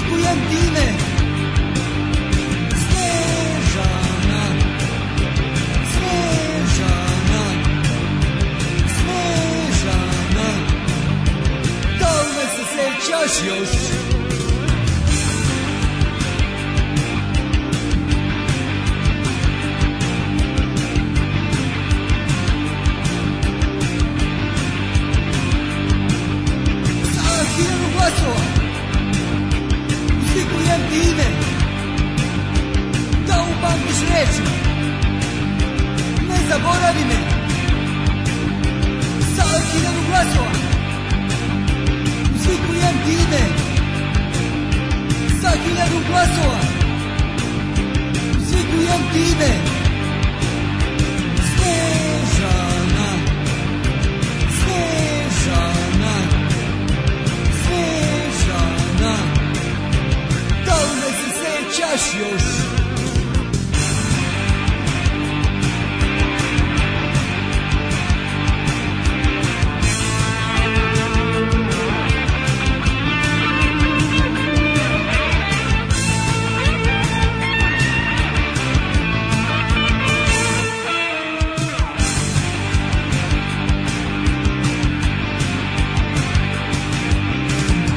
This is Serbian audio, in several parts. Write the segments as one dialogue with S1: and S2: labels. S1: sredine Snežana Snežana Snežana Da li me se sećaš još? Sada hiljadu glasova Slikujem ti ime Da upamtiš reči Ne zaboravi me Sada hiljadu glasova Slikujem ti ime Sa hiljadu glasova Slikujem ti ime Snežana Snežana Snežana Da li me se sećaš još?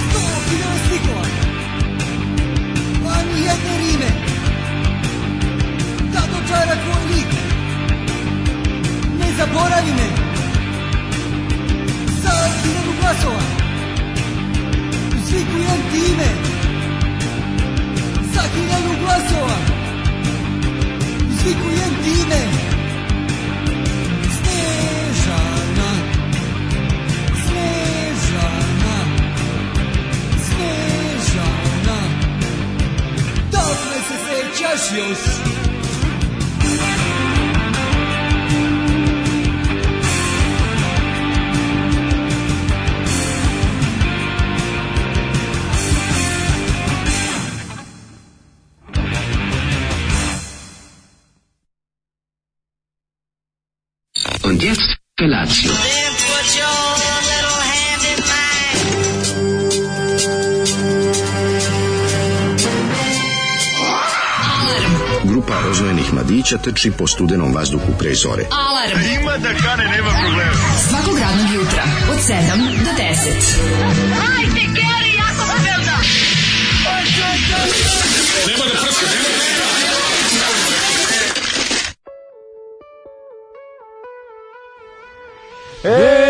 S1: Sto hiljada slikova Pa ni jedno rime Da dočara tvoj lik Ne zaboravi me Za hiljadu glasova Slikujem ti ime Za hiljadu glasova Slikujem ti ime Snežana Snežana Snežana Dobre se sećaš još
S2: Und jetzt Felatio.
S3: Then put your little hand in mine.
S4: Grupa rozvojenih mladića teči po studenom vazduhu pre zore.
S5: Alarm. Ima da kane, nema problema. Svakog radnog jutra, od 7 do 10.
S3: Hajde, Geri, Jakobsfelda!
S6: Ej,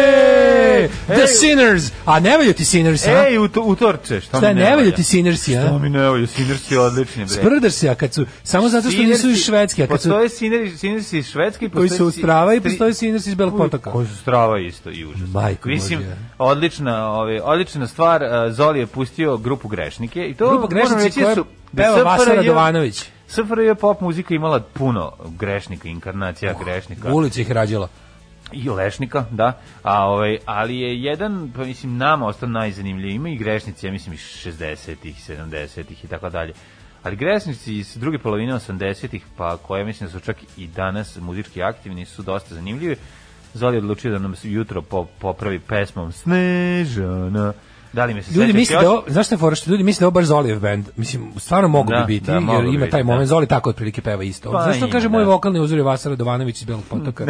S7: E, The
S6: ej,
S7: Sinners! A ne valju ti Sinners,
S1: E,
S7: a?
S6: ej, E, uto, utorče, šta,
S7: Šta,
S6: mi
S7: ne valju
S6: valja?
S7: ti Sinnersi,
S6: Šta
S7: a?
S6: mi ne valja, sinersi odlični, bre.
S7: Sprdaš se, a kad su, samo zato što nisu iz
S6: Sinersi-
S7: Švedske, a kad su,
S6: Postoje sinersi, sinersi iz Švedske, i
S7: koji
S6: postoje
S7: su uz prava i
S6: si-
S7: postoje Sinners iz Belog
S6: Uj,
S7: potoka.
S6: Koji su strava isto i užasno.
S7: Majko
S6: Mislim,
S7: Božja.
S6: odlična, ove, odlična stvar, a, Zoli je pustio grupu grešnike i to
S7: Grupa
S6: moram
S7: Grešnici
S6: reći
S7: koja
S6: su- da
S7: peva
S6: SFRJ
S7: Vasa Radovanović.
S6: SFRJ pop muzika imala puno grešnika, inkarnacija
S7: Oh,
S6: grešnika.
S7: U ulici ih rađala.
S6: i Lešnika, da. A ovaj ali je jedan pa mislim nama ostao najzanimljiviji ima i grešnici, ja mislim iz 60-ih, 70-ih i tako dalje. Ali grešnici iz druge polovine 80-ih, pa koje mislim da su čak i danas muzički aktivni, su dosta zanimljivi. Zoli je odlučio da nam se jutro po, popravi pesmom Snežana. Da li mi se
S7: Ljudi
S6: sećate
S7: misle
S6: još?
S7: da, ovo- znaš šta je fora što ljudi misle da je ovo baš Zolijev bend. Mislim, stvarno mogu
S6: Da,
S7: bi biti,
S6: da, mogu
S7: jer
S6: bi
S7: ima
S6: biti,
S7: taj
S6: da.
S7: moment. Zoli tako otprilike peva isto.
S6: Pa,
S7: Zašto
S6: ima,
S7: kaže moj
S6: da.
S7: vokalni uzor je Vasa Radovanović iz Belog potoka,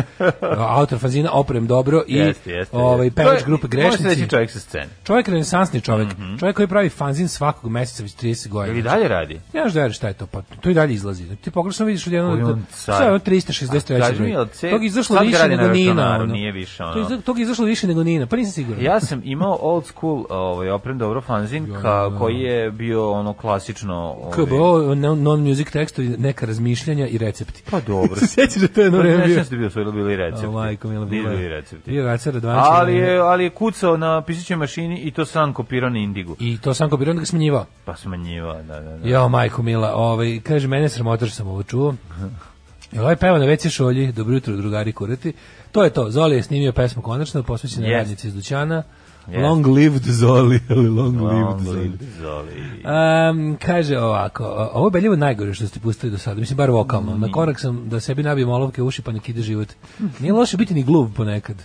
S7: autor fanzina Oprem dobro i
S6: Jeste, jeste,
S7: ovaj
S6: jeste.
S7: pevač
S6: To je-
S7: grupe
S6: Može se
S7: Grešnici.
S6: reći čovjek sa scene.
S7: Čovjek renesansni čovjek, čovjek koji pravi fanzin svakog meseca već 30
S6: Ili
S7: godina.
S6: dalje radi?
S7: Ne znaš da veriš šta je to, pa to i dalje izlazi. Ti pogrešno vidiš odjedno
S6: Koji
S7: da
S6: on car.
S7: šta je ono
S6: A,
S7: 363.
S6: kaži mi,
S7: broj.
S6: jel ce-
S7: Tog je izašlo
S6: sad
S7: više
S6: gradi
S7: nego
S6: na
S7: Nina.
S6: računaru,
S7: ono.
S6: nije više, ono.
S7: To je iza- Tog je izašlo više nego Nina, pa nisam siguran.
S6: Ja sam imao old school ovaj oprem dobro fanzin ka, koji je bio ono klasično ovaj,
S7: KBO, non- non-music tekstovi, neka razmišljanja i recepti.
S6: Pa dobro.
S7: Se Sjećaš da to je jedno
S6: Ne
S7: vreme bio?
S6: znam da bio svoj bili recepti.
S7: O, majko mila,
S6: Nisu
S7: bilo je.
S6: bili recepti.
S7: Bio je znači Racer Radovanović.
S6: Ali je, ali je kucao na pisaćoj mašini i to sam kopirao na Indigu.
S7: I to sam kopirao, onda ga smenjivao.
S6: Pa smanjivao, da, da, da.
S7: Jo, majko mila, ovaj, kaže, mene je sramota što sam ovo čuo. Jel ovaj peva na WC šolji, dobro jutro drugari kurati. To je to, Zoli je snimio pesmu konačno, posvećena
S6: Yes.
S7: radnici iz Dućana.
S6: Yes.
S7: Long lived Zoli, ali long,
S6: Long
S7: lived Zoli.
S6: live Zoli.
S7: Um, kaže ovako, o- ovo je beljivo najgore što ste pustili do sada, mislim bar vokalno. Na korak sam da sebi nabijem olovke u uši pa nek ide život. Nije loše biti ni glup ponekad.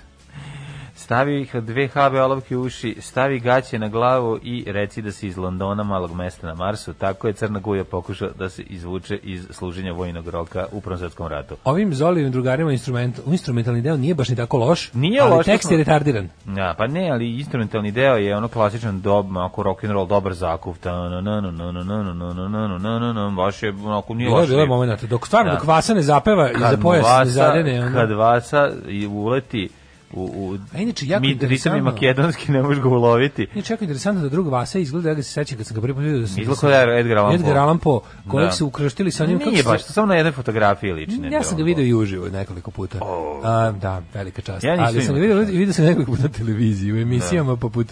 S6: Stavi ih dve habe olovke u uši, stavi gaće na glavu i reci da si iz Londona, malog mesta na Marsu. Tako je Crna Guja pokušao da se izvuče iz služenja vojnog roka u Prvom svetskom ratu.
S7: Ovim Zolijevim drugarima instrument, instrumentalni deo nije baš ni tako loš,
S6: Nije
S7: ali
S6: loš,
S7: tekst
S6: mi
S7: je
S6: smo-
S7: retardiran.
S6: Ja, pa ne, ali instrumentalni deo je ono klasičan dob, ako rock and roll dobar zakup. Ta na na na na na na na na na na na na na baš je onako nije
S7: Bilo je,
S6: loš.
S7: bilo je momenata. Dok stvarno,
S6: Da.
S7: dok Vasa ne zapeva i
S6: Kad
S7: za pojas
S6: vasa,
S7: ne zadene, ono.
S6: Kad vasa i uleti u, u
S7: A inače, jako
S6: mi, ritam je
S7: interesantno-
S6: makedonski, ne možeš ga uloviti.
S7: Nije čekao interesantno da drug Vasa izgleda, ja ga se sećam kad sam ga prvi put vidio da sam...
S6: Izgleda kao da je Edgar Allan Poe.
S7: Edgar Allan Poe, kojeg
S6: Da.
S7: su ukrštili sa njim... kako
S6: Nije
S7: se-
S6: baš, to samo na jednoj fotografiji lične.
S7: Ja sam ga video i uživo nekoliko puta. A, da, velika čast.
S6: Ja nisam
S7: Ali sam ga
S6: imao
S7: video,
S6: tu šansu.
S7: video sam ga nekoliko puta na televiziji, u emisijama poput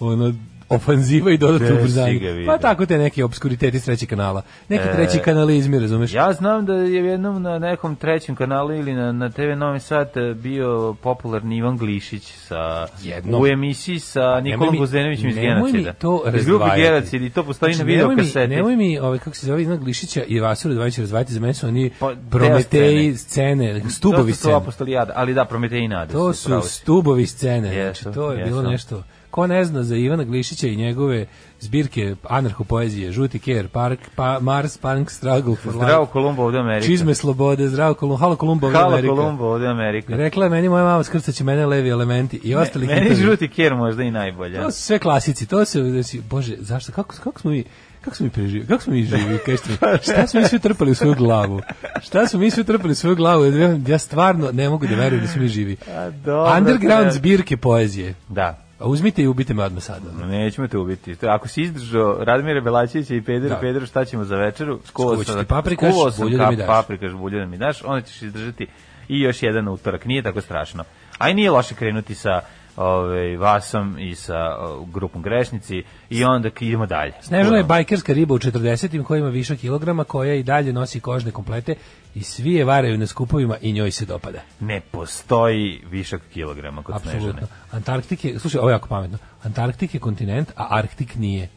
S7: ono ofanziva i dodatno
S6: Gde si ga
S7: ubrzanje.
S6: video?
S7: Pa tako te neki obskuriteti s trećeg kanala. Neki treći kanalizmi, razumeš?
S6: Ja znam da je jednom na nekom trećem kanalu ili na, na TV Novi Sad e, bio popularni Ivan Glišić sa,
S7: Jednom.
S6: u emisiji sa Nikolom
S7: mi-
S6: Guzenovićem iz
S7: nemoj mi
S6: Genocida.
S7: to
S6: iz grupe
S7: razdvajati.
S6: Genocid i to postoji na
S7: Znači,
S6: video
S7: nemoj mi-
S6: kaseti.
S7: Nemoj mi, ovaj, kako se zove, Ivan Glišića i Vasilu Dvajića razvajati za mene su oni
S6: Pa,
S7: prometeji
S6: deo
S7: scene, stubovi
S6: to su to
S7: scene.
S6: apostolijada, ali da, Prometej i Nade.
S7: To su
S6: upravo si.
S7: stubovi scene.
S6: Jesu,
S7: znači, to je bilo
S6: jesu.
S7: nešto... Ko ne zna za Ivana Glišića i njegove zbirke anarchopoezije, Žuti ker, Park, pa, Mars, Punk, Struggle for
S6: Zdravo
S7: Life,
S6: Kolumbo ovde Amerika.
S7: Čizme slobode, Zdravo Kolumbo, Halo Kolumbo, ovdje
S6: Halo
S7: Amerika.
S6: Kolumbo ovde Amerika.
S7: Rekla je meni moja mama skrcaće mene levi elementi i ostali
S6: Meni je
S7: hitovi.
S6: žuti kjer možda i najbolje.
S7: To su sve klasici, to se, znači, bože, zašto, kako, kako smo mi, kako smo mi preživjeli, kako smo mi živi, kažete mi, šta smo mi sve trpali u svoju glavu, šta smo mi sve trpali u svoju glavu, ja, ja stvarno ne mogu da verujem da smo mi živi.
S6: A, dobro,
S7: Underground
S6: ne.
S7: zbirke poezije,
S6: Da.
S7: a uzmite i ubite me odmah sada.
S6: Nećemo te ubiti. To- Ako si izdržao Radmira Belačića i Pedera
S7: Da.
S6: da. Pedera, šta ćemo za večeru?
S7: Skuvat ću ti paprikaš,
S6: skuvao sam
S7: bulju da mi
S6: kap-
S7: daš.
S6: paprikaš, bulju da mi daš, onda ćeš izdržati i još jedan utorak. Nije tako strašno. A i nije loše krenuti sa ovaj, Vasom i sa o, grupom Grešnici i onda k- idemo dalje.
S7: Snežana je
S6: Puno.
S7: bajkerska riba u 40-im koja ima više kilograma, koja i dalje nosi kožne komplete i svi je varaju na skupovima i njoj se dopada.
S6: Ne postoji višak kilograma kod Snežane.
S7: Apsolutno. Antarktik je, slušaj, ovo je jako pametno. Antarktik je kontinent, a Arktik nije.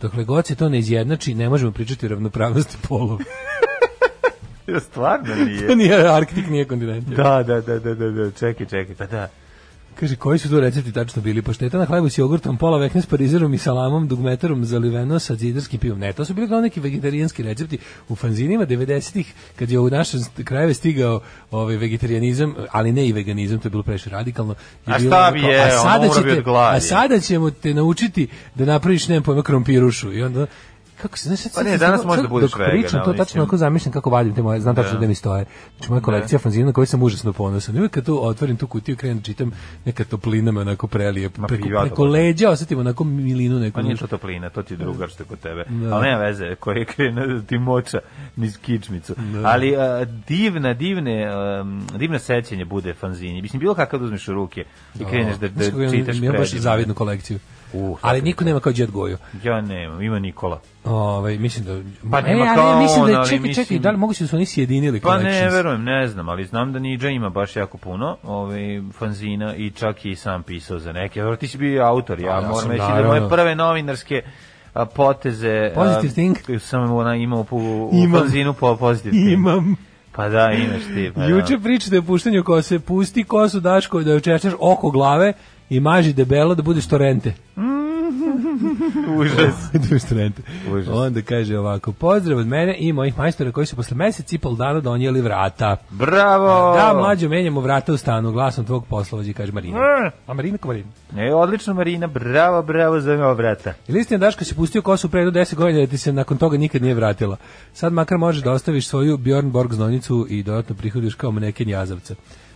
S7: Dokle god se to ne izjednači, ne možemo pričati o ravnopravnosti polova.
S6: Stvarno
S7: To
S6: nije.
S7: nije Arktik, nije kontinent.
S6: Da, da, da, da, da, da, čekaj, čekaj, pa da.
S7: Kaže, koji su tu recepti tačno bili? Pašteta na hlebu s jogurtom, pola vekne s parizerom i salamom, dugmetarom zaliveno sa zidarskim pivom. Ne, to su bili kao neki vegetarijanski recepti. U fanzinima 90-ih, kad je u naše st- krajeve stigao ovaj vegetarijanizam, ali ne i veganizam, to je bilo previše radikalno. je
S6: A
S7: bilo
S6: šta
S7: ono
S6: bi
S7: kao,
S6: jeo,
S7: a
S6: ono
S7: sada,
S6: umro bi
S7: ćete,
S6: od gladi.
S7: a sada ćemo te naučiti da napraviš, nemam pojma, krompirušu. I onda, kako se, znaš, sad-
S6: Pa ne,
S7: sad-
S6: danas
S7: sad-
S6: možda
S7: dok
S6: budeš vegan,
S7: pričam, to
S6: ali
S7: tačno
S6: mislim-
S7: onako zamišljam kako vadim te moje, znam tačno da mi stoje. Znači moja kolekcija
S6: Da.
S7: fanzina na koju sam užasno ponosan. I Uvijek kad tu otvorim tu kutiju, krenem da čitam, neka toplina me onako prelije.
S6: Ma,
S7: Preko,
S6: privatno.
S7: preko leđa osetim onako milinu neku.
S6: Pa nije to toplina, to ti je drugar što je kod tebe.
S7: Da.
S6: Ali nema veze, koji je krenuo da ti moča niz kičmicu.
S7: Da.
S6: Ali a, divna, divne, um, divno sećanje bude fanzini. Mislim, bilo kakav da uzmeš u ruke i kreneš da, da
S7: Znaš kako imam-
S6: čitaš Uh,
S7: imam baš
S6: predivno.
S7: zavidnu kolekciju.
S6: U, svaka
S7: Ali niko nema kao Đed Gojo.
S6: Ja nemam, ima Nikola.
S7: Ovaj mislim da
S6: Pa
S7: E,
S6: nema
S7: ali
S6: kao
S7: mislim da
S6: on, ali
S7: čekaj, čekaj,
S6: mislim-
S7: da li moguće da su oni sjedinili
S6: Pa ne,
S7: collections?
S6: verujem, ne znam, ali znam da Niđa ima baš jako puno ove, fanzina i čak i sam pisao za neke. Dobro, ti si bio autor, ja,
S7: ja sam,
S6: moram reći da
S7: naravno.
S6: moje prve novinarske a, poteze a,
S7: Positive think.
S6: sam ona imao u, u
S7: Imam.
S6: fanzinu po Positive Think.
S7: Imam.
S6: Pa da, imaš ti. Pa da.
S7: Juče pričate o puštanju kose, pusti kosu Daško da joj češćaš oko glave i maži debelo da budeš torente.
S6: Užas.
S7: Duš Trent.
S6: Užas.
S7: Onda kaže ovako, pozdrav od mene i mojih majstora koji su posle mesec i pol dana donijeli vrata.
S6: Bravo!
S7: Da, mlađo, menjamo vrata u stanu, glasom tvog poslovođa, kaže Marina.
S6: Oh. Mm.
S7: A Marina ko Marina?
S6: E, odlično, Marina, bravo, bravo za ova vrata.
S7: Ili istina Daško si pustio kosu pre do 10 godina da ti se nakon toga nikad nije vratila. Sad makar možeš da ostaviš svoju Bjorn Borg znonicu i dodatno prihodiš kao maneken jazavca.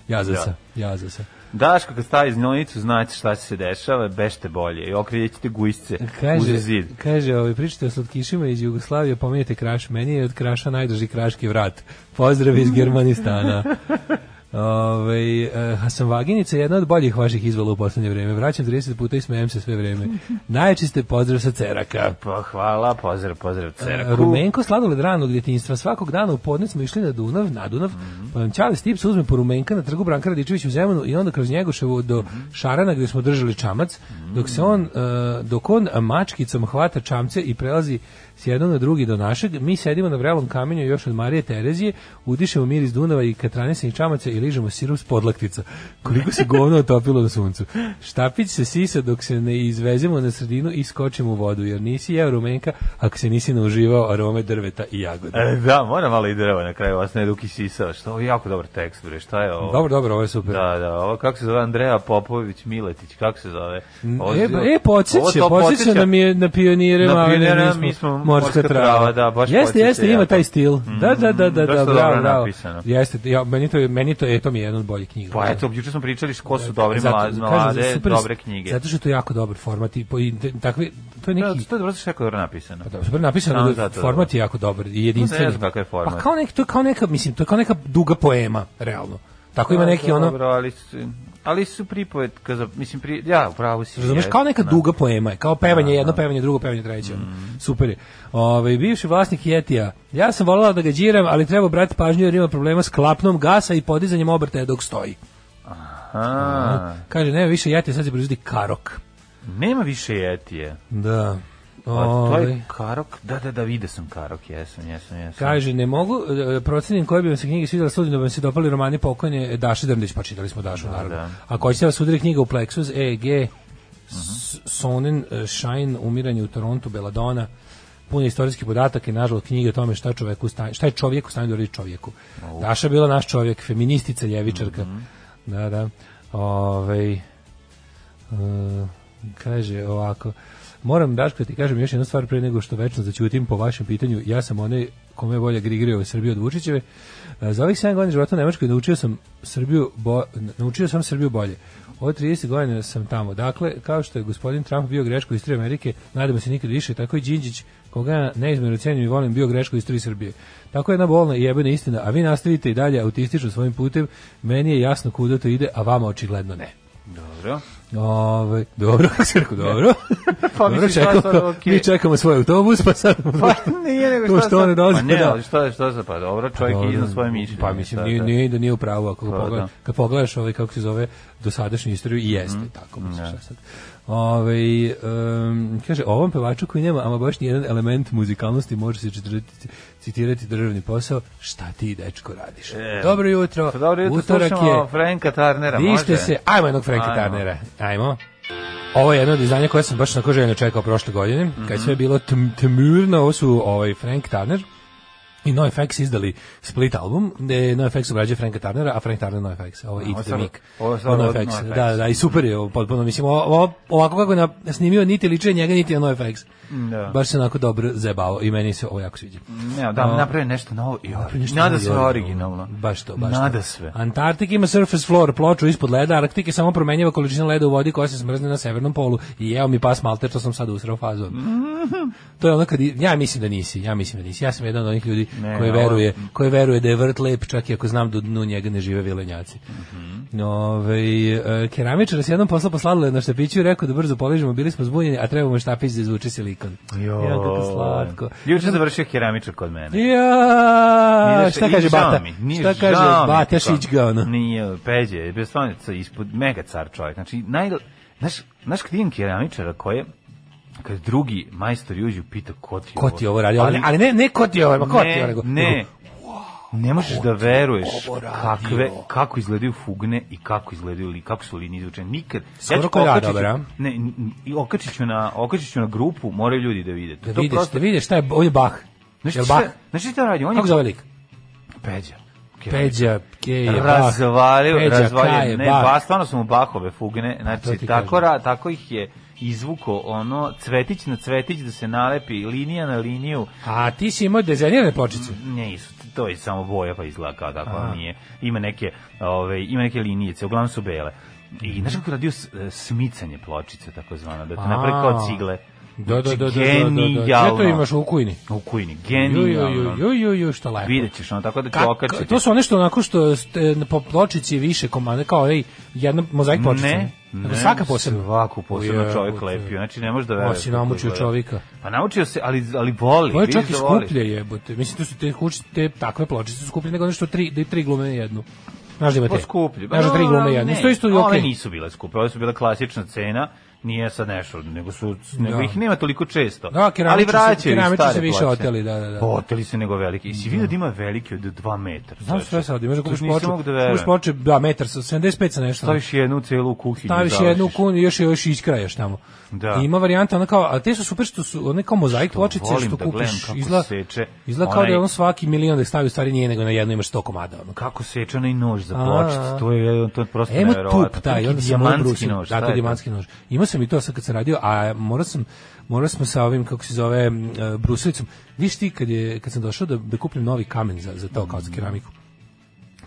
S7: Jazavca,
S6: Da.
S7: jazavca.
S6: Daško, kad stavi znonicu, znate šta se dešava, bešte bolje. I okriljet ćete gujsce uz
S7: Kaže,
S6: zid.
S7: kaže ovaj, pričate o slatkišima iz Jugoslavije, pominjate kraš. Meni je od kraša najdraži kraški vrat. Pozdrav iz Germanistana. Ove, e, Hasan Vaginica je jedna od boljih vaših izvala u poslednje vreme. Vraćam 30 puta i smejem se sve vreme. Najjači ste pozdrav sa Ceraka.
S6: Pa, hvala, pozdrav, pozdrav,
S7: E,
S6: ceraku.
S7: Rumenko sladoled ranog djetinjstva. Svakog dana u podne smo išli na Dunav, na Dunav, pa nam Ćale Stip se uzme po Rumenka na trgu Branka Radičevića u Zemunu i onda kroz Njegoševu do Šarana gdje smo držali čamac, dok se on, e, dok on mačkicom hvata čamce i prelazi s jednog na drugi do našeg, mi sedimo na vrelom kamenju još od Marije Terezije, udišemo miris Dunava i katranesenih čamaca i i ližemo sirup s podlaktica. Koliko se govno otopilo na suncu. Štapić se sisa dok se ne izvezemo na sredinu i skočimo u vodu, jer nisi jeo rumenka ako se nisi nauživao arome drveta i jagoda.
S6: E, da, mora malo i drvo na kraju, ostane Duki Sisa, što ovo je jako dobar tekst, bre, šta je ovo?
S7: Dobro, dobro, ovo je super.
S6: Da, da, ovo kako se zove Andreja Popović Miletić, kako se zove? Ovo je
S7: E,
S6: bilo-
S7: e
S6: ovo
S7: podsjeća,
S6: to
S7: podsjeća nam je na pionire,
S6: Na
S7: na
S6: pionire,
S7: pionire
S6: mi smo morska trava, da, baš
S7: Jeste,
S6: podsjeća
S7: jeste, ima
S6: jako.
S7: taj stil. Da, da,
S6: dosta
S7: da, da, da,
S6: dobro
S7: bravo, bravo.
S6: napisano.
S7: Jeste, ja, meni to je, meni to je, to mi je jedan od boljih knjiga.
S6: Pa eto, juče smo pričali ko su dobre
S7: Zato-
S6: mlade,
S7: kažem,
S6: mlade
S7: super-
S6: dobre knjige.
S7: Zato što je to jako dobar format i, po, i te- takvi, to je
S6: Da,
S7: neki...
S6: to je dobro što je jako dobro napisano.
S7: Pa da, super napisano,
S6: Samo
S7: da je
S6: zato, da.
S7: format je jako dobar i jedinstveni.
S6: Ne znam kakav je format.
S7: Pa kao nek, to je kao neka, mislim, to je kao neka duga poema, realno. Tako ima
S6: Pa,
S7: neki ono,
S6: Dobro, ali su, ali su pripovetka za, mislim, pri, ja, upravo si.
S7: Razumeš,
S6: jeste,
S7: kao neka
S6: da. Mm.
S7: duga poema, je, kao pevanje jedno, pevanje drugo, pevanje treće. ono. Super je. Ove, bivši vlasnik Jetija, ja sam voljela da ga džiram, ali treba brati pažnju jer ima problema s klapnom gasa i podizanjem obrtaja dok stoji.
S6: A,
S7: Kaže, nema više Jetija, sad se proizvodi Karok.
S6: nema više Jetije.
S7: Da.
S6: Pa, to
S7: Ovaj.
S6: je Karok, da, da, da, vidio sam Karok, jesam, jesam, jesam.
S7: Kaže, ne mogu, e, procenim koje bi vam se knjige svidjela studiju, da bi vam se dopali romani pokojne Daše Drndić, pa čitali smo Dašu, naravno.
S6: da. Mhm.
S7: Ako hoćete da vas udari knjiga u Plexus, EG, S- Sonen, e, Shine, Umiranje u Torontu, Beladona, puno istorijskih podataka i nažalost knjige o tome šta, čovjek u stanju, šta je čovjek u stanju da uradi čovjeku. Daša je bila naš čovjek, feministica, ljevičarka.
S6: Mhm.
S7: Da, da. Ovaj, Ovej, Uh, kaže ovako Moram Daško da ti kažem još jednu stvar pre nego što večno zaćutim po vašem pitanju. Ja sam onaj kome je volja grigrio u Srbiji od Vučićeve. Uh, Za ovih 7 godina života u Nemačkoj naučio sam Srbiju bo, naučio sam Srbiju bolje. Od 30 godina sam tamo. Dakle, kao što je gospodin Trump bio greško iz istoriji Amerike, nadamo se nikad više, tako i Đinđić, koga ja neizmjerno cenim i volim, bio greško iz istoriji Srbije. Tako je jedna bolna i jebena istina, a vi nastavite i dalje autistično svojim putem, meni je jasno kuda to ide, a vama očigledno ne.
S6: Dobro.
S7: Ovaj, dobro, Srko, dobro.
S6: Pa
S7: dobro,
S6: mislim,
S7: čekamo,
S6: šta sad, okej.
S7: mi čekamo svoj autobus, pa sad...
S6: Pa nije nego
S7: To
S6: šta
S7: što
S6: sad-
S7: one dolaze,
S6: Pa ne,
S7: pa da.
S6: ali šta je, šta je, pa dobro, čovjek je iznad svoje mišljenje.
S7: Pa mislim,
S6: šta
S7: nije,
S6: da.
S7: nije da nije u pravu, ako ga
S6: Pa,
S7: pogledaš,
S6: da. Mhm.
S7: kad pogledaš ovaj, kako se zove, dosadašnju istoriju, i jeste, tako mislim,
S6: Da.
S7: šta sad. Ovaj, em, kaže, ovom pevaču koji nema, ama baš nijedan element muzikalnosti može se citirati, citirati državni posao, šta ti, dečko, radiš?
S6: E,
S7: dobro jutro,
S6: Pa dobro, jutro
S7: utorak
S6: slušamo
S7: je,
S6: Franka Tarnera, može?
S7: Dište se, ajmo jednog Franka
S6: Ajmo.
S7: Tarnera. Ajmo. Ovo je jedno od izdanja koje sam baš na željno čekao prošle godine,
S6: Mhm.
S7: kad je sve bilo tm, tmurno, ovo su ovaj Frank Turner i NoFX izdali split album, gde je NoFX obrađuje Franka Turnera, a Frank Turner NoFX, ovo je
S6: Ovo
S7: Eat the
S6: sad-
S7: Mic.
S6: ovo je sad
S7: Od
S6: od
S7: NoFX,
S6: NoFX.
S7: da, da, i super je ovo, potpuno, mislim, ovo- ovo- ovako kako je na- snimio, niti liče njega, niti je NoFX.
S6: Da.
S7: Baš se onako dobro zajebavao i meni se ovo jako sviđa.
S6: Ne, da, napravi nešto novo i
S7: Napravi nešto
S6: Nada
S7: novo i
S6: sve originalno.
S7: Baš to, baš
S6: Nada
S7: to.
S6: sve.
S7: Antartik ima surface floor, ploču ispod leda, Arktik je samo promenjiva količina leda u vodi koja se smrzne na severnom polu. I jeo mi pas malter, što sam sad usrao fazom.
S6: Mhm.
S7: to je ono kad, i- ja mislim da nisi, ja mislim da nisi. Ja sam jedan od onih ljudi
S6: Ne,
S7: koji
S6: ovo-
S7: veruje, koji veruje da je vrt lep, čak i ako znam da u dnu njega ne žive vilenjaci.
S6: Mhm.
S7: Ovaj, e, keramičar se jednom posla posladila na štapiću i rekao da brzo poližemo, bili smo zbunjeni, a trebamo štapić da izvuče silikon. Ja, kako slatko.
S6: Juče završio keramičar kod mene.
S7: Ja,
S6: Nije
S7: šta
S6: i
S7: kaže
S6: žao
S7: Bata?
S6: mi, nije
S7: Šta
S6: žao mi,
S7: kaže Bata
S6: kao-
S7: Šić ga ono?
S6: Nije, Peđe, je bio stvarno ca- ispod mega car čovjek. Znači, naj, znaš, znaš kad vidim keramičara koje, kad drugi majstor uđe pita ko ti,
S7: Ko ti ovo radi? Ali, ali ne, ne ko ti ovo, ma ko ti ovo?
S6: ne,
S7: nego-
S6: ne,
S7: nego,
S6: ne možeš da veruješ
S7: ovo radio?
S6: kakve, kako izgledaju fugne i kako izgledaju li, kako su linije izvučene. Nikad.
S7: Skoro
S6: ću
S7: ko ja,
S6: okačit ću-
S7: dobro, a?
S6: Ne, n- n- i okačit ću na, okačit ću na grupu, moraju ljudi da vide.
S7: Da
S6: To
S7: vidiš,
S6: prosto-
S7: da vidiš šta je, on je Bach.
S6: Znaš
S7: Jel
S6: ti
S7: Bach?
S6: šta- Znaš ti šta radi? On je
S7: Kako zove lik?
S6: Peđa. Keramičar.
S7: Peđa, Keje, Bach.
S6: razvalio,
S7: Peđa,
S6: razvalio,
S7: Kaje,
S6: ne,
S7: Bach.
S6: ba, stvarno su mu bahove fugne,
S7: to ti
S6: znači,
S7: kažem.
S6: tako, ra, tako ih je izvuko ono cvetić na cvetić da se nalepi linija na liniju
S7: A ti si imao dizajnirane pločice?
S6: ne su to je samo boja pa izgleda kao tako ali nije ima neke ove ima neke linijice uglavnom su bele i znaš kako je radio s- e, smicanje pločice takozvano da
S7: A.
S6: te napravi kao cigle
S7: Da, da, da,
S6: Znači,
S7: da, da, da, da. Gde
S6: genijalno
S7: to imaš u kujni?
S6: u kujni
S7: Ju, ju,
S6: genijalno
S7: ju, ju, ju, ju, što lepo.
S6: vidjet ćeš ono tako da ću
S7: Kako-
S6: okačiti
S7: to su one što onako što ste na po pločici više komande kao onaj jedna mozaik pločica.
S6: Ne,
S7: Nego
S6: ne,
S7: svaka posebno.
S6: Svaku posebno
S7: Ujebote.
S6: čovjek lepio. Znači ne možeš da veruješ.
S7: Ovo si
S6: kako
S7: namučio
S6: izgleda.
S7: čovjeka.
S6: Pa naučio se, ali ali voli.
S7: To je
S6: vidiš
S7: čak i
S6: da voli.
S7: skuplje jebote. Mislim, to su te, kuć, te takve pločice su skuplje nego ono što tri, da je tri glume na jednu. Znaš da ima te?
S6: Pa skuplje.
S7: Znaš da tri glume na jednu. Isto isto je
S6: One
S7: okej.
S6: nisu bile skuplje, ove su bile klasična cena nije sad nešto, nego su nego
S7: Da.
S6: ih nema toliko često.
S7: Da,
S6: ali
S7: keramični su-
S6: vraćaju ih
S7: keramični
S6: stare
S7: su više
S6: ploče.
S7: oteli, da, da, da.
S6: Oteli su nego veliki. I si vidio da ima veliki od 2 metra.
S7: Znam sve sad, imaš da kupiš
S6: Nisam
S7: ploču,
S6: mogu da
S7: kupiš
S6: verujem.
S7: ploču, da, metar sa 75 sa nešto.
S6: Staviš jednu celu u kuhinju.
S7: staviš
S6: završiš.
S7: jednu kunu i još još iskrajaš tamo.
S6: Da.
S7: I ima varijanta ona kao, a te su super što su one kao mozaik
S6: Što
S7: pločice
S6: volim
S7: što
S6: da gledam
S7: kupiš
S6: kako
S7: izla
S6: seče
S7: izla kao da
S6: onaj-
S7: je ono svaki milion da ih stavi u stvari nije nego na jednu imaš 100 komada ono.
S6: kako seče onaj nož za
S7: A,
S6: pločicu, to je to je prosto
S7: Emo
S6: neverovatno.
S7: tup taj,
S6: Neki
S7: onda sam Da, moj
S6: dijamantski
S7: brusio.
S6: nož. šta
S7: Tako
S6: je to?
S7: dijamantski nož. Imao sam i to sad kad sam radio, a morao sam morao smo sa ovim kako se zove m, e, brusovicom. Viš ti kad je kad sam došao da da kupim novi kamen za za to kao za keramiku.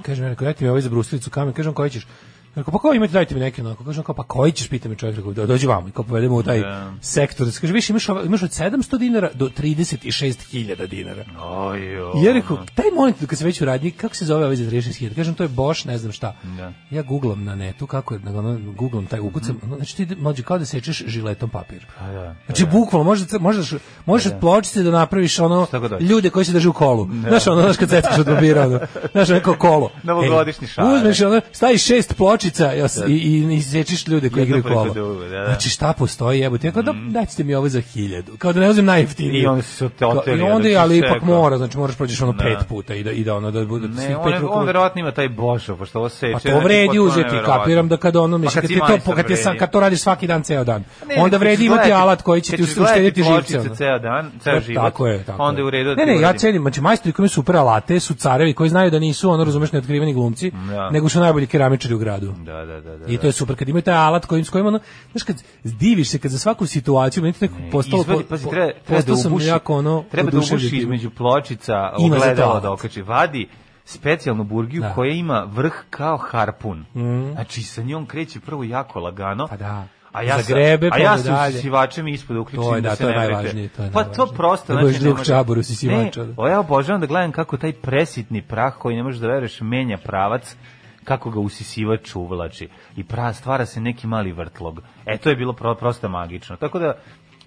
S7: Kaže meni, dajte mi ovaj za brusovicu kamen, kažem koji ćeš? Rekao, pa koji imate, dajte mi neki onako. Kažem, kao, pa koji ćeš, pita me čovjek, rekao, "Do- dođi vamo, i kao povedemo u taj
S6: Da.
S7: sektor. Kaže, viš, imaš, ova- imaš od 700 dinara do 36.000 dinara.
S6: Ojo.
S7: I ja rekao, taj monitor kad se već u radnji, kako se zove ovaj za 36.000? Kažem, to je Bosch, ne znam šta.
S6: Da.
S7: Ja googlam na netu, kako je, ono, googlam taj ukucam, ono, znači ti mlađe kao da sečeš žiletom papir.
S6: Mhm. Pa da, pa
S7: Znači, bukvalno, možeš, da- možeš, možeš od pločice da napraviš ono,
S6: Šta god hoćeš. Da.
S7: ljude koji se drže u kolu. Znaš, ono, znaš kad seckaš od papira, ono, znaš, neko kolo.
S6: Novogodišnji Da.
S7: E,
S6: šarek.
S7: Uzmeš, ono, staviš šest pločica jas- i, i, i sečeš ljude koji
S6: Jedno
S7: igraju
S6: preko
S7: kolo.
S6: drugo, da, da.
S7: Znači, šta postoji, jebote. Ja kao, da, daćete mi ovo za hiljadu. Kao da ne uzem najjeftinije.
S6: Mhm. I onda su se te oteli,
S7: I onda,
S6: odakle
S7: ali
S6: si
S7: ipak
S6: čekao.
S7: mora, znači moraš prođeš ono
S6: Da.
S7: pet puta i da, i da ono, da bude svih
S6: Ne,
S7: pet
S6: on,
S7: rukova.
S6: on verovatno ima taj božo, pošto ovo seče.
S7: Pa to
S6: znači,
S7: vredi
S6: potpuno
S7: uzeti,
S6: neverovatno.
S7: kapiram da kad ono,
S6: Pa
S7: mislim, kad,
S6: si
S7: ti to,
S6: majstor,
S7: kad, ti sam,
S6: vredi.
S7: kad to radiš svaki dan, ceo dan.
S6: Ne,
S7: onda
S6: kad
S7: vredi
S6: ćeš
S7: imati
S6: gledati-
S7: alat koji će
S6: kad
S7: ti
S6: ćeš gledati
S7: uštediti živce.
S6: pločice
S7: ono.
S6: ceo dan, ceo
S7: E,
S6: život,
S7: Tako je, tako
S6: onda je u redu da
S7: Ne,
S6: ti
S7: ne, ja
S6: uradi.
S7: cenim, znači majstori koji imaju super alate su carevi koji znaju da nisu, ono, razumeš, neotkriveni glumci,
S6: Da.
S7: nego su najbolji keramičari u gradu.
S6: Da, da, da, da.
S7: I to je super, kad imaju taj alat kojim, s kojim ono, znaš, kad diviš se, kad za svaku situaciju, meni to nekako postalo,
S6: Izvadi,
S7: po-
S6: pazi,
S7: po-
S6: treba, treba da
S7: postao sam
S6: ubuši,
S7: jako ono,
S6: treba da ubuši
S7: oduševljen.
S6: između pločica
S7: Ima za to
S6: ogledalo
S7: alat.
S6: da okači. Vadi specijalnu burgiju
S7: Da. Mhm.
S6: koja ima vrh kao harpun. Znači, sa njom kreće prvo jako lagano.
S7: Pa da.
S6: A ja
S7: Zagrebe,
S6: sa, a
S7: pa
S6: ja
S7: onda
S6: sa
S7: dalje.
S6: usisivačem ispod uključim
S7: To je,
S6: da,
S7: da,
S6: se
S7: to je
S6: ne vrete.
S7: najvažnije, to je
S6: pa to
S7: najvažnije.
S6: prosto,
S7: Da
S6: znači,
S7: budeš
S6: ne
S7: drug
S6: može-
S7: čabor usisivača,
S6: Ne,
S7: da.
S6: o, ja obožavam da gledam kako taj presitni prah koji ne možeš da veruješ menja pravac kako ga usisivač uvlači i pra, stvara se neki mali vrtlog. E, to je bilo pro, prosto magično. Tako da,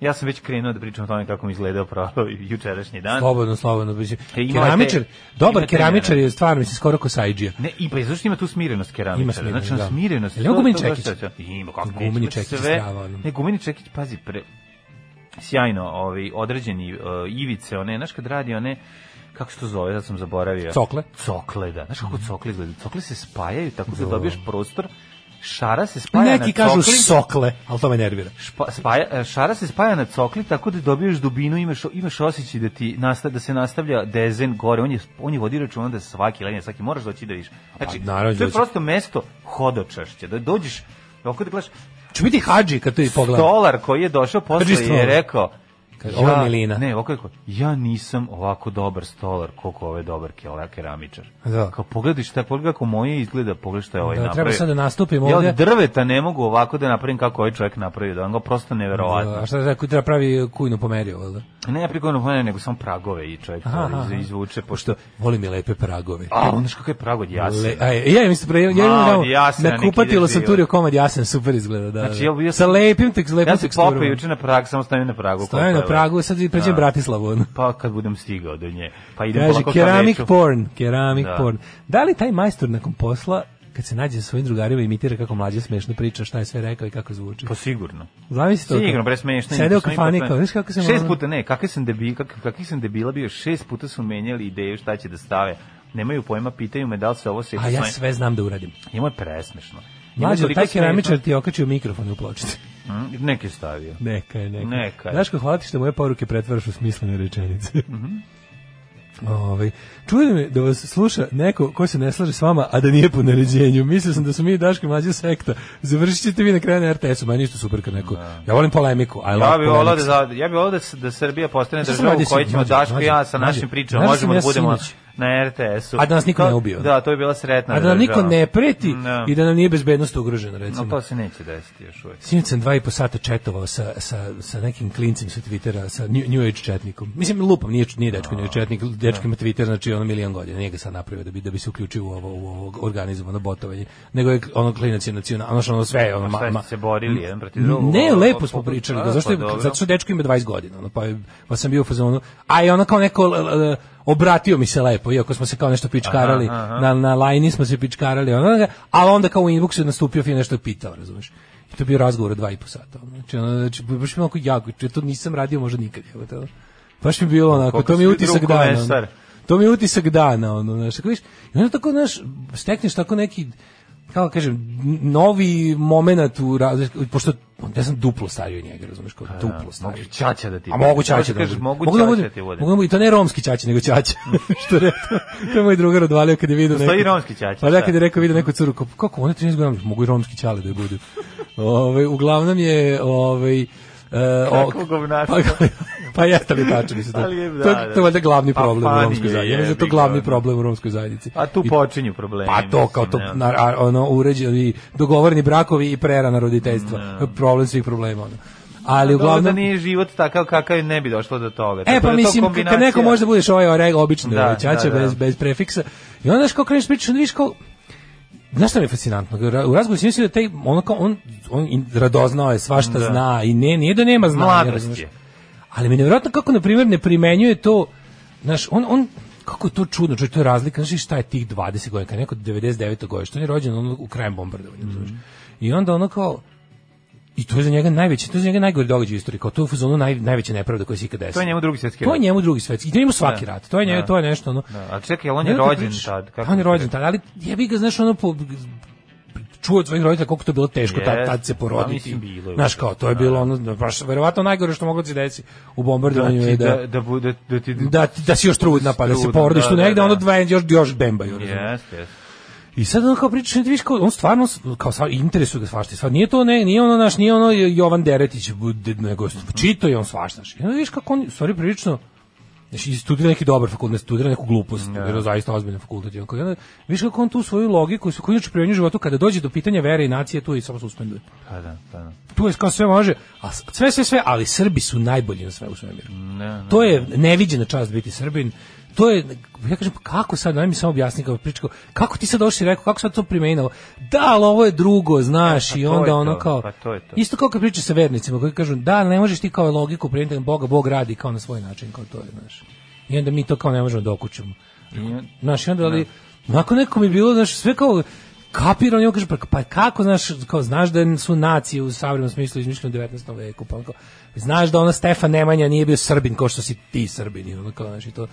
S6: ja sam već krenuo da pričam o tome kako mi izgledao pravo jučerašnji dan.
S7: Slobodno, slobodno. mislim.
S6: E, ima
S7: Keramičar,
S6: te- ima
S7: dobar
S6: te
S7: keramičar
S6: mene.
S7: je stvarno, mislim, skoro ko sajđija.
S6: Ne, i pa i zašto ima tu smirenost keramičara?
S7: Ima smirenost,
S6: znači, on
S7: da.
S6: smirenost.
S7: Jel ima gumeni
S6: to- to
S7: čekić?
S6: šta će- Ima, kako
S7: Gumeni
S6: neće,
S7: čekić,
S6: sve-
S7: strava, ono.
S6: Ne, gumeni čekić, pazi, pre, sjajno ovaj, određeni uh, ivice, one, znaš kad radi one, kako se to zove, sad sam zaboravio.
S7: Cokle? Mhm.
S6: Cokle, da. Znaš kako cokle izgleda? Cokle se spajaju tako da dobiješ prostor, šara se spaja
S7: Neki
S6: Pa na
S7: kažu
S6: cokli.
S7: sokle, ali to me nervira.
S6: Špa, spaja, e, šara se spaja na cokli tako da dobiješ dubinu, imaš, imaš osjećaj da, ti nasta, da se nastavlja dezen gore. On je, on je vodi računa da svaki lenje, svaki moraš doći da vidiš. Znači,
S7: Pa, naravno,
S6: to je
S7: doći.
S6: prosto mesto hodočašće, da dođeš, ovako da gledaš,
S7: Ču biti hađi kad to i pogledam.
S6: dolar koji je došao posle je
S7: Prvi stolar.
S6: rekao,
S7: Kaže, ovo je milina.
S6: Ne, ovako je rekao, ja nisam ovako dobar stolar koliko ovo je dobar kela- keramičar.
S7: Da.
S6: Kao pogledaj šta, pogledaj kako moje izgleda, pogledaj šta je ovaj
S7: Da,
S6: napravio.
S7: treba sad da nastupim
S6: Ja
S7: ovdje.
S6: od drveta ne mogu ovako da napravim kako ovaj čovjek napravio, da on ga prosto neverovatno.
S7: A šta da rekao, treba pravi kujnu pomerio, da? valjda?
S6: Ne, prigodno hvala, nego samo pragove i čovjek to
S7: Aha,
S6: iz-
S7: aha.
S6: izvuče, pošto...
S7: Volim je lepe pragove.
S6: A, ono što kako je prag od jasena.
S7: Le, aj, ja mislim pre, ja
S6: Ma,
S7: imam tamo-
S6: od jasena
S7: na
S6: neki
S7: kupatilu sam
S6: debil.
S7: turio komad jasen, super izgleda, da.
S6: Znači,
S7: da.
S6: ja bio
S7: Sa
S6: sam-
S7: lepim tek, lepim
S6: Ja se
S7: teksturom.
S6: popio juče na prag, samo stavim na pragu.
S7: Stavim na
S6: kopaju.
S7: pragu, sad pređem
S6: Da.
S7: Bratislavu. ono.
S6: Pa kad budem stigao do nje. Pa idem
S7: Kaže,
S6: polako ka
S7: keramik
S6: veću.
S7: porn, keramik
S6: Da.
S7: porn. Da li taj majstor nakon posla, kad se nađe sa svojim drugarima, imitira kako mlađe smešno priča, šta je sve rekao i kako zvuči?
S6: Pa sigurno.
S7: Zamisli to.
S6: Sigurno, bre smešno.
S7: Sede u
S6: Sam i
S7: kafani
S6: popio.
S7: kao, znaš kako sam...
S6: pa- Šest
S7: ono-
S6: puta, ne, kakvi sam, debil, kak, kakvi sam debila bio, šest puta su menjali ideju šta će da stave. Nemaju pojma, pitaju me da li se ovo sjeća.
S7: A ja
S6: sve...
S7: sve znam da uradim.
S6: Njemu je presmešno. Njemu je
S7: Mlađe,
S6: toliko
S7: taj
S6: smešno.
S7: keramičar ti je okačio mikrofon u pločicu.
S6: Mm, Neki je stavio.
S7: Neka je, neka.
S6: Neka je. Mhm.
S7: Znaš ko, hvala ti što moje poruke pretvaraš u smislene rečenice. Ovaj, čujem je da vas sluša neko ko se ne slaže s vama, a da nije po naređenju. Mislio sam da smo mi Daško i mlađa sekta. Završit ćete vi na kraju na RTS-u. Meni je isto super kad neko... Ja volim polemiku. I love
S6: Da. Ja bih volao da
S7: polemics.
S6: za- ja bih volao da s- da Srbija postane
S7: Šta sam
S6: država u
S7: radio
S6: kojoj
S7: sinoć?
S6: ćemo
S7: Mlađe,
S6: Daško i ja
S7: mlađe,
S6: sa našim
S7: mlađe.
S6: pričama
S7: Znaš da
S6: možemo
S7: sam
S6: da
S7: ja
S6: budemo
S7: sinoć?
S6: na RTS-u.
S7: A da nas niko
S6: To-
S7: ne ubio.
S6: Da, to je bila sretna
S7: A da nam niko
S6: država.
S7: ne preti
S6: Da.
S7: i da nam nije bezbednost ugrožena,
S6: No,
S7: recimo.
S6: to se neće desiti još uvek.
S7: Sinoć sam dva i po sata četovao sa, sa, sa nekim klincem sa Twittera, sa New, New Age četnikom. Mislim, lupam, nije, nije dečko New Age četnik, dečko ima Twitter, znači ono milion godina, nije ga sad napravio da bi, da bi se uključio u ovo, u ovo organizovano botovanje, nego je ono klinac je nacionalno, ono, što ono sve, je ono,
S6: A šta ste se borili jedan protiv drugog?
S7: ne,
S6: Ovo,
S7: lepo
S6: ovo,
S7: smo
S6: ovo,
S7: pričali,
S6: a,
S7: da, zašto,
S6: pa
S7: je-
S6: dobro.
S7: zato što dečko ima 20 godina, ono, pa, je- pa sam bio u fazonu, a i ono kao neko l- l- obratio mi se lepo, iako smo se kao nešto pičkarali,
S6: Aha, aha.
S7: na, na lajni smo se pičkarali, ono, ali onda kao u inboxu je nastupio i nešto je pitao, razumeš. I to je bio razgovor od dva i po sata. ono. Znači, ono, znači, baš mi je onako jako, znači, to nisam radio možda nikad. Evo, to. Baš mi je bilo onako,
S6: Pa Koliko
S7: to mi
S6: si
S7: je
S6: ti
S7: utisak
S6: drug
S7: dana.
S6: komesar.
S7: ono. To mi je utisak dana, ono, znaš, tako viš, i onda tako, znaš, stekneš tako neki, kako da kažem, n- novi moment u razliku, pošto ja sam duplo stariji od njega, razumeš, kao duplo stariji.
S6: Mogu ćaća da ti
S7: A mogu
S6: Možeš
S7: ćaće da
S6: kažeš,
S7: budem.
S6: mogu
S7: Mogu da
S6: ćaća
S7: budem-
S6: da ti budem.
S7: mogu da budem- i to ne romski ćaće, nego ćaće. što je rekao. To je moj drugar odvalio kad je vidio
S6: Postoji
S7: neku-
S6: romski ćaća,
S7: Pa da,
S6: šta?
S7: kad je rekao vidio neku curu, kao, kako oni 13 godina, mogu i romski ćale da je budu. Ove, uglavnom je, ovaj, e, o-
S6: Kakvo govnarstvo.
S7: pa, pa jeste li tačno, mislim, to,
S6: Ali je, da,
S7: to,
S6: da.
S7: to je valjda glavni
S6: Pa
S7: problem u
S6: fani
S7: romskoj
S6: je,
S7: zajednici. Ja mislim da je
S6: jebi
S7: to glavni
S6: ga, ono.
S7: problem u romskoj zajednici.
S6: A tu
S7: I-
S6: počinju problemi.
S7: pa to kao to
S6: mislim, ja.
S7: na, a, ono uređeni dogovoreni brakovi i prerana roditeljstva. Problem svih problema ono. Ali
S6: Dobro
S7: uglavnom
S6: da nije život takav kakav je, ne bi došlo do toga.
S7: E
S6: Tako
S7: pa
S6: da to
S7: mislim kad
S6: kombinacija-
S7: neko može da budeš ovaj oreg obični
S6: Da,
S7: da,
S6: da,
S7: ćaća
S6: da.
S7: bez bez prefiksa. I onda što kreneš pričaš, onda vidiš kao Znaš šta mi je fascinantno? Ra- U razgovoru si mislio da taj, ono kao, on, on i radoznao je, svašta zna i ne, nije da nema znanja.
S6: Mladost
S7: razumeš?
S6: je.
S7: Ali mi je nevjerojatno kako, na primjer, ne primenjuje to, znaš, on, on, kako je to čudno, čovječ, to je razlika, znaš, i šta je tih 20 godina, kad je neko 99. godina, što on je rođen ono, u krajem bombardovanja,
S6: Mhm.
S7: razumeš? I onda ono kao, I to je za njega najveći, to je za njega najgori događaj u istoriji, kao to je u fazonu naj, najveća nepravda koja se ikad desila.
S6: To je njemu drugi svjetski
S7: To je
S6: rat.
S7: njemu drugi svetski. I to je njemu svaki
S6: Da.
S7: rat. To je njemu,
S6: Da.
S7: to je nešto ono.
S6: Da, a čekaj, jel on
S7: Ne
S6: je
S7: znam kako
S6: rođen
S7: pričaš.
S6: tad? Kako
S7: Da, on je
S6: ti
S7: rođen
S6: kažem?
S7: tad, ali jebi ga, znaš, ono po čuo od svojih roditelja koliko to je bilo teško tad,
S6: Jest.
S7: tad se
S6: Pa,
S7: poroditi.
S6: mislim, bilo je
S7: Znaš
S6: užasno.
S7: kao, to je
S6: Da.
S7: bilo ono, da, baš, verovatno najgore što moglo da se desi u
S6: da
S7: bombardovanju
S6: ti,
S7: je
S6: da, da, bude, da ti...
S7: da, ti- da si još trudna pa da se
S6: Trudna,
S7: porodiš
S6: da,
S7: tu
S6: da,
S7: negde,
S6: da.
S7: ono dva još, još bembaju. razumeš?
S6: Jeste, jeste.
S7: I sad on kao pričaš, ne, ti vidiš kao, on stvarno, s- kao sva, interesuje ga svašta. Sva, nije to, ne, nije ono naš, nije ono Jovan Deretić, bude- nego čito je on svašta. znaš. I onda vidiš kako on, u stvari, prilično, Znači, i studira neki dobar fakultet, ne studira neku glupost, jer je zaista ozbiljan fakultet. I on kao- i onda vidiš kako on tu svoju logiku, i koju inače primenjuje u životu, kada dođe do pitanja vere i nacije, tu je samo suspenduje.
S6: Pa da, pa da.
S7: Tu je kao sve može, a s- sve, sve, sve, ali Srbi su najbolji na sve u svemiru.
S6: Ne, ne.
S7: To je neviđena čast biti Srbin. To je, ja kažem, pa kako sad, daj mi samo objasni kao pričko, kako ti sad došli i rekao, kako sad to primenilo? Da, ali ovo je drugo, znaš, i
S6: to
S7: onda
S6: je
S7: ono
S6: to,
S7: kao,
S6: pa to je to.
S7: isto kao kad priča sa vernicima, koji kažu, da, ne možeš ti kao logiku primeniti, Boga, Bog radi kao na svoj način, kao to je, znaš. I onda mi to kao ne možemo da okućemo.
S6: Nije-
S7: Znaš, i onda, ali, onako neko mi je bilo, znaš, sve kao, kapirano, i on kaže, pa, pa kako, znaš, kao, znaš da su nacije u savremenom smislu izmišljene u 19. veku, pa on kao, znaš da ono Stefan Nemanja nije bio srbin, kao što si ti srbin, i ono kao, znaš, i to,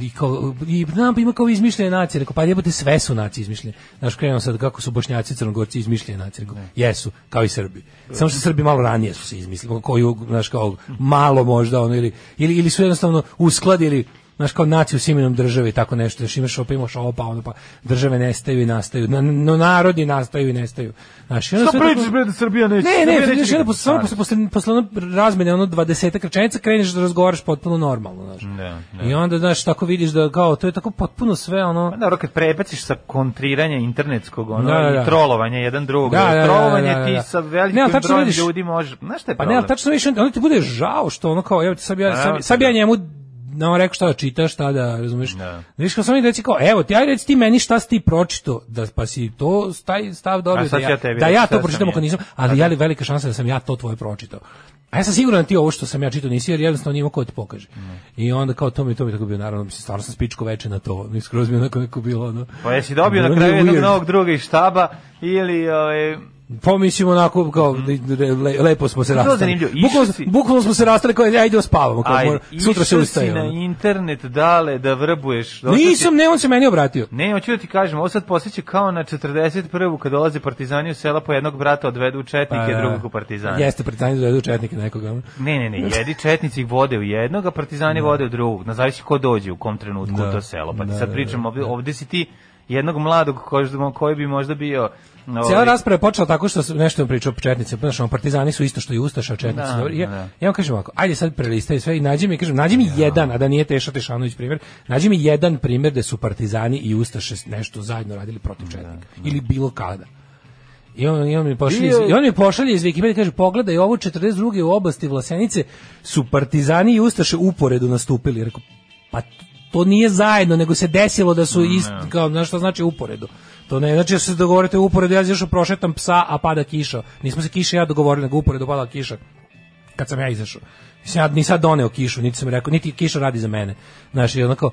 S7: i kao, i znam, pa ima kao izmišljene nacije, rekao, pa jebote, sve su nacije izmišljene, znaš, krenuo sad kako su bošnjaci i crnogorci izmišljene nacije, rekao, jesu, kao i srbi, samo što srbi malo ranije su se izmislili, koju, znaš, kao, malo možda, ono, ili, ili, ili su jednostavno uskladili znaš kao naciju s imenom države i tako nešto, još imaš opa, imaš opa, ono pa države nestaju i nastaju, na, no narodi nastaju i nestaju. Znaš, i onda
S6: Šta
S7: sve tako-
S6: pričaš, bre, da Srbija neće?
S7: Ne,
S6: Srbija
S7: ne,
S6: neće Pa
S7: znaš, onda
S6: nikad.
S7: posle, samo
S6: Stvarno.
S7: posle, posle, posle ono razmene, ono 20 rečenica, kreneš da razgovaraš potpuno normalno, znaš.
S6: Da, da.
S7: I onda, znaš, tako vidiš da kao, to je tako potpuno sve, ono...
S6: Pa dobro, kad prebaciš sa kontriranja internetskog ono,
S7: Da, da, da.
S6: i trolovanja jedan drugog,
S7: Da, da, da,
S6: trolovanje
S7: da, da, da.
S6: ti sa
S7: Ne,
S6: velikim
S7: ali tačno
S6: brojem
S7: vidiš-
S6: ljudi može... Znaš šta je
S7: Pa ne,
S6: problem?
S7: ali tačno više, onda ti bude žao što ono kao, evo ti sad ja,
S6: Pa,
S7: sad, sad bi ja njemu na on rekao šta da čitaš, šta da, razumeš?
S6: Da.
S7: Viš kao sam i reći kao, evo ti, ajde reci ti meni šta si ti pročito, da, pa si to taj stav dobio,
S6: A sad
S7: da
S6: ću
S7: ja,
S6: ja tebi
S7: da
S6: reći
S7: ja
S6: šta
S7: to
S6: sam
S7: pročitam
S6: ja.
S7: ako nisam, ali je li velika šansa da sam ja to tvoje pročitao. A ja sam siguran da ti ovo što sam ja čitao nisi, jer jednostavno nije imao ko da ti pokaže. I onda kao to mi to mi tako bio, naravno, mislim, stvarno sam spičko veče na to, mi skroz mi je onako neko bilo, ono.
S6: Pa jesi dobio na
S7: Bilo mi
S6: kraju
S7: je
S6: jednog
S7: weird.
S6: novog druga iz štaba ili... Ovaj,
S7: Pomislimo Pa onako kao le, le, lepo smo se
S6: Mhm. je
S7: rastali.
S6: zanimljivo, išao
S7: Bukvalno,
S6: si-
S7: bukvalno smo se rastali kao ja idemo spavamo, kao
S6: Ajde,
S7: mora- sutra se
S6: išao si
S7: ustaje.
S6: na
S7: ono.
S6: internet dale da vrbuješ. došao si-
S7: Nisam, ne, on se meni obratio.
S6: Ne, hoću da ti kažem, ovo sad posjeća kao na 41. kad dolaze partizani u sela po jednog brata odvedu u četnike,
S7: A,
S6: drugog u partizane.
S7: Pa da. Jeste, partizani dovedu
S6: Da.
S7: četnike nekoga. ono.
S6: Ne, ne, ne, jedi četnici ih vode u jednog, a partizani vode u drugog. Na zavisi ko dođe u kom trenutku
S7: Da.
S6: u to selo. Pa ti
S7: Da, da,
S6: sad pričam, ovde, ovde si ti jednog mladog koji, koji bi možda bio... ovaj,
S7: Cijela rasprava je počela tako što su nešto im pričao o četnicima, znaš, ono, partizani su isto što i ustaša, a četnici.
S6: Da,
S7: Da, ja,
S6: da.
S7: ja vam kažem ovako, ajde sad prelistaj sve i nađi mi, kažem, nađi mi jedan, a da nije Teša Tešanović primjer, nađi mi jedan primjer da su partizani i ustaše nešto zajedno radili
S6: Da,
S7: protiv četnika. Ili bilo kada. I on, i on mi pošalje, iz,
S6: Bio je-
S7: i on mi pošalje iz Wikipedije, kaže, pogledaj, ovo 42. u oblasti Vlasenice su partizani i Ustaše uporedu nastupili. Rekao, pa to nije zajedno, nego se desilo da su ist, kao, znaš što znači uporedu. To ne znači da se dogovorite uporedu, ja izašao prošetam psa, a pada kiša. Nismo se kiša i ja dogovorili, nego uporedu pada kiša kad sam ja izašao. Mislim, ja ni sad doneo kišu, niti sam rekao, niti kiša radi za mene. Znaš, i onako,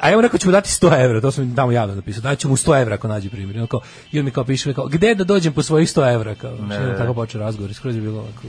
S7: a ja mu rekao ću mu dati 100 evra, to sam mi tamo javno napisao, daću mu 100 evra ako nađe primjer. I, onako, I on mi kao piše, kao, gde da dođem po svojih 100 evra? Kao, ne,
S6: ne, ne.
S7: tako počeo razgovor, i skroz je bilo ovako.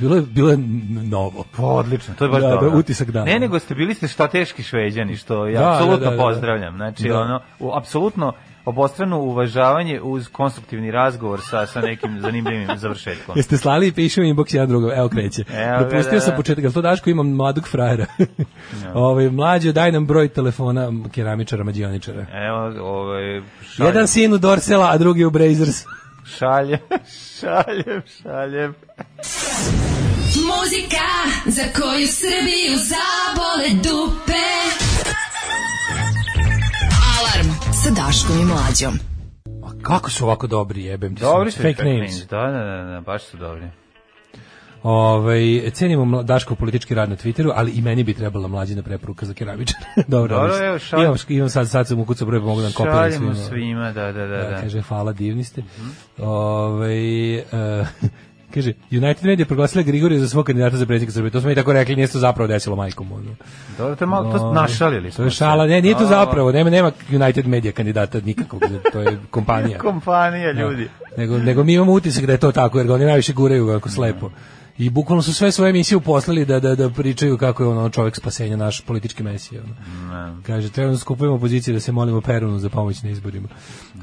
S7: Bilo je, bilo je novo.
S6: Pa, Odlično, to je baš
S7: da,
S6: dobro.
S7: Da, utisak dana.
S6: Ne, nego ste bili ste šta teški šveđani, što ja
S7: Da, da,
S6: apsolutno
S7: da, da.
S6: pozdravljam. Znači,
S7: Da.
S6: ono, u, apsolutno obostrano uvažavanje uz konstruktivni razgovor sa, sa nekim zanimljivim završetkom.
S7: Jeste slali i pišu inbox jedan drugom. Evo kreće.
S6: Evo ga,
S7: Dopustio
S6: da,
S7: sam
S6: da.
S7: početak, jel to Daško imam mladog frajera. Ovaj mlađe daj nam broj telefona keramičara, mađioničara.
S6: Evo, ovaj, šaljem,
S7: Jedan sin u Dorsela, a drugi u Brazers.
S6: šaljem, šaljem, šaljem.
S5: Muzika za koju Srbiju zabole dupe. Alarm sa Daškom i Mlađom.
S7: A Pa kako su ovako dobri, jebem ti.
S6: Dobri su
S7: sam. fake
S6: Fake
S7: names.
S6: Da, da, da, da, baš su dobri.
S7: Ovaj cenimo mla- Daško politički rad na Twitteru, ali i meni bi trebala mlađina preporuka za keramičara. Dobro,
S6: Dobro,
S7: mislim.
S6: evo, šalj-
S7: Imam, imam sad, sad sam ukucao broj, pa mogu da vam kopiram
S6: Šaljemo
S7: svima.
S6: svima, da, da, da. Mhm. da.
S7: kaže hvala divni ste. Ovaj e, kaže United Media proglasila Grigorija za svog kandidata za predsjednika Srbije. To smo i tako rekli, nije se to zapravo desilo majkom ono.
S6: Dobro, to je malo, to smo
S7: Ovaj,
S6: našalili.
S7: To
S6: smo
S7: je
S6: se. Da.
S7: šala, ne, nije to
S6: A,
S7: zapravo, nema nema United Media kandidata nikakvog, to je kompanija.
S6: Kompanija
S7: Da.
S6: ljudi.
S7: Nego, nego mi imamo utisak da je to tako, jer ga oni najviše guraju kako slepo. I bukvalno su sve svoje emisije uposlali da, da, da pričaju kako je ono čovjek spasenja, naš politički mesija. Ono. Kaže, treba da skupujemo opoziciju da se molimo Perunu za pomoć na izborima.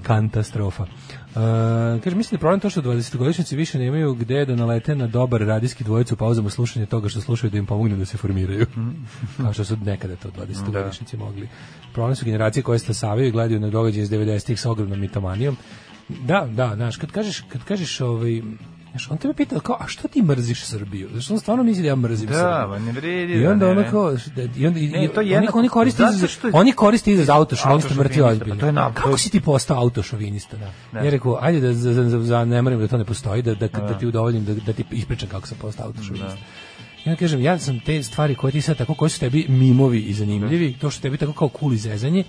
S7: Katastrofa. E, kaže, mislim da je problem to što 20-godišnjaci više nemaju gde da nalete na dobar radijski dvojicu u pauzama slušanja toga što slušaju da im pomogne da se formiraju. Kao što su nekada to 20-godišnjaci
S6: Da.
S7: mogli. Problem su generacije koje stasavaju i gledaju na događaje iz 90-ih sa ogromnom mitomanijom. Da, da, znaš, kad kažeš, kad kažeš ovaj, znaš, on tebe pita kao, a što ti mrziš Srbiju? Zašto on stvarno misli da ja mrzim
S6: Da,
S7: Srbiju?
S6: ba ne vredi.
S7: I
S6: da,
S7: onda
S6: ne.
S7: ono kao, da, i onda, i,
S6: Ne,
S7: i-
S6: to je
S7: oni,
S6: jednako-
S7: oni koriste
S6: zato
S7: izraz,
S6: što je-
S7: oni koriste izraz autošovinista, mrtvi
S6: Autošovinista,
S7: ozbiljno.
S6: pa to je nap- to
S7: Kako
S6: je-
S7: si ti postao autošovinista? Ja rekao, ajde da za, za, za, zanemarimo da to ne postoji, da, da, da ti udovoljim, da, da ti ispričam kako sam postao autošovinista. I onda kažem, ja sam te stvari koje ti sad tako, koje su tebi mimovi i zanimljivi, to što tebi tako kao cool i zezanje,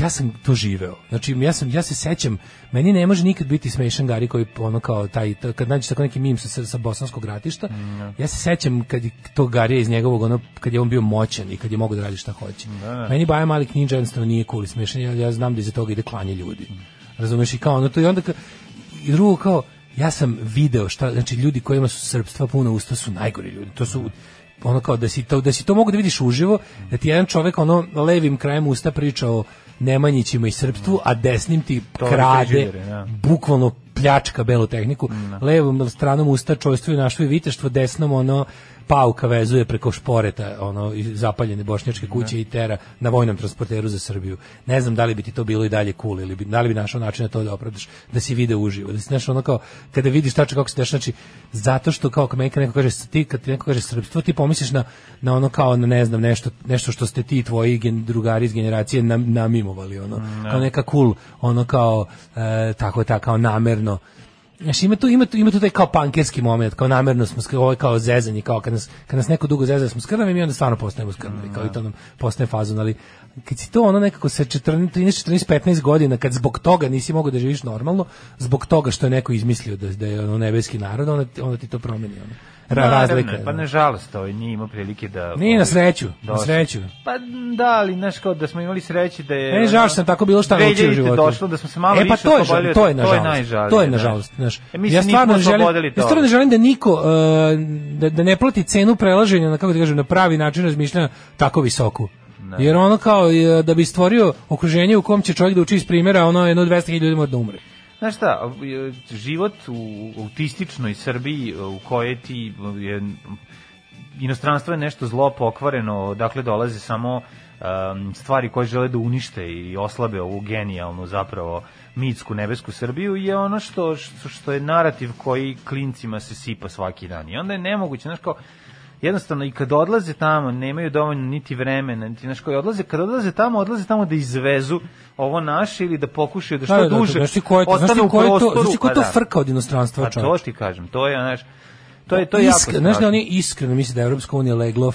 S7: ja sam to živeo. Znači, ja, sam, ja se sećam, meni ne može nikad biti smešan Gari koji ono kao taj, t- kad nađeš tako neki mim sa, sa bosanskog ratišta, ja se sećam kad je to Garija iz njegovog, ono, kad je on bio moćan i kad je mogao da radi šta hoće. Meni Baja Mali Knjiđa jednostavno nije cool i smešan, ja, ja znam da iza toga ide klanje ljudi. Razumeš i kao ono to i onda ka, i drugo kao ja sam video šta znači ljudi kojima su srpstva puna usta su najgori ljudi to su ono kao da si to da si to mogu da vidiš uživo da ti jedan čovek ono levim krajem usta priča o Nemanjićima i srpstvu a desnim ti
S6: To
S7: krade
S6: frižideri, da.
S7: bukvalno pljačka belu tehniku levom stranom usta čojstvo i našo i viteštvo desnom ono pauka vezuje preko šporeta ono i zapaljene bošnjačke kuće i tera na vojnom transporteru za Srbiju. Ne znam da li bi ti to bilo i dalje cool ili bi, da li bi našao način da to da opravdaš, da si vide uživo, da si znaš ono kao kada vidiš tačno kako se dešava, znači zato što kao kad meni kad neko kaže s- ti kad ti neko kaže srpstvo, ti pomisliš na, na ono kao na ne znam nešto nešto što ste ti i tvoji gen, drugari iz generacije nam, namimovali ono
S6: Mm, da.
S7: kao neka cool ono kao e, tako tako kao namerno Znaš, ima tu, ima tu, ima tu taj kao pankerski moment, kao namerno smo, skr- ovo je kao zezanje, kao kad nas, kad nas neko dugo zezanje smo skrnavi, mi onda stvarno postajemo
S6: Mm,
S7: skrnavi,
S6: da.
S7: kao i to nam postaje fazon, ali kad si to ono nekako sa 14, 13, 14, 15 godina, kad zbog toga nisi mogao da živiš normalno, zbog toga što je neko izmislio da, da je ono nebeski narod, onda, ti- onda ti to promeni, ono. Ra,
S6: Naravno,
S7: razlika. je,
S6: Pa
S7: ono.
S6: nažalost, ovaj nije imao prilike da...
S7: Nije na sreću, na
S6: Došlo.
S7: sreću.
S6: Pa da, ali znaš kao da smo imali sreće da je...
S7: Meni žao što sam tako bilo šta naučio u
S6: 2000-te
S7: životu.
S6: došlo, da smo se malo
S7: e, pa
S6: više
S7: to je, žal-
S6: oslobodili,
S7: to je
S6: to je
S7: nažalost.
S6: najžalije,
S7: To je
S6: da.
S7: nažalost, znaš.
S6: E, mi se
S7: ja
S6: nismo
S7: stvarno ne
S6: oslobodili
S7: želim, ja
S6: toga.
S7: stvarno ne želim da niko uh, da, da ne plati cenu prelaženja na kako da kažem na pravi način razmišljanja tako visoku. Jer ono kao e, da bi stvorio okruženje u kom će čovjek da uči iz primjera, ono jedno 200.000 ljudi mora da umre.
S6: Znaš šta, e, život u autističnoj Srbiji e, u kojoj ti je, inostranstvo je nešto zlo pokvareno, dakle dolaze samo em, stvari koje žele da unište i oslabe ovu genijalnu zapravo mitsku nebesku Srbiju je ono što, što, što je narativ koji klincima se sipa svaki dan. I onda je nemoguće, znaš kao, jednostavno i kad odlaze tamo nemaju dovoljno niti vremena niti znaš koji odlaze kad odlaze tamo odlaze tamo da izvezu ovo naše ili da pokušaju da što duže
S7: znaš ti ko je to, znaš ti
S6: ostanu u
S7: ko je to,
S6: prostoru,
S7: znaš ti ko je
S6: pa
S7: to
S6: da.
S7: frka od inostranstva,
S6: Pa to
S7: čovječe?
S6: ti kažem, to je, znaš, To je to je jako.
S7: Iskre- Znaš da
S6: strašno.
S7: oni iskreno misle da je Evropska unija leglo uh,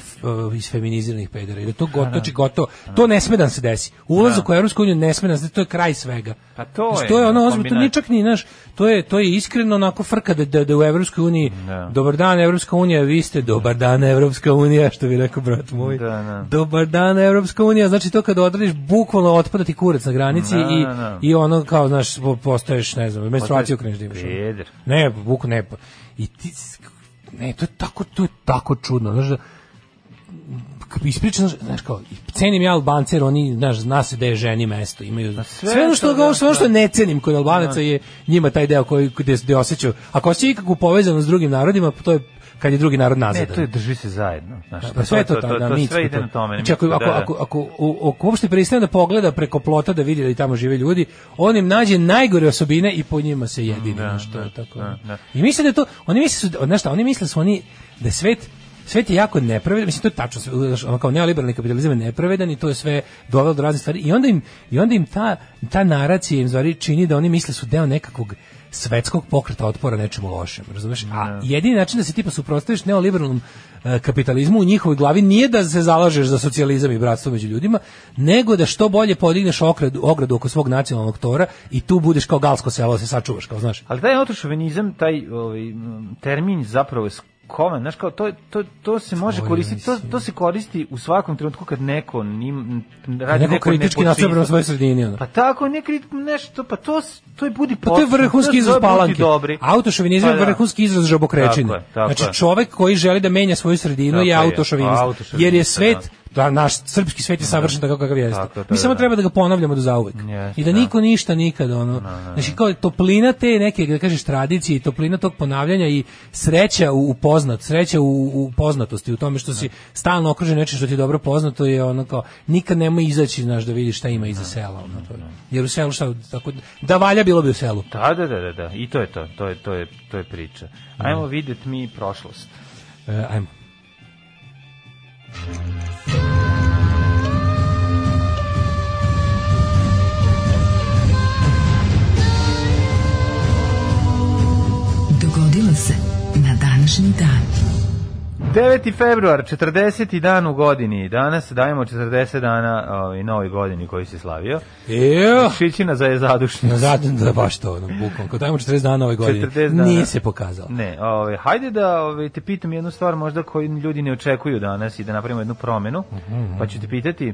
S7: iz feminiziranih pedera i da to gotovo, znači gotovo. To ne sme da nam se desi. Ulazak u Evropsku uniju ne sme da nam se desi, to je kraj svega.
S6: Pa to
S7: Znači,
S6: je,
S7: to je ono
S6: da,
S7: ozbiljno, to nije čak ni, znaš, to je, to je iskreno onako frka da, da, da u Evropskoj uniji,
S6: Da.
S7: dobar dan Evropska unija, vi ste dobar dan Evropska unija, što bi rekao brat moj.
S6: Da, da.
S7: Dobar dan Evropska unija, znači to kad odradiš, bukvalno otpada ti kurac na granici
S6: Da,
S7: i,
S6: da, da.
S7: i ono kao, znaš, po- postaješ, ne znam, menstruaciju kreneš da imaš. ono.
S6: Pa Peder.
S7: Ne, buk ne. pa, I ti s- ne, to je tako, to je tako čudno, znaš da k- ispričan, znaš kao, i cenim ja Albance jer oni, znaš, zna se da je ženi mesto, imaju, sve,
S6: sve
S7: ono što,
S6: to,
S7: ga,
S6: da,
S7: sve ono što ne cenim kod Albanaca je njima taj deo koji, gde, gde osjećaju, ako osjećaju ikakvu povezanost s drugim narodima, to je kad je drugi narod
S6: Ne,
S7: nazadan.
S6: to je drži se zajedno. Znaš,
S7: Pa sve to, to,
S6: da- to,
S7: da,
S6: to
S7: mitsko
S6: sve ide
S7: to.
S6: na tome.
S7: Znači, ako,
S6: mitsko,
S7: ako,
S6: da, da.
S7: ako, ako, u- ako uopšte pristane da pogleda preko plota da vidi da i tamo žive ljudi, on im nađe najgore osobine i po njima se jedini.
S6: da,
S7: znaš, to je
S6: da,
S7: tako.
S6: da, da.
S7: I misle da je to, oni misle, su, znaš šta, oni misle su oni, da je svet, svet je jako nepravedan, mislim to je tačno, sve, znaš, ono kao neoliberalni kapitalizam je nepravedan i to je sve dovelo do raznih stvari i onda im, i onda im ta, ta naracija im stvari čini da oni misle su deo nekakvog svetskog pokreta otpora nečemu lošem, razumeš? A jedini način da se tipa suprotstaviš neoliberalnom e, kapitalizmu u njihovoj glavi nije da se zalažeš za socijalizam i bratstvo među ljudima, nego da što bolje podigneš okradu, ogradu oko svog nacionalnog tora i tu budeš kao galsko selo, da se sačuvaš, kao znaš.
S6: Ali taj otrošovenizam, taj ovaj, m, termin zapravo je skovan, znaš kao, to, to, to se može
S7: Skovan
S6: koristiti, to,
S7: si.
S6: to se koristi u svakom trenutku kad neko nim, radi
S7: Neko
S6: neko
S7: kritički da
S6: nepočinstvo.
S7: nastavljeno svojoj sredini. Ono.
S6: Pa tako, ne kritik, nešto, pa to, s- to je budi
S7: Pa to je
S6: pošteno,
S7: vrhunski
S6: to je
S7: izraz
S6: dobro, budi
S7: palanke.
S6: Dobri.
S7: Autošovinizam
S6: Pa
S7: je
S6: da.
S7: vrhunski izraz žabokrečine.
S6: Tako je, tako
S7: znači
S6: je.
S7: čovek koji želi da menja svoju sredinu
S6: Tako
S7: je
S6: je,
S7: autošovinist.
S6: autošovinist,
S7: jer je
S6: da. Mhm.
S7: svet da naš srpski svet je savršen tako kakav jeste.
S6: Tako je, to
S7: Mi
S6: je,
S7: samo
S6: da.
S7: treba da ga ponavljamo do zauvek.
S6: Jeste,
S7: I da
S6: da.
S7: niko ništa nikad ono. Znači kao toplina te neke da kažeš tradicije i toplina tog ponavljanja i sreća u, u poznat, sreća u, u poznatosti, u tome što si stalno okružen nečim što ti je dobro poznato je ono kao nikad nemoj izaći znaš da vidiš šta ima iza sela ono to je. Jer u selu šta tako da valja bilo bi u selu.
S6: Da, da, da, da, da, i to je to, to je, to je, to je priča.
S7: Da.
S6: Ajmo vidjeti mi prošlost.
S7: E, ajmo.
S5: Dogodilo se na današnji dan.
S6: 9. februar, 40. dan u godini. Danas dajemo 40 dana ovaj, novoj godini koji se slavio.
S7: Jo,
S6: Šićina za je zadušnja.
S7: zato da baš to, ono, bukvalno. Kad dajemo 40 dana ove godine,
S6: 40 dana.
S7: nije se pokazalo.
S6: Ne, ovaj, hajde da ovaj, te pitam jednu stvar možda koju ljudi ne očekuju danas i da napravimo jednu promenu,
S7: Mhm,
S6: pa ću te pitati,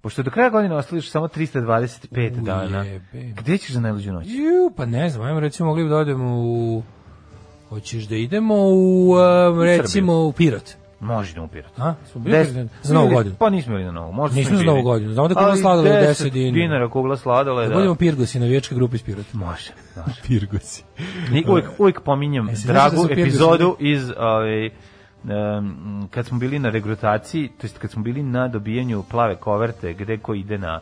S6: pošto do kraja godine ostališ samo 325 dana,
S7: Ujebe.
S6: gde ćeš za najluđu noć?
S7: Ju, pa ne znam, ajmo recimo mogli bi da odemo u... Hoćeš da idemo u, um, recimo, u Pirot.
S6: Može da upirati.
S7: A? Smo bili Pirot za novu godinu.
S6: Pa nismo bili na novu. Možda
S7: Nismo
S6: smo i
S7: za Novu
S6: bili.
S7: godinu. Znamo da kugla
S6: Ali
S7: sladole je 10 dinara.
S6: dinara. kugla sladole,
S7: Da
S6: da.
S7: budemo Pirgosi, navijačka grupa iz Pirota.
S6: Može, može.
S7: Pirgosi.
S6: Ni, uvijek, uvijek pominjem
S7: se
S6: dragu
S7: znaš da su Pirgosi?
S6: epizodu iz ovaj, em, kad smo bili na regrutaciji, to jest kad smo bili na dobijanju plave koverte gde ko ide na,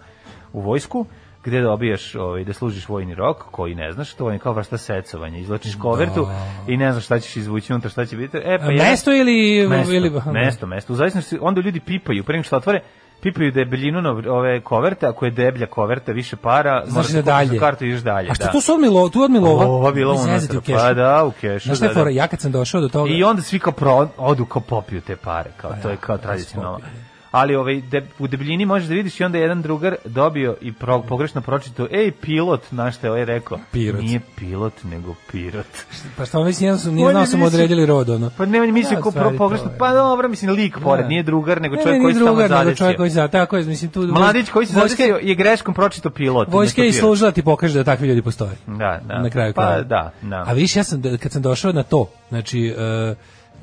S6: u vojsku, gde dobijaš, ovaj, da služiš vojni rok, koji ne znaš, to je kao vrsta secovanja. Izlačiš kovertu i ne znaš šta ćeš izvući unutra, šta će biti. E, pa ja-
S7: Da. Mesto ili...
S6: mesto,
S7: ili
S6: mesto, mesto. U zavisnosti, onda ljudi pipaju, pre nego što otvore, pipaju debeljinu na ove koverte, ako je deblja koverta, više para,
S7: Znaš
S6: moraš
S7: da
S6: da kupiš
S7: dalje.
S6: na kartu i još dalje.
S7: A što
S6: da.
S7: tu su odmilo, tu odmilova?
S6: Ova bila unutra, pa da, u kešu.
S7: Znaš šta je
S6: da, da.
S7: fora, ja kad sam došao do toga...
S6: I onda svi kao pro, odu kao popiju te pare, kao
S7: Pa
S6: to
S7: da,
S6: je kao tradicionalno.
S7: popiju,
S6: Ali ovaj, de, u debljini možeš da vidiš i onda je jedan drugar dobio i pro, pogrešno pročitao, ej, pilot, znaš šta je ovaj rekao?
S7: Pirot.
S6: Nije pilot, nego pirot.
S7: Pa šta, mislim, ja sam, nije
S6: On
S7: znao
S6: je
S7: sam
S6: mislio-
S7: odredili rod, ono.
S6: Pa ne, on je mislio
S7: Da,
S6: ko
S7: stvari
S6: pro,
S7: to
S6: pogrešno,
S7: je.
S6: pa dobro, mislim, lik pored,
S7: Da.
S6: nije drugar, nego
S7: Ne,
S6: čovjek
S7: ne,
S6: koji se
S7: drugar,
S6: tamo
S7: nego
S6: zadesio.
S7: čovjek koji se zade- tako je, mislim, tu...
S6: Mladić koji se
S7: Vojska-
S6: zadesio je greškom pročitao pilot.
S7: Vojska je i
S6: umjesto
S7: služila da ti pokaže da takvi ljudi postoje.
S6: Da, da.
S7: Na kraju
S6: Pa,
S7: krajeva.
S6: da, da.
S7: A vidiš, ja sam, da- kad sam došao na to, znači, e,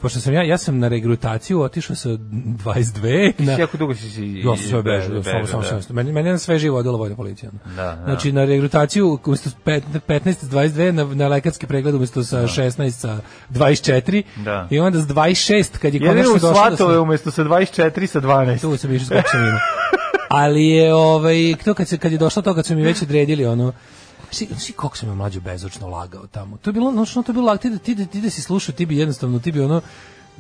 S7: pošto sam ja, ja sam na regrutaciju otišao sa 22 na...
S6: Jako dugo si si...
S7: Ja sam sve bežao, da, samo,
S6: bežao,
S7: samo,
S6: da.
S7: samo. Meni, meni je sve živo odjelo vojna policija. ono.
S6: Da, da.
S7: Znači, na regrutaciju, umesto s pet- 15 s 22, na, na lekarski pregled umesto sa 16 sa 24,
S6: Da.
S7: i onda s 26, kad je
S6: Jedino
S7: konačno
S6: u
S7: došlo... da sam-
S6: Svatove umjesto sa 24 sa 12.
S7: Ovaj, tu sam išao s kupcem ima. Ali je, ovaj, to kad, se, kad je došlo to, kad su mi već odredili, ono, Svi, svi kako sam ja mlađo bezočno lagao tamo. To je bilo, znači, to je bilo lak, ti, da- ti, da- ti da si slušao, ti bi jednostavno, ti bi ono,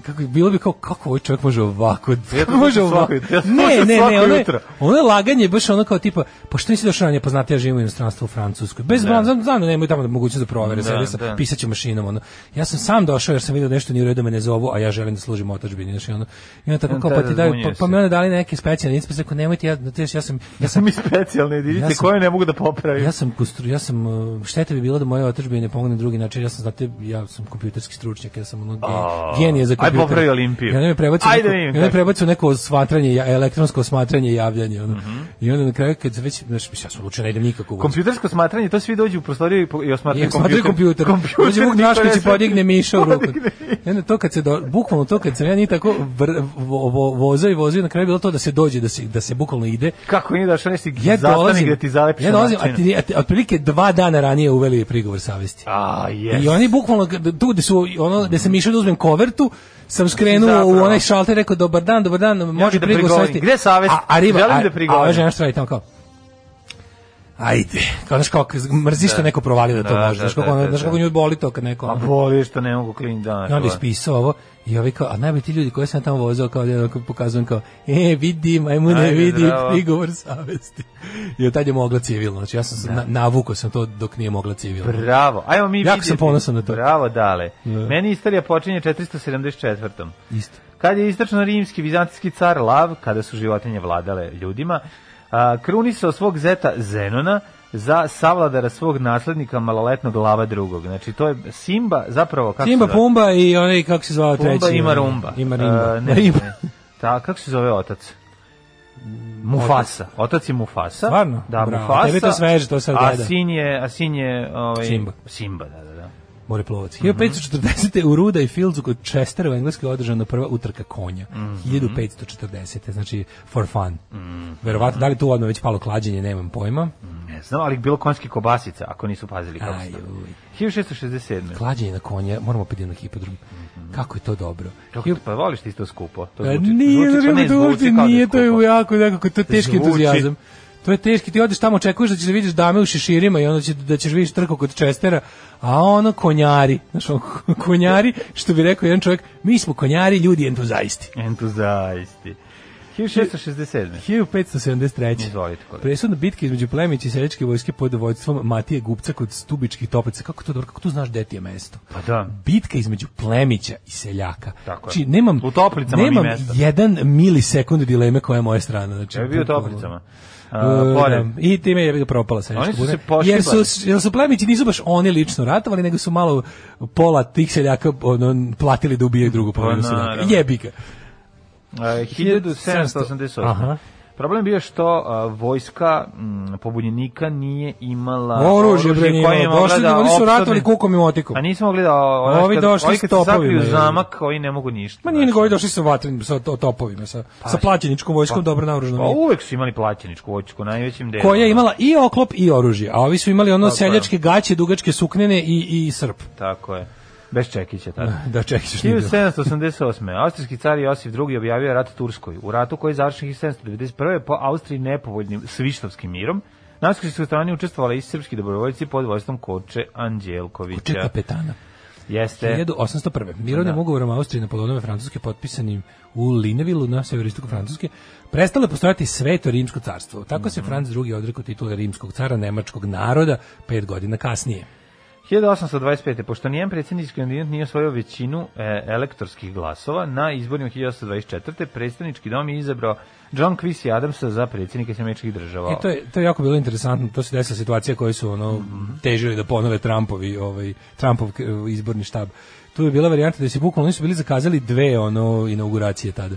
S7: kako bilo bi kao kako ovaj čovjek može ovako
S6: Ja to
S7: može
S6: slušam
S7: ovako
S6: svako- ja to
S7: ne
S6: slušam
S7: ne
S6: svako
S7: ne ono je,
S6: jutro.
S7: ono je laganje baš ono kao tipa pa što nisi došao ranije poznati ja živim u inostranstvu u Francuskoj bez da. znam, znam da nemaju tamo mogućnost da provere
S6: Da,
S7: sebe sa
S6: da.
S7: pisaću mašinom ono ja sam sam došao jer sam video nešto nije u redu da me ne zovu a ja želim da služim otadžbini znači ono i onda tako
S6: On
S7: kao
S6: tada
S7: pa ti daju
S6: zbunjuje
S7: pa, pa
S6: se.
S7: mi onda dali neke specijalne ispite rekao nemojte ja znate, ja sam ja sam
S6: mi specijalne jedinice
S7: Ja sam-
S6: koje ne mogu da popravim.
S7: ja sam konstru, ja sam uh, šteta bi bilo da moja otadžbina ne pomogne na drugi način. Ja sam znate, ja sam kompjuterski stručnjak, ja sam ono ge-
S6: A,
S7: genije za
S6: aj
S7: kompjuter.
S6: popravi Olimpiju.
S7: I onda me prebaci,
S6: Ajde da
S7: neko,
S6: vidim
S7: i onda me
S6: kako.
S7: prebaci u neko smatranje, ja- elektronsko smatranje i javljanje. Ono.
S6: Mhm.
S7: I onda na kraju kad se već, znaš, mislim, ja sam odlučio da ne idem nikako. u vojsku.
S6: Kompjutersko smatranje, to svi dođu u prostoriju i po- i
S7: I
S6: osmatraju
S7: smatraju
S6: kompjuter.
S7: kompjuter. Dođe Vuk
S6: niko
S7: Drašković
S6: ne
S7: i
S6: sme-
S7: podigne Miša u ruku.
S6: Podigne.
S7: I onda to kad se do, bukvalno to kad sam ja ni tako vr, vo, vo, vozao i vozao, na kraju je bilo to da se dođe, da se, da se bukvalno ide,
S6: Kako nije došao nesti
S7: ja
S6: zastanak
S7: dolazim,
S6: gde da ti zalepiš
S7: ja dolazim, a,
S6: način?
S7: ti, a ti- otprilike dva dana ranije uveli prigovor savesti.
S6: A, jes.
S7: I oni bukvalno, g- tu gde su, ono, gde sam išao da uzmem kovertu, sam skrenuo
S6: Zapravo.
S7: u onaj šalter i rekao, dobar dan, dobar dan, može
S6: da
S7: prigovor
S6: prigovorim.
S7: savesti.
S6: Gde je savest?
S7: A, a riba,
S6: Želim
S7: a,
S6: da prigovorim.
S7: A ova žena što radi tamo kao, ajde, kao, znaš kako, mrziš što neko provalio da to
S6: Da,
S7: može,
S6: da,
S7: znaš kako,
S6: da,
S7: ono-
S6: da,
S7: znaš kako
S6: da.
S7: nju boli to kad neko...
S6: A
S7: ono-
S6: boli što ne mogu kliniti danas.
S7: i onda
S6: ovo.
S7: ispisao ovo i ovi kao, a najbolji ti ljudi koji sam tamo vozao kao jedan koji pokazujem kao, e, vidim, ajmo ne
S6: Ajde,
S7: vidi,
S6: bravo.
S7: prigovor savesti. I od tad je mogla civilno, znači ja sam,
S6: Da.
S7: se na, navuko sam to dok nije mogla civilno.
S6: Bravo. Ajmo mi
S7: Jako
S6: vidjeti.
S7: sam ponosan na to. Da.
S6: Bravo, dale. Meni istorija počinje 474.
S7: Isto.
S6: Kad je istočno rimski vizantijski car Lav, kada su životinje vladale ljudima, a, krunisao svog zeta Zenona za savladara svog naslednika maloletnog Lava drugog. Znači, to je Simba, zapravo, kako
S7: Timba
S6: se zove?
S7: Pumba i onaj, kako se zvao treći?
S6: Pumba ima rumba.
S7: Ima Rimba.
S6: E, ne,
S7: Rimba.
S6: ne. Ta, kako se zove otac? Mufasa. Otac je Mufasa.
S7: Stvarno?
S6: Da,
S7: Bravo.
S6: Mufasa.
S7: Tebi je to sveže, to sad
S6: a
S7: gleda.
S6: sin je, a sin je ovaj,
S7: Simba.
S6: Simba, da, da, da.
S7: Moreplovac. 1540. u Ruda i Fieldsu kod Chestera u Engleskoj je održana prva utrka konja.
S6: Mhm.
S7: 1540. Znači, for fun. Verovatno, da li tu odmah već palo klađenje, nemam pojma.
S6: Ne znam, ali bilo konjske kobasice, ako nisu pazili kako se
S7: Aj,
S6: to-
S7: uj.
S6: 1667.
S7: Klađenje na konje, moramo opet idem na hipodrom. Kako je to dobro.
S6: Kako, ti- pa voliš ti to skupo? To
S7: E,
S6: Mhm. zvuči,
S7: nije,
S6: zvuči,
S7: zvuči,
S6: pa ne, zvuči kao da
S7: nije, to je
S6: skupo.
S7: u jako, nekako, to je teški
S6: Zvuči.
S7: entuzijazam. To je teški, ti odeš tamo, očekuješ da ćeš da vidiš dame u šeširima i onda će, da ćeš vidiš trku kod Čestera, a ono konjari, znaš, ono, konjari, što bi rekao jedan čovjek, mi smo konjari, ljudi entuzaisti.
S6: Entuzajsti. 1667.
S7: 1573.
S6: Izvolite, kolega.
S7: Presudna bitka između plemića i seljačke vojske pod vojstvom Matije Gupca kod Stubičkih topaca. Kako to dobro, kako tu znaš gde ti je mesto?
S6: Pa da.
S7: bitka između plemića i seljaka.
S6: Tako je.
S7: Znači, nemam,
S6: U toplicama mi
S7: nemam
S6: mesta.
S7: jedan milisekund dileme koja je moja strana. Znači,
S6: Ja bi bio u
S7: bukvalno.
S6: toplicama.
S7: E,
S6: A, pored.
S7: da. I time je propala seljačka
S6: Oni su
S7: buna.
S6: se pošibali.
S7: Jer su, jer su plemići nisu baš oni lično ratovali, nego su malo pola tih seljaka ono, platili da ubijaju drugu polovinu seljaka.
S6: Pa naravno.
S7: Jebi ga.
S6: E, 1788.
S7: Aha.
S6: Problem bio što a, vojska m, pobunjenika nije imala
S7: Oružje, bre, nije
S6: koje je
S7: imala.
S6: mogla
S7: Došli
S6: da
S7: da- oni su
S6: opsode-
S7: ratovali kukom i motikom.
S6: A nismo mogli da... ono,
S7: Ovi
S6: kad-
S7: došli
S6: ovi
S7: s
S6: kad se sakriju
S7: topovima, je.
S6: zamak, ovi ne mogu ništa.
S7: Ma nije
S6: znaš.
S7: nego ovi došli sa vatrenim, sa to- topovima, sa, sa plaćeničkom vojskom, dobro naoružanom.
S6: Pa uvek su imali plaćeničku vojsku, najvećim delom.
S7: koja je imala i oklop i oružje, a ovi su imali ono
S6: da. Tako je.
S7: seljačke gaće, dugačke suknene i, i srp.
S6: Tako je. Bez čekića, tako.
S7: Da, čekaj, što nije bilo.
S6: 1788. Austrijski car Josif II. objavio je rat Turskoj. U ratu koji je završen 1791. po Austriji nepovoljnim svištovskim mirom, na austrijskoj strani učestvovali i srpski dobrovoljci pod vojstvom Koče Anđelkovića.
S7: Koče kapetana.
S6: Jeste.
S7: 1801. Mirovnim
S6: Da.
S7: ugovorom Austrije na polonove Francuske potpisanim u Linevilu na severistoku Francuske prestalo je postojati sveto rimsko carstvo. Tako
S6: Mhm.
S7: se Franc II. odrekao titule rimskog cara nemačkog naroda pet godina kasnije.
S6: 1825. Pošto nijem predsjednički kandidat nije osvojio većinu e, elektorskih glasova, na izborima 1824. predsjednički dom je izabrao John Quincy Adamsa za predsjednika Sjemečkih država.
S7: I E, to je to je jako bilo interesantno, to se desila situacija koju su ono težili da ponove Trumpovi, ovaj Trumpov k- izborni štab. Tu je bila varijanta da se bukvalno nisu bili zakazali dve ono inauguracije tada.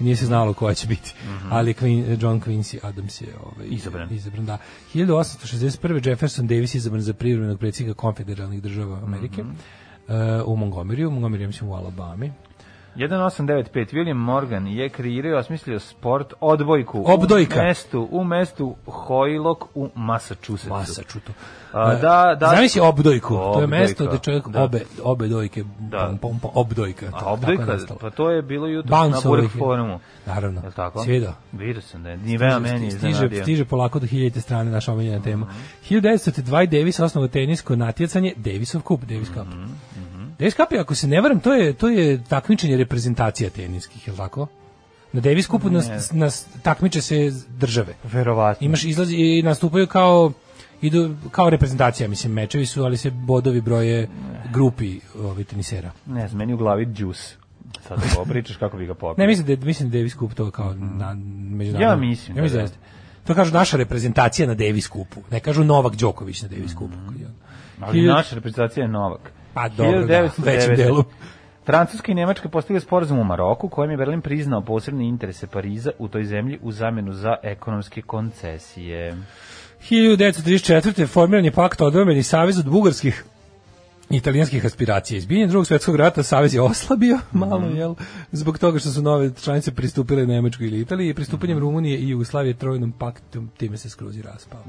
S7: I Nije se znalo koja će biti. Ali Quin, John Quincy Adams je ovaj,
S6: Izabran.
S7: Izabran, da. 1861. Jefferson Davis je izabran za privremenog predsjednika konfederalnih država Amerike. e, u Montgomeryu, u Montgomeryu ja mislim u Alabami.
S6: 1895 William Morgan je kreirao i osmislio sport odbojku
S7: Obdojka.
S6: u mestu u mestu Hoylock u Massachusettsu.
S7: Masa čuto.
S6: A, da, da.
S7: Zamisli obdojku. To je
S6: Obdojka,
S7: mesto gde čovjek
S6: da.
S7: obe, obe dojke,
S6: Da.
S7: pom, pom, pom, obdojka.
S6: A
S7: tako- tako je
S6: obdojka,
S7: nastalo.
S6: pa to je bilo jutro na
S7: Bounce
S6: Burek
S7: obdojke.
S6: forumu.
S7: Naravno.
S6: Je li tako?
S7: Si vidio?
S6: Vidio sam da je. Nivea meni Mhm. je
S7: stiže,
S6: iznenadio.
S7: stiže polako do hiljadite strane naša omiljena
S6: Mhm,
S7: tema. 1902 Davis osnovao tenisko natjecanje Davisov kup, Davis Cup. Davis Cup je, ako se ne varam, to je, to je takmičenje reprezentacija teniskih, je li tako? Na Davis Cupu nas, nas takmiče se države.
S6: Verovatno.
S7: Imaš izlaz i nastupaju kao idu kao reprezentacija, mislim, mečevi su, ali se bodovi broje grupi ovih tenisera.
S6: Ne znam, meni u glavi džus. Sad da popričaš kako bi ga popio.
S7: Ne, mislim da, mislim da je Davis Cup to kao na, međunarodno.
S6: Ja mislim
S7: Ja
S6: da
S7: mislim da,
S6: da.
S7: jeste. To kažu naša reprezentacija na Davis Cupu. Ne kažu Novak Đoković na Davis Cupu.
S6: Mm. Ali
S7: Hiljadu-
S6: naša reprezentacija je Novak.
S7: Pa dobro, da, većem delu.
S6: Francuska i Nemačka postigli sporazum u Maroku kojim je Berlin priznao posebne interese Pariza u toj zemlji u zamenu za ekonomske koncesije.
S7: 1934. formiran je pakt odbrambeni savez od bugarskih i italijanskih aspiracija. Izbijenjem drugog svjetskog rata savez je oslabio malo, jel? Zbog toga što su nove članice pristupile Nemačkoj ili Italiji i pristupanjem Rumunije i Jugoslavije trojnom paktom time se skroz i raspao.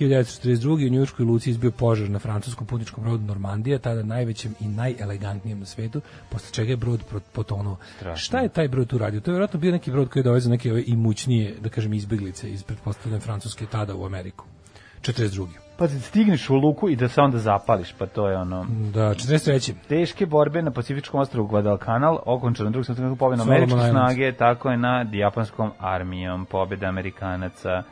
S7: 1942. u Njujorkskoj luci izbio požar na francuskom putničkom brodu Normandija, tada najvećem i najelegantnijem na svetu, posle čega je brod pro- potonuo. Šta je taj brod tu radio? To je vjerojatno bio neki brod koji je dovezao neke ove imućnije, da kažem, izbeglice iz pretpostavljene Francuske tada u Ameriku. 42.
S6: Pa da stigneš u luku i da se onda zapališ, pa to je ono...
S7: Da, 43.
S6: Teške borbe na Pacifičkom ostrovu Guadalcanal, okončano drugog svjetskog rata pobjedom
S7: Solomon
S6: američke
S7: Islands.
S6: snage, tako je nad japanskom armijom, pobjeda Amerikanaca.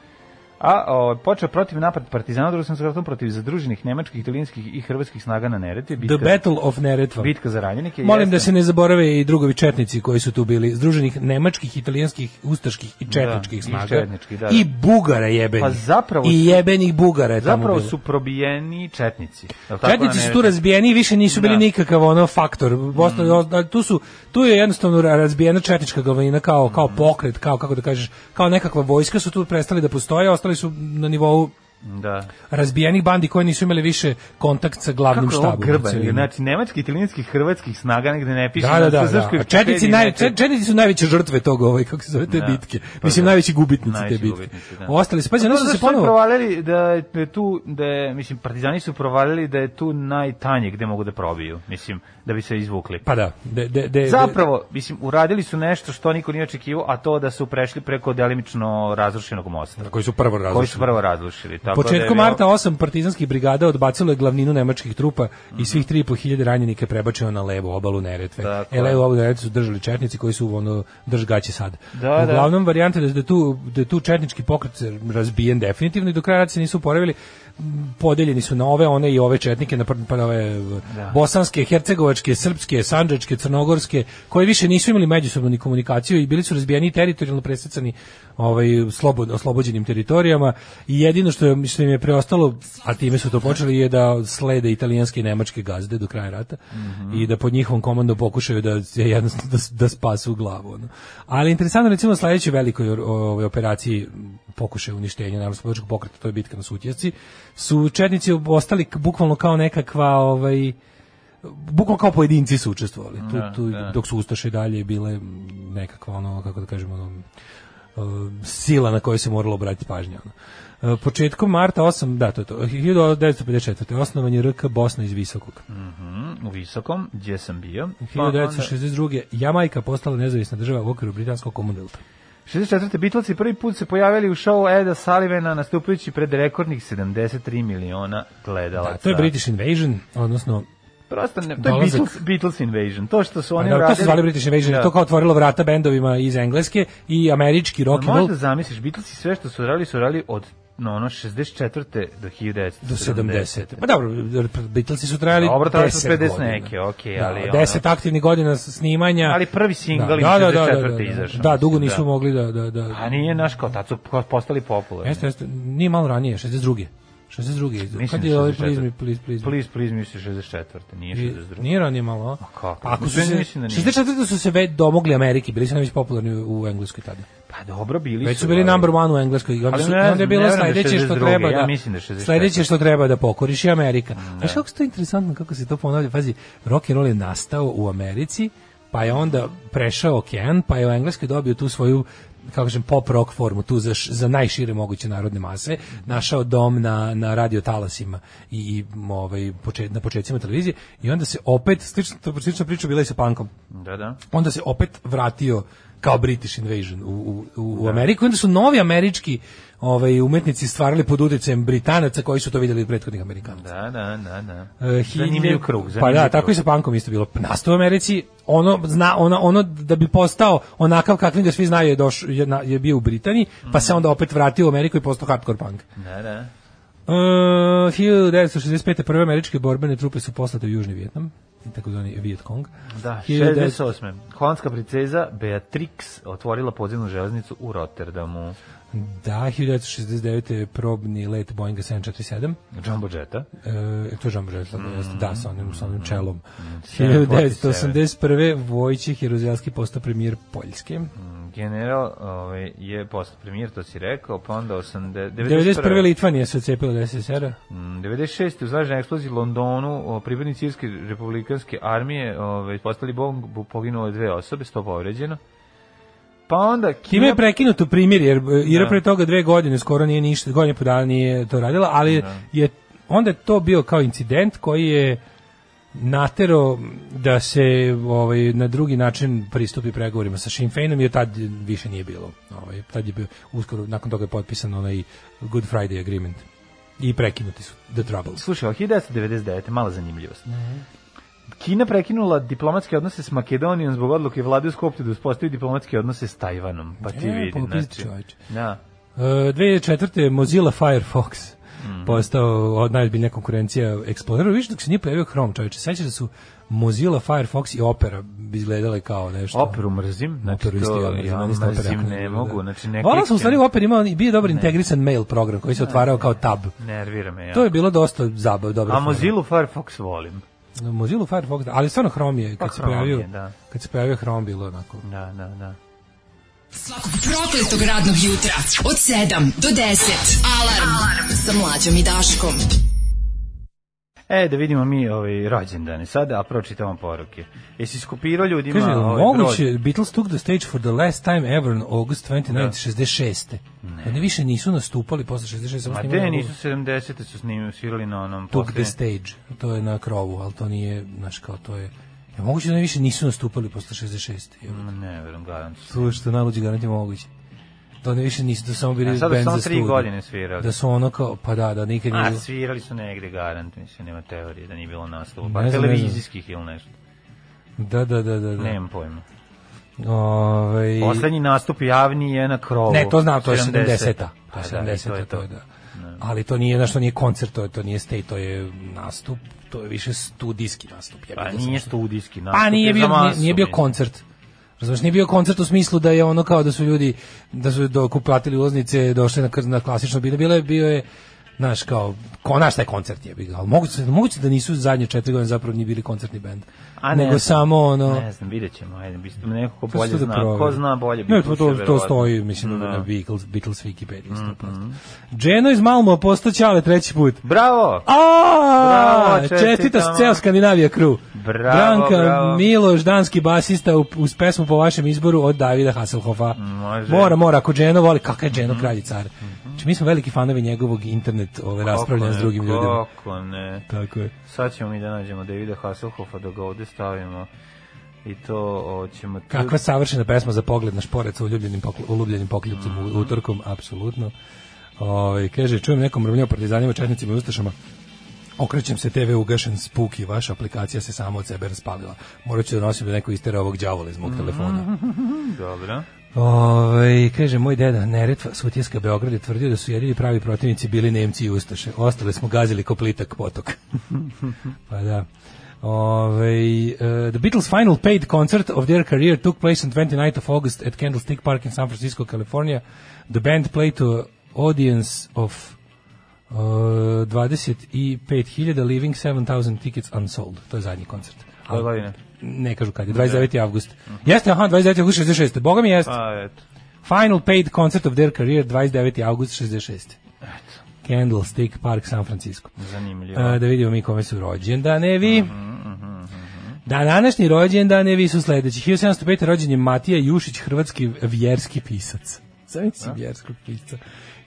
S6: A o, počeo protiv napad partizana u drugom svjetskom ratu protiv zadruženih nemačkih, italijanskih i hrvatskih snaga na Neretvi.
S7: The Battle of Neretva.
S6: bitka za ranjenike.
S7: Molim
S6: jeste.
S7: da se ne zaborave i drugovi četnici koji su tu bili, združenih nemačkih, italijanskih, ustaških i četničkih
S6: Da, i
S7: snaga.
S6: četničkih, da, da.
S7: I bugara jebenih.
S6: Pa zapravo
S7: I
S6: su-
S7: jebenih bugara je tamo
S6: Zapravo
S7: bilo.
S6: su probijeni četnici. je li tako,
S7: Četnici
S6: na
S7: su tu
S6: Neretvi?
S7: razbijeni i više nisu bili
S6: Da. Mm.
S7: nikakav ono faktor. Ostali- o- tu, su, tu je jednostavno ra- razbijena četnička glavnina kao, kao pokret, kao, kako da kažeš, kao nekakva vojska su tu prestali da postoje, ostali su na nivou
S6: Da.
S7: razbijenih bandi koji nisu imali više kontakt sa glavnim
S6: Kako je ovo
S7: štabom. u
S6: grban?
S7: celini.
S6: Znači, nemački, italijanskih, hrvatskih snaga negde ne piše.
S7: Da, da,
S6: na
S7: da. da.
S6: Srpskoj
S7: A Četnici,
S6: Wikipediji
S7: naj,
S6: ne piše.
S7: čet- četnici su najveće žrtve toga, ovaj, kako se zove, te
S6: Da.
S7: bitke.
S6: Pa
S7: Mislim,
S6: da.
S7: najveći gubitnici
S6: Najveći
S7: te bitke.
S6: gubitnici, da.
S7: Ostali su, pazi,
S6: Pa
S7: oni su
S6: dobro,
S7: se
S6: što je
S7: ponovo...
S6: provalili da je tu da je, mislim partizani su provalili da je tu najtanje gde mogu da probiju, mislim da bi se izvukli.
S7: Pa da, de, de, de,
S6: Zapravo, mislim, uradili su nešto što niko nije očekivao, a to da su prešli preko delimično razrušenog mosta.
S7: de- koji su prvo
S6: Koji su
S7: različili.
S6: prvo razrušili. Tako da je
S7: Početkom
S6: bilo-
S7: marta osam partizanskih brigada odbacilo je glavninu nemačkih trupa i svih 3.500 ranjenika je prebačeno na levu obalu Neretve.
S6: Tako
S7: E,
S6: je.
S7: levu obalu Neretve su držali četnici koji su ono držgaći sad.
S6: Da, da.
S7: Uglavnom varijante da je da tu da je tu četnički pokret razbijen definitivno i do kraja rata se nisu oporavili. M, Podeljeni su na ove, one i ove četnike na pr- pa ove v-
S6: Da.
S7: bosanske, hercegovačke, srpske, sandžačke, crnogorske, koji više nisu imali međusobnu ni komunikaciju i bili su razbijeni i teritorijalno presecani ovaj slobod, oslobođenim teritorijama i jedino što, je, što im je preostalo, a time su to počeli, je da slede italijanske i nemačke gazde do kraja rata i da pod njihovom komandom pokušaju da se jednostavno da, s- da spasu glavu. Ono. Ali interesantno recimo u sledećoj velikoj or- ovaj, operaciji m, pokušaju uništenja narodno pokreta, to je bitka na Sutjesci, su četnici ostali k- bukvalno kao nekakva ovaj bukvalno kao pojedinci su učestvovali. Tu, tu, dok su ustaše i dalje bile m, nekakva ono, kako da kažemo, ono, e, sila na koju se moralo obratiti pažnja. Ono. E, Početkom marta 8, da, to je to, 1954. Osnovan je RK Bosna iz Visokog.
S6: Mhm, u visokom gdje sam bio. Pa onda-
S7: 1962. Jamajka postala nezavisna država u okviru britanskog komunilta.
S6: 64. Beatlesi prvi put se pojavili u šovu Eda Sullivana nastupajući pred rekordnih 73 miliona gledalaca.
S7: Da, to je British Invasion, odnosno
S6: Prosto ne, to je
S7: Dolazak.
S6: Beatles, Beatles Invasion. To što su
S7: Pa
S6: oni
S7: da, to
S6: uradili-
S7: se zvali British Invasion,
S6: Da.
S7: to kao otvorilo vrata bendovima iz Engleske i američki rock and
S6: Možeš
S7: roll
S6: da zamisliš, Beatlesi sve što su radili, su radili od no, ono 64. do 1970.
S7: do 70. Pa dobro, Beatlesi su trajali
S6: Dobro, trajali su
S7: 10
S6: 50
S7: godina.
S6: neke, okej,
S7: Da,
S6: ali ono-
S7: 10 aktivnih godina snimanja.
S6: Ali prvi singl im 64. izašao,
S7: Da, dugo
S6: mislim,
S7: nisu
S6: da.
S7: mogli da... da, da.
S6: A nije, naš kao tad su po- postali popularni.
S7: Jeste, jeste, nije malo ranije, 62. 62. izdao.
S6: Pa- Mislim
S7: Kad je ovaj
S6: 64..
S7: plizmi, pliz, plizmi?
S6: Please, please, mislim 64. Nije 62.
S7: Nije ranije malo, a?
S6: kako?
S7: Pa Ako su
S6: Mislim,
S7: se,
S6: mislim da nije.
S7: 64. su se već domogli Ameriki, bili su najveći popularni u u Engleskoj tada.
S6: Pa dobro, bili
S7: Već su
S6: su
S7: bili
S6: ali-
S7: number one u Engleskoj. I onda
S6: Ali
S7: su-
S6: ne
S7: i onda je
S6: znam,
S7: bilo
S6: ne verujem da
S7: sledeće što
S6: 62.,
S7: treba da...
S6: ja mislim da 64.
S7: Sledeće što treba da pokoriš je Amerika. A što kako se to interesantno, kako se to ponavlja? Pazi, rock and roll je nastao u Americi, pa je onda prešao okean, pa je u Engleskoj dobio tu svoju kako kažem, pop rock formu, tu za, š- za najšire moguće narodne mase, našao dom na, na radio talasima i, i ovaj, poče- na početcima televizije i onda se opet, slična, slična priča bila i sa punkom,
S6: Da, da.
S7: onda se opet vratio kao British Invasion u, u,
S6: Da.
S7: u Ameriku. I Onda su novi američki ovaj, umetnici stvarali pod utjecajem Britanaca koji su to vidjeli od prethodnih Amerikanaca.
S6: Da, da, da, da.
S7: E,
S6: Zanimljiv
S7: hiljadu-
S6: krug.
S7: Pa
S6: zanimljiv
S7: da, tako
S6: krug.
S7: i sa pankom isto bilo. Nastao u Americi, ono, zna, ono, ono da bi postao onakav kakvim ga svi znaju je, doš, je, na- je bio u Britaniji, pa se onda opet vratio u Ameriku i postao hardcore punk. E,
S6: Da, da.
S7: Uh, 1965. prve američke borbene trupe su poslate u Južni Vjetnam, takozvani Viet Cong.
S6: Da,
S7: 1900
S6: 68. Holandska princeza Beatrix otvorila podzemnu železnicu u Rotterdamu.
S7: Da, 1969. je probni let Boeinga 747.
S6: Jumbo Jetta.
S7: E, to je Jean Brezla, jeste, da, sa onim, sa onim čelom.
S6: 747.
S7: 1981. Vojčih Jeruzelski postao premijer Poljske.
S6: General ovaj, je postao premijer, to si rekao, pa onda 80,
S7: 91. Litvanija se ocepila od SSR-a.
S6: Mm, 96. u zračnoj eksploziji u Londonu o, pripadnici Irske republikanske armije ovaj, postali bombu, poginule dve osobe, sto povređeno. Pa onda
S7: Time
S6: Kina...
S7: je prekinuto primjer, jer e, Ira
S6: Da.
S7: pre toga dve godine, skoro nije ništa, godine po dana nije to radila, ali je- je onda je to bio kao incident koji je natero da se ovaj, na drugi način pristupi pregovorima sa Sinn Féinom, jer tad više nije bilo. Ovaj, tad je bio, uskoro, nakon toga je potpisan onaj Good Friday Agreement i prekinuti su The Troubles.
S6: Slušaj, ovo je 1999. mala zanimljivost. Kina prekinula diplomatske odnose s Makedonijom zbog odluke vlade u Skopju da uspostavi diplomatske odnose s Tajvanom. Pa ti
S7: E,
S6: vidi,
S7: pa vidi,
S6: znači.
S7: čoveče.
S6: Da.
S7: E, 2004. Mozilla Firefox
S6: Mhm.
S7: postao od najozbiljnija konkurencija Exploreru. Više dok se nije pojavio Chrome, čovječe, sećaš da su Mozilla, Firefox i Opera izgledale kao nešto.
S6: Operu mrzim, znači
S7: Operu isto,
S6: to
S7: ja
S6: ja
S7: mrzim,
S6: mrzim,
S7: meni isto opera jako ne
S6: ne
S7: ide,
S6: mogu,
S7: da.
S6: znači ne
S7: Volao sam u stvari
S6: klikćem.
S7: Opera imao i bio je dobar integrisan mail program koji se otvarao kao tab.
S6: Nervira me ja.
S7: To je bilo dosta zabav, dobro.
S6: A Mozilla Firefox volim.
S7: Mozilla Firefox, da, ali stvarno Chrome je kad
S6: Pa
S7: se
S6: Chrome
S7: pojavio,
S6: je, da.
S7: kad se pojavio Chrome bilo onako.
S6: Da, da, da.
S5: Svakog prokletog radnog jutra od 7 do 10. Alarm, Alarm. sa mlađom i Daškom.
S6: E, da vidimo mi ovaj rođendane sada, a pročitamo poruke. Jesi skopirao ljudima
S7: Kaže, jel
S6: ovaj
S7: moguće,
S6: broj? Da.
S7: Beatles took the stage for the last time ever in August 1966. Ne. Oni više nisu nastupali posle 66. samo
S6: Ma
S7: snimali
S6: de,
S7: album.
S6: nisu 70. su snimili, svirali na onom
S7: Took the
S6: poslednjem-
S7: stage, to je na krovu, ali to nije, znaš kao, to je... Ja moguće da oni više nisu nastupali posle 66. Mm.
S6: Ma Ne, verujem, gledam se.
S7: To je što najluđe garant je moguće. Da oni više nisu, da su samo bili
S6: A
S7: band za
S6: sad su samo tri
S7: studiju.
S6: godine svirali.
S7: Da su ono kao, pa da, da nikad
S6: A,
S7: nisu...
S6: svirali su negde garant, mislim, nema teorije da nije bilo naslova.
S7: Ne
S6: Pa
S7: znam, ne znam.
S6: televizijskih ili nešto.
S7: Da, da, da, da. da.
S6: Nemam pojma.
S7: Ovaj-
S6: Poslednji nastup javni je na krovu.
S7: Ne, to znam, to je
S6: 70-a.
S7: 70-a. To
S6: Pa
S7: je
S6: da, i
S7: 70-a, to je da.
S6: Ne.
S7: Ali to nije, znaš, to nije koncert, to je, to nije stay, to je nastup, to je više studijski nastup. Ja
S6: Pa nije studijski nastup.
S7: Pa nije
S6: je za
S7: bio, nije,
S6: masu,
S7: nije bio
S6: mislim.
S7: koncert. Razumeš, nije bio koncert u smislu da je ono kao da su ljudi, da su dokuplatili ulaznice, došli na, kr- na klasično bilo, bilo je, bio je, znaš, kao, ko, naš taj koncert je bio, ali moguće, moguće da nisu zadnje četiri godine zapravo nije bili koncertni bend,
S6: A ne
S7: nego
S6: znam.
S7: samo ono...
S6: Ne znam, vidjet ćemo, ajde, bi ste neko ko
S7: Sad
S6: bolje
S7: ću to da
S6: zna,
S7: proverim.
S6: ko zna bolje bi
S7: Ne, to, to, to
S6: verovatno. Mhm.
S7: stoji, mislim,
S6: Da.
S7: da na Beatles, Beatles Wikipedia. 100%. Dženo iz Malmo postao Ćale treći put.
S6: Bravo!
S7: A,
S6: Bravo,
S7: čestita
S6: čestitamo.
S7: ceo Skandinavija kru.
S6: Bravo,
S7: Branka
S6: bravo.
S7: Miloš, danski basista u- uz pesmu po vašem izboru od Davida Hasselhoffa.
S6: Može. Mhm.
S7: Mora, mora, ako Dženo voli, kakav je Dženo kralj i car. Znači, mi smo veliki fanovi njegovog internet ove, raspravljanja s drugim ljudima.
S6: Kako ne.
S7: Tako je.
S6: Sad ćemo mi da nađemo Davida Hasselhoffa da ga ovde stavimo i to hoćemo... tu-
S7: Kakva savršena pesma za pogled na šporet sa uljubljenim, pokl uljubljenim pokljupcem u utorkom, apsolutno. Ovaj kaže, čujem nekom mrmljao partizanima, četnicima i ustašama. Okrećem se, TV ugašen, spuk i vaša aplikacija se sama od sebe raspalila. Morat ću da nosim da neko istera ovog đavola iz mog telefona.
S6: Dobro.
S7: Ovaj kaže, moj deda, Neretva, Sutjeska, Beograd je tvrdio da su jedini pravi protivnici bili Nemci i Ustaše. Ostale smo gazili ko plitak potok. pa da. Ovaj, uh, the Beatles' final paid concert of their career took place on 29th of August at Candlestick Park in San Francisco, California. The band played to an audience of uh, 25.000, leaving 7,000 tickets unsold. To je zadnji koncert.
S6: Koje godine?
S7: Ne kažu kad je, 29. avgust. Jeste, aha, 29. avgust 66. Boga mi jeste.
S6: A, Pa, eto.
S7: Final paid concert of their career 29. august 66. Candlestick Park San Francisco.
S6: Zanimljivo.
S7: A, da vidimo mi kome su rođendanevi. Da, današnji rođendanevi su sledeći. 1705. rođen je Matija Jušić, hrvatski vjerski pisac. Zamislite si vjerskog pisca.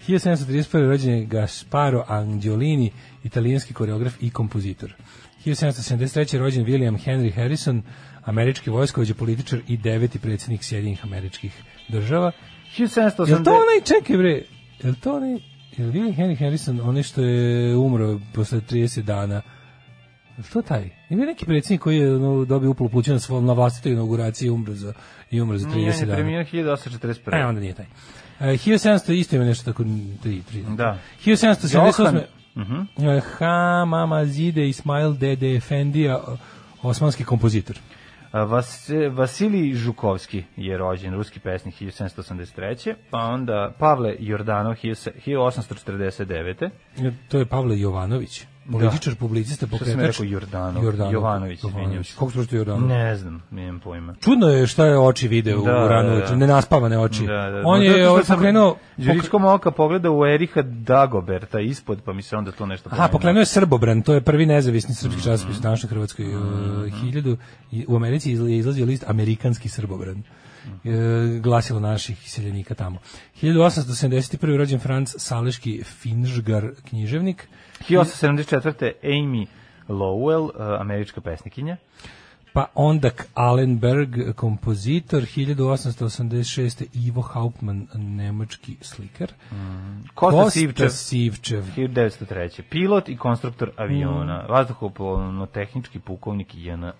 S7: 1731. rođen je Gasparo Angiolini, italijanski koreograf i kompozitor. 1773. rođen William Henry Harrison, američki vojskovođa, političar i deveti predsjednik Sjedinjenih američkih država.
S6: 1780...
S7: Jel to onaj, čekaj bre, jel to onaj, jel William Henry Harrison, onaj što je umro posle 30 dana, jel to taj? Ima neki predsjednik koji je ono, dobio uplo pluća na, svom, na vlastitoj inauguraciji i umro za, i umro za 30
S6: Nije, on je
S7: dana.
S6: preminuo
S7: E,
S6: 1841.
S7: onda nije taj. E, 1700 isto ima nešto tako, tri, tri.
S6: Da.
S7: 1778.
S6: Johan.
S7: Mhm. Ha, mama Zide Ismail Dede Efendija, o- osmanski kompozitor.
S6: A, Vas, e, Vasilij Žukovski je rođen, ruski pesnik 1783. Pa onda Pavle Jordanov 1849.
S7: E, To je Pavle Jovanović. Političar, publicista,
S6: Da. Što sam
S7: pokretač.
S6: rekao Jordanov?
S7: Jordanov.
S6: Jovanović, izvinjam se.
S7: Kako se prosto Jordanov?
S6: Ne znam, nemam pojma.
S7: Čudno je šta je oči video
S6: Da,
S7: u ranu
S6: da,
S7: ujutru,
S6: da.
S7: nenaspavane oči.
S6: Da, da,
S7: Znači, On
S6: Ma, zato
S7: je
S6: što
S7: ovaj
S6: sam
S7: pokrenuo...
S6: Đuričkom oka pogleda u Eriha Dagoberta ispod, pa mi se onda tu nešto
S7: Aha, pokrenuo je Srbobran, to je prvi nezavisni
S6: Mhm.
S7: srpski časopis u današnjoj Hrvatskoj mm hiljadu. I U Americi izla- je izlazio list Amerikanski Srbobran.
S6: Mhm.
S7: E, glasilo naših iseljenika tamo. 1871. rođen Franc Saleški Finžgar književnik.
S6: 1874. Amy Lowell, e, američka pesnikinja.
S7: Pa onda K. Allenberg, kompozitor, 1886. Ivo Hauptmann, nemački slikar.
S6: Kosta, Sivčev,
S7: Sivčev.
S6: 1903. Pilot i konstruktor aviona.
S7: Mm.
S6: Vazduhoplovno-tehnički pukovnik JNA.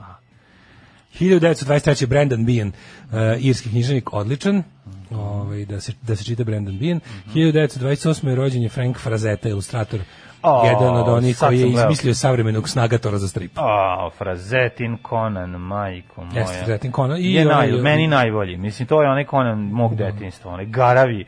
S7: 1923. Brandon Bean, uh, irski književnik, odličan, ovaj, da, se, da se čita Brandon Bean.
S6: Mhm.
S7: 1928. je rođen je Frank Frazetta, ilustrator,
S6: O,
S7: jedan od onih
S6: sad
S7: koji je
S6: sam gledao.
S7: izmislio savremenog snagatora za strip.
S6: A, Frazetin Conan, majko moja.
S7: Jeste, Frazetin Conan i ovaj, Da.
S6: I je
S7: onaj-
S6: naj, meni najbolji. Mislim, to je onaj Conan mog detinjstva, onaj garavi,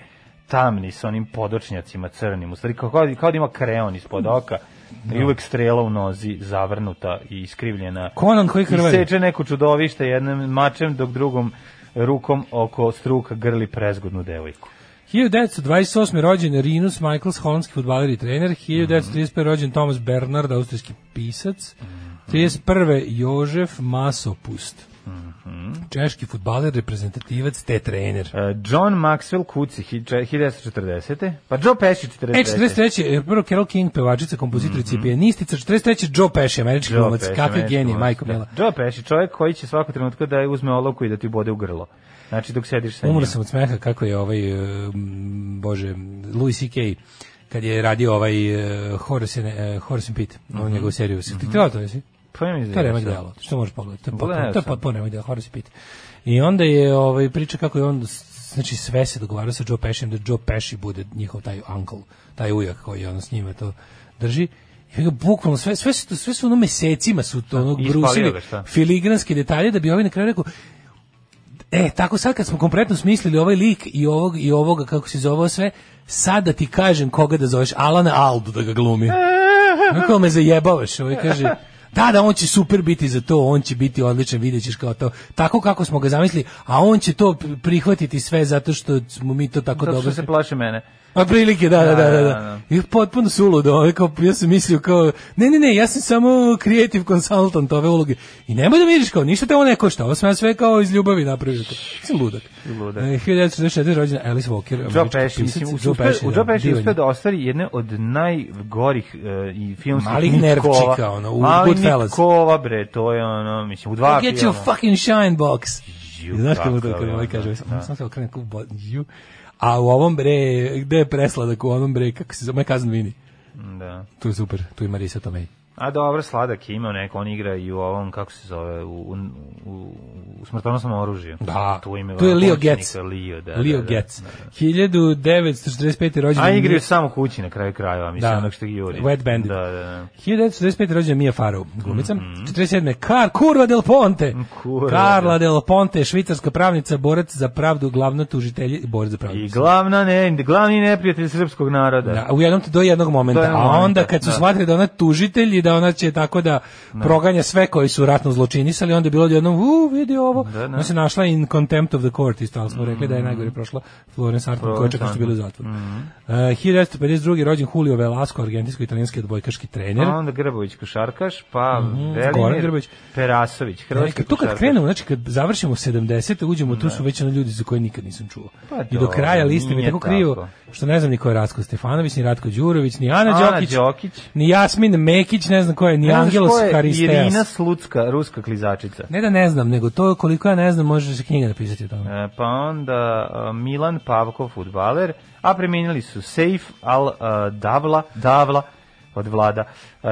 S6: tamni sa onim podočnjacima crnim. U stvari, kao, kao, kao da ima kreon ispod oka
S7: Da.
S6: i uvek strela u nozi, zavrnuta i iskrivljena.
S7: Conan koji
S6: I
S7: hrvari.
S6: seče neko čudovište jednim mačem, dok drugom rukom oko struka grli prezgodnu devojku.
S7: 1928. je rođen Rinus Michaels, holandski futbaler i trener.
S6: Mhm.
S7: 1935. je rođen Thomas Bernard, austrijski pisac.
S6: Mhm.
S7: 31. Jožef Masopust,
S6: Mhm.
S7: češki futbaler, reprezentativac te trener.
S6: E, John Maxwell Kuci, hi- če- 1940. Pa Joe Pesci, 43.
S7: E, 43. je prvo Carol King, pevačica, kompozitorica i pijanistica. 43. Joe Pesci, američki
S6: Mhm. Joe
S7: glumac.
S6: Pesci,
S7: Kakvi
S6: meni
S7: genije,
S6: glumac,
S7: majko
S6: da.
S7: mila.
S6: Joe Pesci, čovjek koji će svakog trenutka da je uzme olovku i da ti bode u grlo. Znači dok sediš sa njim.
S7: Umro sam od smeha kako je ovaj, e, m, bože, Louis C.K. kad je radio ovaj e, Horace, and, e, Horace and Pete,
S6: Mhm.
S7: ovu njegovu seriju. Mm Ti gledao to nisi?
S6: Pa ja mislim
S7: To je
S6: da
S7: remek
S6: sam.
S7: delo. Što možeš pogledati? To je potpuno,
S6: Gledao
S7: to je
S6: sam.
S7: potpuno remek delo, Horace and Pete. I onda je ovaj, priča kako je on s- znači sve se dogovarao sa Joe Pescijem da Joe Pesci bude njihov taj uncle, taj ujak koji on s njima to drži. I ga bukvalno sve sve su sve su ono mesecima su to ono
S6: Ispalio
S7: brusili
S6: ga, šta?
S7: filigranske detalje da bi ovaj na kraju rekao E, tako sad kad smo kompletno smislili ovaj lik i ovog i ovoga kako se zove ovo sve, sad da ti kažem koga da zoveš Alana Aldu da ga glumi. Kako me zajebavaš, ovaj kaže Da, da, on će super biti za to, on će biti odličan, vidjet ćeš kao to. Tako kako smo ga zamislili, a on će to prihvatiti sve zato što smo mi to tako
S6: Zato
S7: dobro...
S6: što se plaše mene.
S7: Pa prilike, da, da, da, da.
S6: da,
S7: da.
S6: da.
S7: I potpuno suludo, ovaj, kao, ja sam mislio kao, ne, ne, ne, ja sam samo creative consultant ove uloge. I nemoj da vidiš kao, ništa te ovo ne košta, ovo sam ja sve kao iz ljubavi napravio. to. Sam ludak.
S6: Ludak.
S7: E, 1964. rođena Alice Walker,
S6: Joe
S7: američka
S6: Pesci,
S7: pisac,
S6: mislim,
S7: Joe
S6: uspe,
S7: Pesci,
S6: u
S7: da,
S6: Joe Pesci
S7: divan
S6: uspeo
S7: je.
S6: da ostvari jedne od najgorih e, i filmskih
S7: Malih
S6: nitkova.
S7: nervčika, ono, u
S6: Ali
S7: Goodfellas.
S6: nitkova, bre, to je Pa, ono, mislim, u dva
S7: Get your fucking shine box.
S6: Ju,
S7: Znaš kako
S6: kakav
S7: to
S6: je
S7: kada
S6: ono,
S7: ovaj kaže,
S6: da.
S7: sam sam se okrenem kao bo- ju. A u ovom bre, gde je presladak u onom bre, kako se zove, Kazan Vini.
S6: Da.
S7: Tu je super, tu je Marisa Tomei.
S6: A dobro, Sladak je imao neko, on igra i u ovom, kako se zove, u, u, u, u smrtonosnom oružju.
S7: Da.
S6: Tu, ime
S7: Tu je Leo
S6: glavnog
S7: Getz.
S6: pomoćnika, Leo, da,
S7: Leo
S6: da, da.
S7: Getz. 1945. rođen.
S6: A igraju samo kući na kraju krajeva, mislim,
S7: Da.
S6: onog što juri.
S7: Wet Bandit.
S6: Da, da, da. Mhm.
S7: 1945. rođen Mia Farrow, glumica. 47. Kar, kurva del Ponte.
S6: Kurva.
S7: Karla del Ponte, švicarska pravnica, borac za pravdu, glavna tužitelj i borac za pravdu.
S6: I glavna ne, glavni neprijatelj srpskog naroda.
S7: Da, u jednom do jednog momenta,
S6: Do jednog
S7: a onda
S6: momenta,
S7: kad su
S6: da.
S7: shvatili da ona tužitelj i da ona će tako da proganja sve koji su ratno zločinisali, onda je bilo jednom, u, vidi ovo.
S6: Da, da.
S7: Ona se našla in contempt of the court, isto, ali smo rekli da je najgore prošla Florence Arthur, koja
S6: Florence Mm.
S7: čak što
S6: Arthur.
S7: bili u zatvoru. Uh, 1952. rođen Julio Velasco, argentinsko-italijanski odbojkaški trener.
S6: Pa onda Grbović košarkaš, pa mm,
S7: Mhm, Goran
S6: Velimir
S7: Grbović.
S6: Perasović, hrvatski
S7: Neka, to kad
S6: košarkaš. Da.
S7: krenemo, znači kad završimo 70, uđemo, tu su već ono ljudi za koje nikad nisam čuo.
S6: Pa
S7: I do
S6: dobro,
S7: kraja liste mi je
S6: nije
S7: tako krivo,
S6: tako.
S7: što ne znam ni ko je Ratko Stefanović, ni Ratko Đurović, ni Ana
S6: Ana
S7: Đokić,
S6: Đokić.
S7: ni Jasmin Mekić, ne ne znam ko je, ni
S6: Ne znaš
S7: Angelos
S6: ko je
S7: Haristeas.
S6: Irina Slucka, ruska klizačica.
S7: Ne da ne znam, nego to koliko ja ne znam, može se knjiga napisati o tome.
S6: E, pa onda e, Milan Pavkov, futbaler, a preminili su Sejf Al e, Davla, Davla od vlada. e,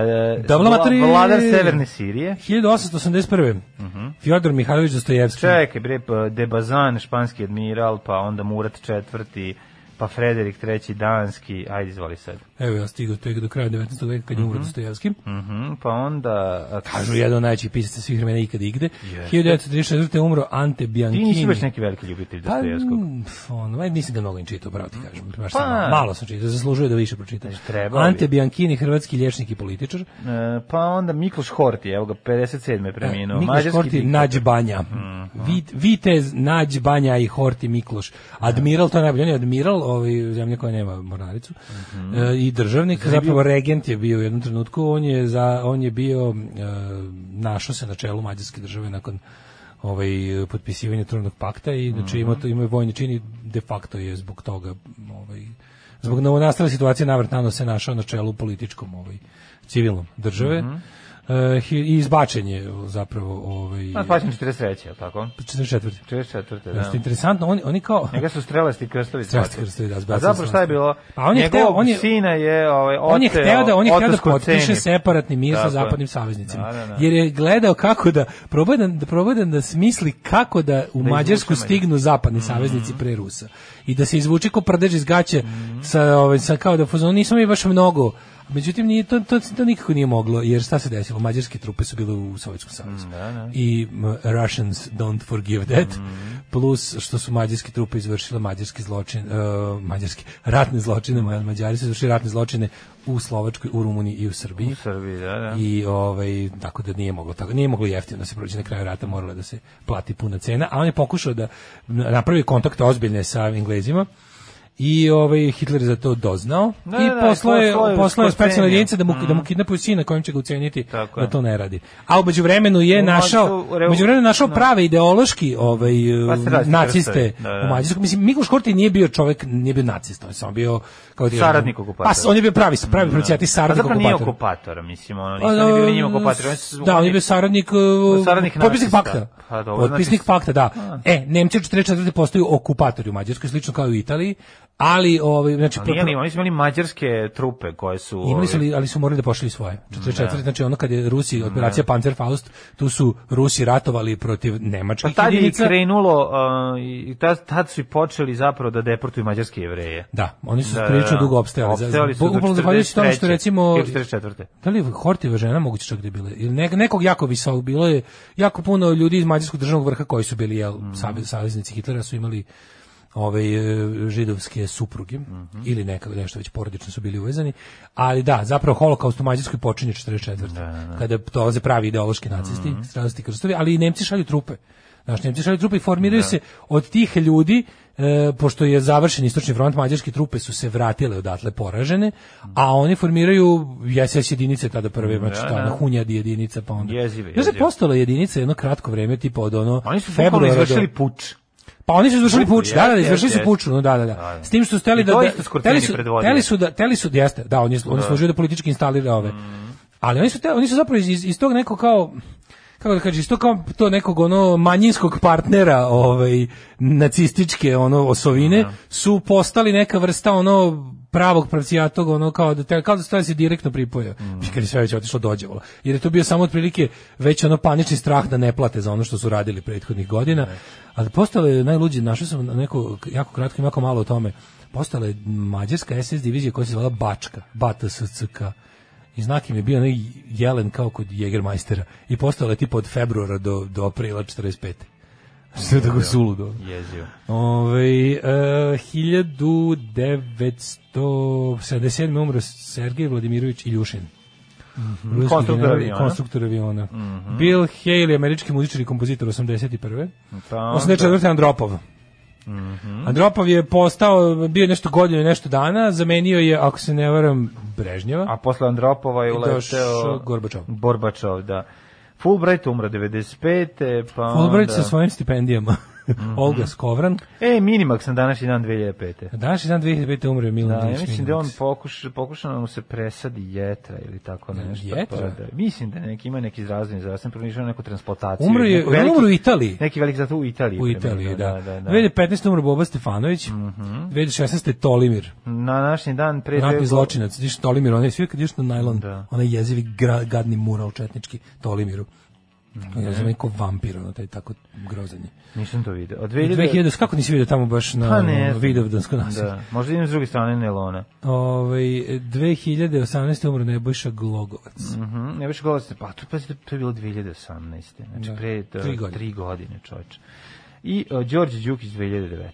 S7: Davla
S6: vla-
S7: matri-
S6: Vladar Severne Sirije.
S7: 1881.
S6: Mhm.
S7: Fjodor Mihajlović Dostojevski.
S6: Čekaj, bre, pa Debazan, španski admiral, pa onda Murat četvrti, pa Frederik III, danski, ajde izvoli sad.
S7: Evo ja stigao tek do kraja 19. veka kad je umro Dostojevski.
S6: Mhm, pa onda... a,
S7: Kažu jedan od najvećih pisaca svih vremena ikad igde. 1934. je umro Ante
S6: Ti
S7: Bianchini.
S6: nisi baš neki veliki ljubitelj
S7: Pa,
S6: Dostojevskog.
S7: mm, pf, ono, aj, nisam ga mnogo ni čitao, bravo ti kažem. Baš
S6: Pa.
S7: sam malo- malo sam čitao, zaslužuje da više pročitam.
S6: trebao bi.
S7: Ante Bianchini, hrvatski lječnik i političar.
S6: E, pa onda Mikloš Horti, evo ga, 57. je preminuo.
S7: E, Mikloš
S6: Mađarski
S7: Horti,
S6: diktator.
S7: Nađ Banja. Vit- Vitez, Nađ Banja i Horti Mikloš. Admiral, to je najbolje, on je admiral, ovaj, zemlja koja nema mornaricu, e, i državnik, zapravo regent je bio u jednom trenutku, on je, za, on je bio, e, našao se na čelu mađarske države nakon ovaj potpisivanja Trnovog pakta i znači ima to- ima je vojni čin i de facto je zbog toga ovaj zbog novonastale situacije navrtano se našao na čelu političkom ovaj civilnom države. E, hi- I izbačen je zapravo ovaj
S6: Pa, pa 43. je li tako?
S7: 44.
S6: 44.
S7: Da.
S6: da.
S7: Što je interesantno, oni oni kao
S6: Njega su strelasti krstovi
S7: Strelasti
S6: zbacili.
S7: krstovi, da, zbacili
S6: A zapravo
S7: su
S6: šta je
S7: nas.
S6: bilo?
S7: Pa on je
S6: Njegovog
S7: hteo- on je-
S6: sina je ovaj
S7: on je
S6: oteo-
S7: hteo da on je hteo da
S6: otac
S7: potpiše
S6: ceni.
S7: separatni mir
S6: Tako
S7: sa
S6: je.
S7: zapadnim saveznicima.
S6: Da, da, da.
S7: Jer je gledao kako da proba da, da proba da, da smisli kako da Mhm. u Mađarsku
S6: Mađarsku.
S7: stignu zapadni saveznici pre Rusa i da se izvuče ko prdež iz gaće sa ovaj sa kao da fuzon nismo mi baš mnogo. Međutim nije to, to to nikako nije moglo jer šta se desilo? Mađarske trupe su bile u Sovjetskom savezu. I m, Russians don't forgive that. Plus što su mađarske trupe izvršile mađarski zločin, e, mađarski ratne zločine, ma- Mađari su izvršili ratne zločine u Slovačkoj, u Rumuniji i u Srbiji.
S6: U Srbiji, da, da.
S7: I ovaj tako da nije moglo tako nije moglo jeftino da se prođe na kraju rata, moralo je da se plati puna cena, a on je pokušao da napravi kontakte ozbiljne sa Englezima. I ovaj Hitler je za to doznao
S6: Da,
S7: i
S6: da, da,
S7: poslao je
S6: poslao je
S7: poslao je
S6: u
S7: specijalne
S6: Škoceniju.
S7: jedinice da mu da mu kidnapuju sina kojim će ga uceniti
S6: Tako je.
S7: da to ne radi. A u međuvremenu je
S6: U
S7: našao
S6: Mađu- reu-
S7: u međuvremenu je našao
S6: Da.
S7: prave ideološki ovaj
S6: Pa se radi
S7: naciste
S6: krstovi, da, da.
S7: u Mađarskoj. Mislim Mikloš Horti nije bio čovjek, nije bio nacista, on je samo bio kao ti kažem,
S6: Saradnik okupatora.
S7: Pa on je bio pravi, pravi policijati
S6: Pa
S7: saradnik
S6: zapravo nije
S7: okupatora.
S6: okupator, mislim, ono, nisu oni bili njima okupatori. oni su-
S7: Pa Da, on je bio saradnik, uh,
S6: Saradnik
S7: potpisnik
S6: nacista.
S7: pakta.
S6: Pa dobro,
S7: potpisnik
S6: znači-
S7: pakta, da. E, Nemci od 44. postaju okupatori u Mađarskoj, slično kao i u Italiji, ali ovaj znači
S6: Nije li, oni su imali mađarske trupe koje su... ovaj,
S7: Imali su
S6: ovi-
S7: li, ali su morali da pošalju svoje.
S6: Da.
S7: 44. znači ono kad je Rusi operacija Panzerfaust, tu su Rusi ratovali protiv
S6: Pa
S7: nemačkih
S6: tad je i
S7: jedinica.
S6: krenulo, uh, i tad, tad su i počeli zapravo da deportuju mađarske jevreje.
S7: Da, oni su
S6: Da, da,
S7: prilično
S6: da.
S7: dugo opstajali.
S6: Opstajali su do
S7: Upravo zahvaljujući tome što
S6: 43..
S7: recimo...
S6: Ili 44..
S7: Da li je Hortiva žena moguće čak da je bila? Ili ne- nekog jako visok bilo je jako puno ljudi iz mađarskog državnog vrha koji su bili jel,
S6: Mhm.
S7: save- saveznici Hitlera su imali ove židovske supruge
S6: Mhm.
S7: ili neka nešto već porodično su bili uvezani, ali da, zapravo holokaust u Mađarskoj počinje 44.
S6: Da,
S7: kada dolaze pravi ideološki nacisti,
S6: Mhm.
S7: mm krstovi, ali i Nemci šalju trupe. Znaš, Nemci šalju trupe i formiraju
S6: Da.
S7: se od tih ljudi, e, pošto je završen istočni front, mađarske trupe su se vratile odatle poražene, a oni formiraju SS jedinice tada prve, znači
S6: Da,
S7: ta
S6: da.
S7: Hunjad jedinica, pa onda.
S6: Jezive,
S7: Znaš da je
S6: jezive.
S7: postala jedinica jedno kratko vreme, tipa od ono
S6: Oni su bukvalno
S7: februara da. do-
S6: izvršili puč.
S7: pa oni su izvršili
S6: Bukvu,
S7: puč, da, da,
S6: jeste,
S7: izvršili su
S6: jeste,
S7: puč, no, da, da, da.
S6: da.
S7: S tim što su teli
S6: I
S7: da,
S6: to
S7: da
S6: isto Skorpini
S7: teli su,
S6: predvodio.
S7: teli su da, teli su, jeste, da, oni, oni služuju da politički instalira ove.
S6: Mm.
S7: Ali oni su, te, oni su zapravo iz, iz, iz tog nekog kao, kako da kažeš, iz tog kao to nekog ono manjinskog partnera ovaj, nacističke ono osovine, su postali neka vrsta ono pravog pravcijatog, ono kao da te, kao da stvari se direktno pripoja. Mm. Kad je sve već otišlo dođevalo. Jer je to bio samo otprilike već ono panični strah da ne plate za ono što su radili prethodnih godina. Ali postalo je najluđe, našao sam neko jako kratko i jako malo o tome. Postala je mađarska SS divizija koja se zvala Bačka, BATSCK. I znak im je bio onaj jelen kao kod Jägermeistera. I postala je tipa od februara do, do aprila 45. Sve tako
S6: Da.
S7: suludo.
S6: Jezio.
S7: Ove, e, 1977. umro Sergej Vladimirović Iljušin. Ruski
S6: Mhm. Konstruktor
S7: general i
S6: aviona. Mhm.
S7: Konstruktor aviona. Bill Haley, američki muzičar i kompozitor 81.
S6: Pa onda-
S7: 84. Andropov.
S6: Mhm.
S7: Andropov je postao, bio je nešto godinu i nešto dana, zamenio je, ako se ne varam, Brežnjeva.
S6: A posle Andropova je
S7: I
S6: uleteo...
S7: došao Gorbačov.
S6: Borbačov, da. Fulbright umro 95. Pa
S7: Fulbright
S6: onda...
S7: sa svojim stipendijama.
S6: Mhm.
S7: Olga Skovran.
S6: E, Minimak sam današnji dan 2005.
S7: Danas je dan 2005. umre Milan
S6: Da, ja
S7: Dinić
S6: mislim da je
S7: Minimax.
S6: on pokuša, pokušao da mu se presadi jetra ili tako nešto.
S7: Jetra?
S6: Pa da, mislim da neki, ima neki zdravstveni zdravstveni problem, išao na neku transplantaciju.
S7: Umro je,
S6: neku
S7: on umro u Italiji.
S6: Neki veliki zato u Italiji.
S7: U
S6: primjerno,
S7: Italiji, da.
S6: da, da.
S7: 2015. umro Boba Stefanović, 2016. Tolimir,
S6: Na današnji dan pre... dve
S7: ratni
S6: go-
S7: zločinac. Diš Tolimir, onaj svi kad ideš na najlon,
S6: Da.
S7: onaj jezivi gra- gadni mural četnički Tolimiru.
S6: Mhm.
S7: Ja znam neko vampir, ono taj tako grozanje.
S6: Nisam to vidio. Od 2000...
S7: 2000, kako nisi vidio tamo baš na
S6: Pa ne
S7: pa
S6: znam.
S7: Vidovdansko naselje?
S6: Da, možda idem s druge strane Nelona.
S7: Ovaj 2018. umro Nebojša Glogovac.
S6: Mhm, ne više golac, pa to, pa, to je bilo 2018. Znači
S7: Da.
S6: pre da,
S7: Tri godine.
S6: tri godine, čoveče. I uh, Đorđe Đukić 2019.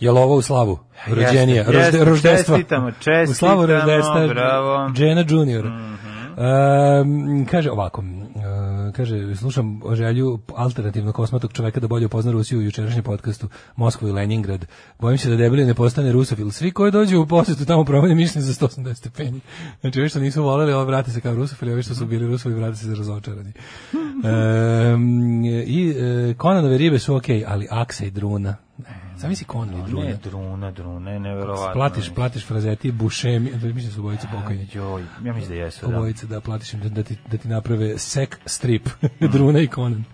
S7: Jel ovo u slavu? Rođenje,
S6: Jeste,
S7: rožde,
S6: jeste,
S7: roždestva.
S6: čestitamo, čestitamo,
S7: U slavu roždestva
S6: bravo. Mhm.
S7: Džena Junior. Um, kaže ovako, uh, kaže, slušam želju alternativno kosmatog čoveka da bolje upozna Rusiju u jučerašnjem podcastu Moskvu i Leningrad. Bojim se da debeli ne postane rusofil. Svi koji dođu u posetu tamo promene mišljenje za 180 stepeni. Znači, ovi što nisu voleli, ovo vrate se kao rusofili, ovi što su bili rusofili, vrate se razočarani. Um, I uh, Konanove ribe su okej, ali Aksa i Druna. Ne, zamisli Konan i Druna.
S6: Ne, druna, druna, je neverovatno.
S7: Platiš, platiš frazeti, bušemi, mislim da su obojice pokojni.
S6: Joj, ja mislim da jesu, da.
S7: Obojice da platiš im da, da ti, da ti naprave sek strip, Druna i Conan.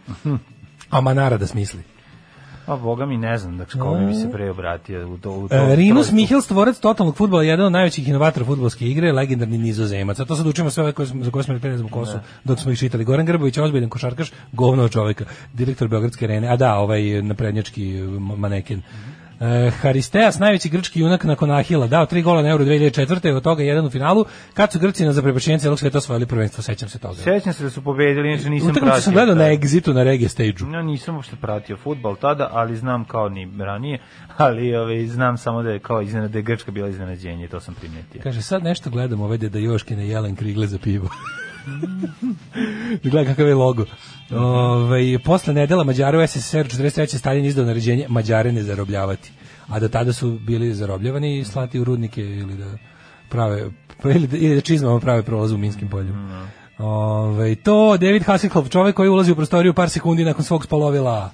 S7: A Manara da smisli.
S6: A boga mi ne znam da kome bi se pre obratio u to. U to
S7: Mm. E, Rinus
S6: to-
S7: Mihel, stvorac totalnog futbola, jedan od najvećih inovatora futbolske igre, legendarni nizozemac. A to sad učimo sve ove koje smo, za koje smo rekli, ne znam ko su, dok smo ih čitali. Goran Grbović, ozbiljan košarkaš, govno od čoveka, direktor Beogradske arene, a da, ovaj naprednjački m- maneken. E, Haristeas, najveći grčki junak nakon Ahila, dao tri gola na Euro 2004. od toga jedan u finalu, kad su Grci na zaprepačenje celog sveta osvojili prvenstvo, sećam se toga.
S6: Sećam se da su pobedili, inače nisam
S7: Utakmicu
S6: pratio.
S7: sam gledao na
S6: taj.
S7: Exitu, na Reggae stage
S6: No, nisam uopšte pratio futbal tada, ali znam kao ni ranije, ali ove, znam samo da je kao iznena, da je Grčka bila iznenađenje, to sam primetio.
S7: Kaže, sad nešto gledam ove deda Joškine jelen krigle za pivo. Gledaj kakav je logo. Ove, posle nedela Mađara u SSR 43. Stalin izdao naređenje Mađare ne zarobljavati. A do tada su bili zarobljavani i slati u rudnike ili da prave ili da, ili da čizmama prave prolaz u Minskim polju.
S6: Mhm.
S7: Ove, to David Hasselhoff, čovek koji ulazi u prostoriju par sekundi nakon svog spalovila.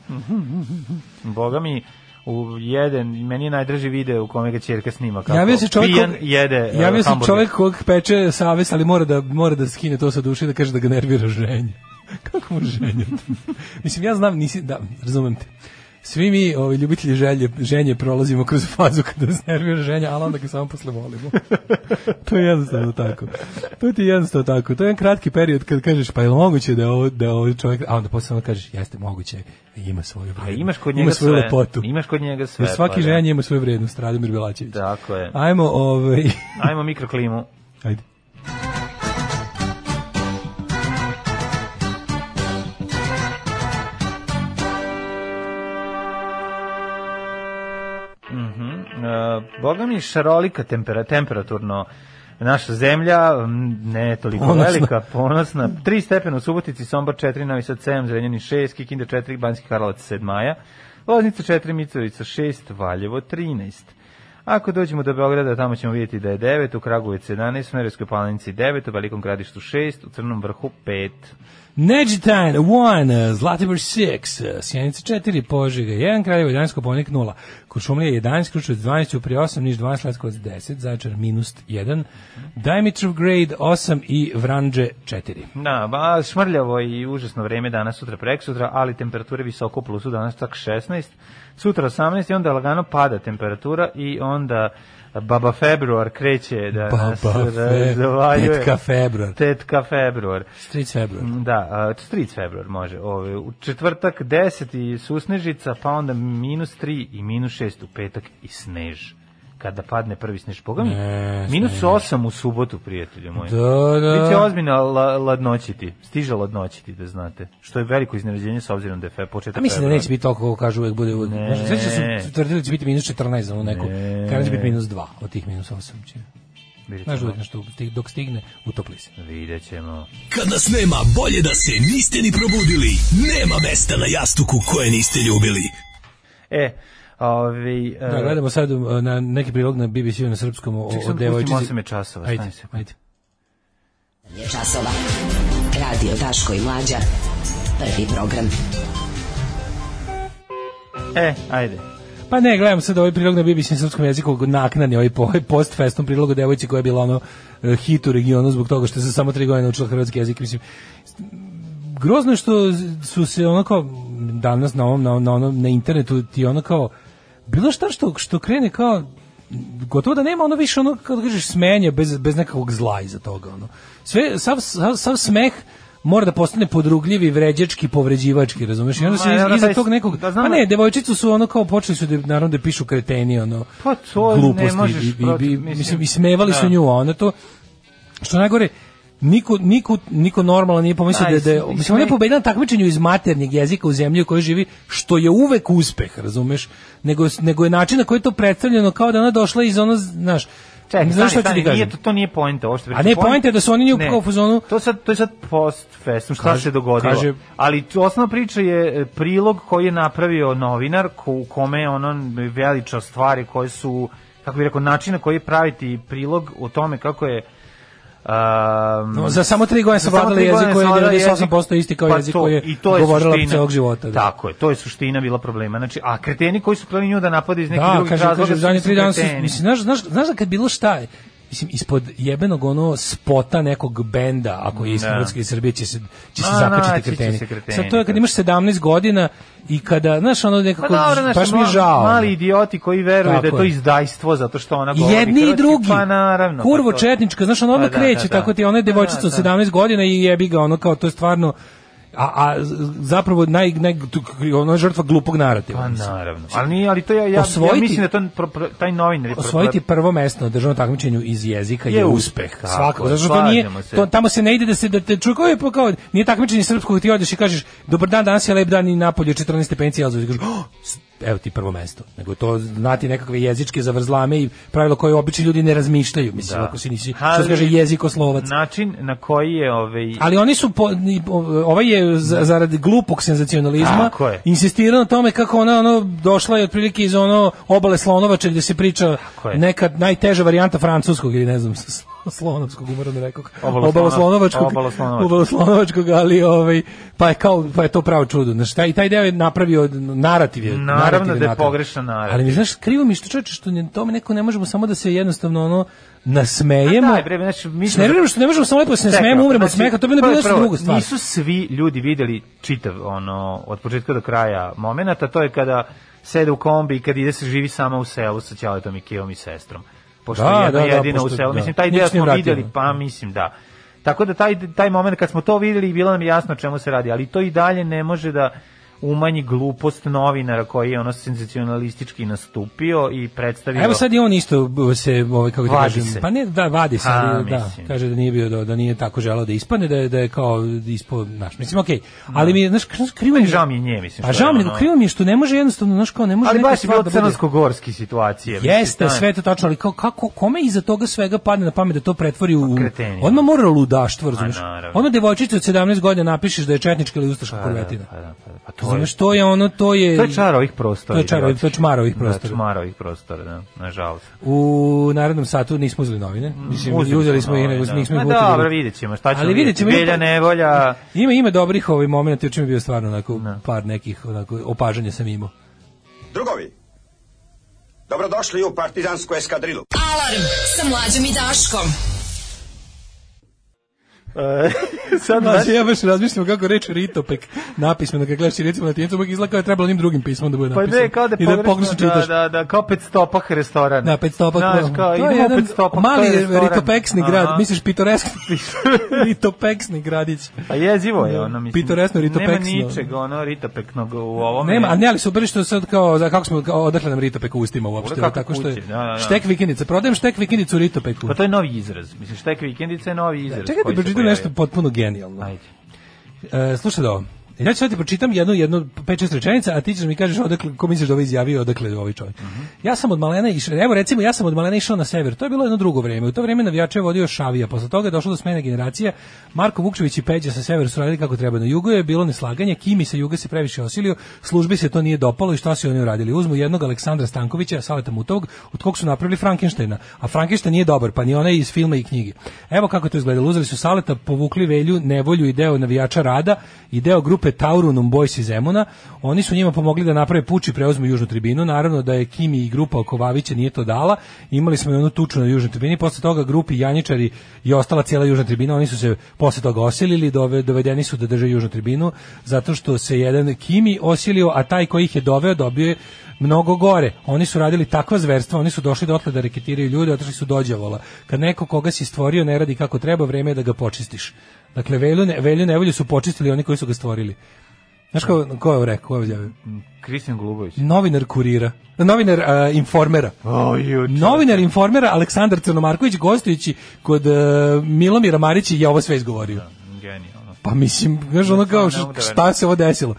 S6: Boga mi, u jedan, meni je najdraži video u kome ga čerka snima kako
S7: Javio se čovjek
S6: pijan
S7: kog-
S6: jede e,
S7: Javio se
S6: hamburger.
S7: čovjek kog peče savest, ali mora da mora da skine to sa duše i da kaže da ga nervira ženje. Kako mu ženje? Mislim ja znam nisi da razumem te. Svi mi, ovi ljubitelji želje, ženje prolazimo kroz fazu kada nas nervira ženja, ali onda ga samo posle volimo. to je jednostavno tako. To ti je jednostavno tako. To je jedan kratki period kad kažeš pa je li moguće da je ovo, da je ovo čovjek, a onda posle samo kažeš jeste moguće, ima svoju
S6: A
S7: vrednost.
S6: Pa E, imaš kod
S7: ima
S6: njega sve.
S7: svoju lepotu.
S6: Imaš kod njega sve.
S7: Jer svaki
S6: pa da.
S7: ženje ima svoju vrednost, Radomir Belačević.
S6: Tako je.
S7: Ajmo, ovaj,
S6: Ajmo mikroklimu.
S7: ajde.
S6: Uh, Boga mi šarolika tempera, temperaturno naša zemlja, m, ne toliko
S7: Ponosna.
S6: velika, ponosna. 3 stepena u Subotici, Sombor 4, Novi Sad 7, Zrenjanin 6, Kikinda 4, Banjski Karlovac 7 maja, Loznica 4, Mitrovica 6, Valjevo 13. Ako dođemo do Beograda, tamo ćemo vidjeti da je 9, u Kragujevac 11, u Merevskoj Palanici 9, u Velikom Gradištu 6, u Crnom Vrhu 5.
S7: Neđitajn, 1, eh, Zlatibor 6, Sjenica 4, Požega 1, Kraljevo 11, Koponik 0, Kuršumlija 11, Krušovac 12, Uprije 8, Niš 12, Leskovac 10, Zaječar minus 1, Dimitrov grade 8 i Vranđe 4.
S6: Na, ba, šmrljavo i užasno vreme danas, sutra, prek sutra, ali temperature visoko u plusu, danas čak 16, sutra 18 i onda lagano pada temperatura i onda Baba Februar kreće da nas
S7: Baba fe,
S6: razvaljuje.
S7: tetka februar,
S6: Tetka Februar.
S7: stric februar.
S6: Da, a, stric februar može. Ove, u četvrtak 10 i susnežica, pa onda minus 3 i minus 6 u petak i snež. Kada padne prvi snež, boga mi,
S7: Ne,
S6: minus 8 u subotu, prijatelju moji.
S7: Da, da.
S6: Biće ozbiljno la, ladnoćiti, stiže ladnoćiti, da znate. Što je veliko iznenađenje s obzirom da je fe, početak
S7: A mislim da
S6: februara.
S7: neće biti toliko kako kažu uvek bude uvek.
S6: Ne.
S7: Znači, Sve će su tvrdili da će biti minus 14 za onu neku.
S6: Ne.
S7: Kada će biti minus 2 od tih minus 8. Će.
S6: Vidjet
S7: Znaš
S6: ćemo.
S7: uvek nešto, sti- dok stigne, utopli se.
S6: Vidjet ćemo.
S8: Kad nas nema, bolje da se niste ni probudili. Nema mesta na jastuku koje niste ljubili.
S6: E, ovaj, ovi,
S7: Da, gledamo sad uh, na neki prilog na BBC-u na srpskom o, o
S6: E, Čekaj,
S7: devojčici.
S6: pustim 8 časova,
S7: Ajde,
S6: stani se.
S7: ajde.
S5: Je časova. Radio Daško i Mlađa. Prvi program.
S6: E, ajde.
S7: Pa ne, gledam sad ovaj prilog na BBC na srpskom jeziku, naknadni ovaj po- ovaj post festom prilog o devojci koja je bila ono eh, hit u regionu zbog toga što se samo tri godine naučila hrvatski jezik, mislim. Grozno je što su se ono kao danas na ovom, na, na, onom, na internetu ti ono kao bilo šta što, što krene kao gotovo da nema ono više ono kako da kažeš smenje bez, bez nekakvog zla iza toga ono. Sve, sav, sav, sav smeh mora da postane podrugljivi, vređački, povređivački, razumeš? I onda se
S6: Ma,
S7: iz-
S6: naravno,
S7: iza
S6: taj-
S7: tog nekog...
S6: da znam
S7: pa
S6: da-
S7: ne, devojčicu su ono kao počeli su da, naravno da pišu kreteni ono
S6: Pa to ne
S7: gluposti i-
S6: možeš
S7: i, i,
S6: protiv-
S7: i-
S6: mislim,
S7: mislim, i smevali
S6: da.
S7: su nju a ona to što najgore Niko, niko, niko normalan nije pomislio
S6: Aj,
S7: da, da je,
S6: isme-
S7: mislim, ona je pobedila na takmičenju iz maternjeg jezika u zemlji u kojoj živi, što je uvek uspeh, razumeš? Nego, nego je način na koji je to predstavljeno kao da ona došla iz ono, znaš,
S6: Čekaj,
S7: znaš
S6: stani,
S7: šta ću ti
S6: stani,
S7: kažem?
S6: nije to, to nije poenta, ovo što
S7: A ne, poenta je da su oni nju kao u fazonu-
S6: To sad to je sad post festum, šta
S7: Kaže-
S6: se dogodilo.
S7: kaže-
S6: Ali tu osnovna priča je e, prilog koji je napravio novinar ko, u kome je ono veličao stvari koje su kako bih rekao način na koji praviti prilog o tome kako je Um,
S7: No, za samo tri godine
S6: Za samo
S7: savladala
S6: tri
S7: jezik
S6: godine
S7: koji je
S6: savladala jezik. Pa
S7: 98% isti kao jezik
S6: to,
S7: koji je
S6: i to
S7: govorila
S6: suština.
S7: celog života, da.
S6: Tako je, to je suština bila problema. Znači, a kreteni koji su planili nju da napade iz nekih drugih
S7: kaže,
S6: razloga
S7: kaže,
S6: su
S7: zadnje tri dana su,
S6: kreteni.
S7: mislim, znaš, znaš, znaš da kad bilo šta, je, mislim, ispod jebenog ono spota nekog benda, ako je iz
S6: Da.
S7: Hrvatske i Srbije, će se, će se
S6: Ma, naći će
S7: zakačiti
S6: se
S7: kreteni.
S6: kreteni,
S7: Sad to je kad
S6: da.
S7: imaš 17 godina i kada, znaš, ono
S6: Pa
S7: nekako,
S6: dobro, znaš,
S7: baš mi je
S6: mali-
S7: žao.
S6: Mali idioti koji veruju
S7: Tako
S6: da je to
S7: je.
S6: izdajstvo zato što ona
S7: I
S6: govori
S7: jedni i
S6: hrvatski,
S7: drugi.
S6: Pa naravno.
S7: Kurvo
S6: pa to-
S7: četnička, znaš, ona odmah
S6: Pa da,
S7: kreće,
S6: da, da.
S7: tako ti, ona je
S6: Pa da,
S7: devojčica
S6: da.
S7: od 17 godina i jebi ga, ono kao, to je stvarno, a, a zapravo naj, naj, ona je žrtva glupog narativa.
S6: Pa
S7: mislim.
S6: naravno. Ali nije, ali to ja, ja, ja
S7: Osvojiti-
S6: mislim da to pro- pro- taj novinar je pro-
S7: osvojiti prvo mesto na državnom takmičenju iz jezika je,
S6: Je
S7: uspeh.
S6: uspeh, tako
S7: Svako,
S6: je,
S7: zato što to nije
S6: slažemo se.
S7: to, tamo se ne ide da se da te čuje kao je pa kao nije takmičenje srpskog ti odeš i kažeš dobar dan danas je lep dan i napolje je 14 stepeni Celzijusa i kažeš "Oh, s- evo ti prvo mesto. Nego to znati nekakve jezičke zavrzlame i pravilo koje obični ljudi ne razmišljaju, mislim
S6: Da.
S7: ako si nisi što
S6: Ali-
S7: se kaže jezikoslovac.
S6: Način na koji je ovaj
S7: Ali oni su po, ni- o- ovaj je za- zarad glupog senzacionalizma
S6: Tako je.
S7: insistirao na tome kako ona ono došla je otprilike iz ono obale Slonovače gdje se priča
S6: Tako je.
S7: neka najteža varijanta francuskog ili ne znam s- slonovskog umoram da rekao
S6: Obalo-
S7: slonovačkog
S6: obalo slonovačkog.
S7: obalo slonovačkog ali ovaj pa je kao pa je to pravo čudo znači taj taj deo je napravio narativ je
S6: Naravno
S7: narativ
S6: da je
S7: napravio.
S6: pogrešan narativ.
S7: ali mi znaš krivo mi je što čoveče što ne, tome neko ne možemo samo da se jednostavno ono nasmejemo
S6: Daj, bre, znači, mi smo-
S7: Snerviramo što ne možemo samo lepo da se
S6: Čekaj,
S7: smejemo, umremo od
S6: znači,
S7: smeha, to bi ne
S6: prvo
S7: bilo
S6: je
S7: nešto
S6: prvo,
S7: drugo stvar.
S6: Nisu svi ljudi videli čitav ono od početka do kraja momenata, to je kada sede u kombi i kad ide se živi sama u selu sa ćaletom i keom i sestrom. Pošto
S7: Da,
S6: je jedna
S7: da, da,
S6: jedina
S7: pošto-
S6: u selu,
S7: da.
S6: mislim taj
S7: Nije
S6: deo
S7: s njim
S6: smo
S7: vratio.
S6: videli, pa mislim da. Tako da taj taj moment kad smo to videli bilo nam je jasno o čemu se radi, ali to i dalje ne može da umanji glupost novinara koji je ono senzacionalistički nastupio i predstavio
S7: Evo sad i on isto b- se ovaj kako ti
S6: Vadi
S7: kažem,
S6: se.
S7: pa ne da vadi se,
S6: A,
S7: ali, da,
S6: mislim.
S7: kaže da nije bio da, da nije tako želeo da ispadne, da je da je kao ispo, znaš, mislim okej. Ali mi je, znaš, znaš, krivo mi je.
S6: Da. žao mi je nje, mislim,
S7: Pa
S6: što je
S7: žao mi je,
S6: ono-
S7: nego krivo mi je što ne može jednostavno, znaš, kao ne može
S6: ali
S7: neka
S6: baš je
S7: stvar
S6: bilo
S7: da bude-
S6: crnogorski situacije. mislim,
S7: Jeste,
S6: da.
S7: sve je to tačno, ali kao, kako, kome iza toga svega padne na pamet da to pretvori u...
S6: kretenima.
S7: Odmah mora ludaštvo, razumiješ?
S6: naravno.
S7: Odmah devojčica od 17 godina napišeš da je četnička ili ustaška
S6: Pa da,
S7: kurvetina.
S6: pa da, pa da, pa to je-
S7: Razumeš, to je ono, to je...
S6: To je čar ovih prostora.
S7: To je čar ovih-
S6: idioti.
S7: to je čmar ovih prostora.
S6: Da, čmar ovih prostora, da, nažalost.
S7: U narednom satu nismo uzeli novine. Mislim, Mm, uzeli, smo ih,
S6: nove,
S7: nego
S6: da.
S7: nismo ih
S6: Ma dobro,
S7: utvrdili.
S6: vidjet ćemo, šta ćemo
S7: Ali vidjet ćemo,
S6: Velja
S7: ima-
S6: nevolja,
S7: Ima ima dobrih ovih momenata, juče mi je bio stvarno onako par nekih onako opažanja sam imao.
S9: Drugovi, dobrodošli u partizansku eskadrilu.
S5: Alarm sa mlađom i Daškom.
S6: e, sad
S7: Znači, ja baš razmišljam kako reći ritopek napismeno, kad gledaš recimo latinicu, uvijek izgleda kao je trebalo onim drugim pismom da bude
S6: Pa
S7: napisano.
S6: ne, kao da
S7: I da
S6: pogrešno,
S7: pogrešno
S6: da,
S7: čitaš.
S6: da, da, kao pet stopah restoran.
S7: Da, petstopak.
S6: Znaš,
S7: da.
S6: kao,
S7: to je
S6: idemo u
S7: jedan
S6: pet stopah,
S7: mali
S6: to je restoran.
S7: ritopeksni
S6: Aha.
S7: grad, misliš pitoresni, ritopeksni gradić.
S6: Pa jezivo je ono, mislim.
S7: Pitoresno, Da. ritopeksno.
S6: Nema ničeg, ono, ritopeknog u ovom.
S7: Nema, a ne, ali super što sad kao, za kako smo, kao, odakle nam ritopek u ustima uopšte,
S6: Kako
S7: tako što je,
S6: kući, da, da, da.
S7: štek vikendica, prodajem štek vikendicu u ritopeku.
S6: Pa to je novi izraz. Mislim, štek vikendica je novi izraz.
S7: Čekaj
S6: koji se
S7: da pročitam
S6: pojavio.
S7: nešto potpuno genijalno.
S6: Ajde.
S7: E, slušaj da ovo. Ja ću sad ti pročitam jednu, jednu pet, šest rečenica, a ti ćeš da mi kažeš odakle, ko misliš da ovo izjavio, odakle je ovaj čovjek.
S6: Mhm.
S7: Ja sam od malena išao, evo recimo, ja sam od malena išao na sever, to je bilo jedno drugo vreme. U to vreme navijače je vodio Šavija, posle toga je došlo do smene generacija, Marko Vukčević i Peđa sa severa su radili kako treba. Na jugu je bilo neslaganje, Kimi sa juga se previše osilio, službi se to nije dopalo i šta su oni uradili? Uzmu jednog Aleksandra Stankovića, Saleta Mutovog, od kog su napravili Frankensteina, a Frankenstein nije dobar, pa ni onaj iz filma i knjige. Evo kako je to izgledalo, uzeli su Saleta, povukli Velju, Nevolju i deo navijača Rada i deo grupe grupe Taurunom Boys iz Zemuna. Oni su njima pomogli da naprave puč i preuzmu južnu tribinu. Naravno da je Kimi i grupa oko Vavića nije to dala. Imali smo i onu tuču na južnoj tribini. Posle toga grupi Janjičari i ostala cijela južna tribina, oni su se posle toga osilili, dove- dovedeni su da drže južnu tribinu, zato što se jedan Kimi osilio, a taj koji ih je doveo dobio je mnogo gore. Oni su radili takva zverstva, oni su došli dotle da reketiraju ljude, otišli su dođavola. Kad neko koga si stvorio ne radi kako treba, vreme je da ga počistiš. Dakle, velju, ne, velju nevolju su počistili oni koji su ga stvorili. Znaš ko, ko je ovo rekao? Ko je objavio?
S6: Kristijan Golubović.
S7: Novinar kurira. Novinar a, informera.
S6: O, juče.
S7: Novinar informera Aleksandar Crnomarković gostujući kod e, Milomira Marića je ovo sve izgovorio.
S6: Genijalno.
S7: Pa mislim, znaš ono kao,
S6: Da. ne mogu da
S7: šta se ovo desilo?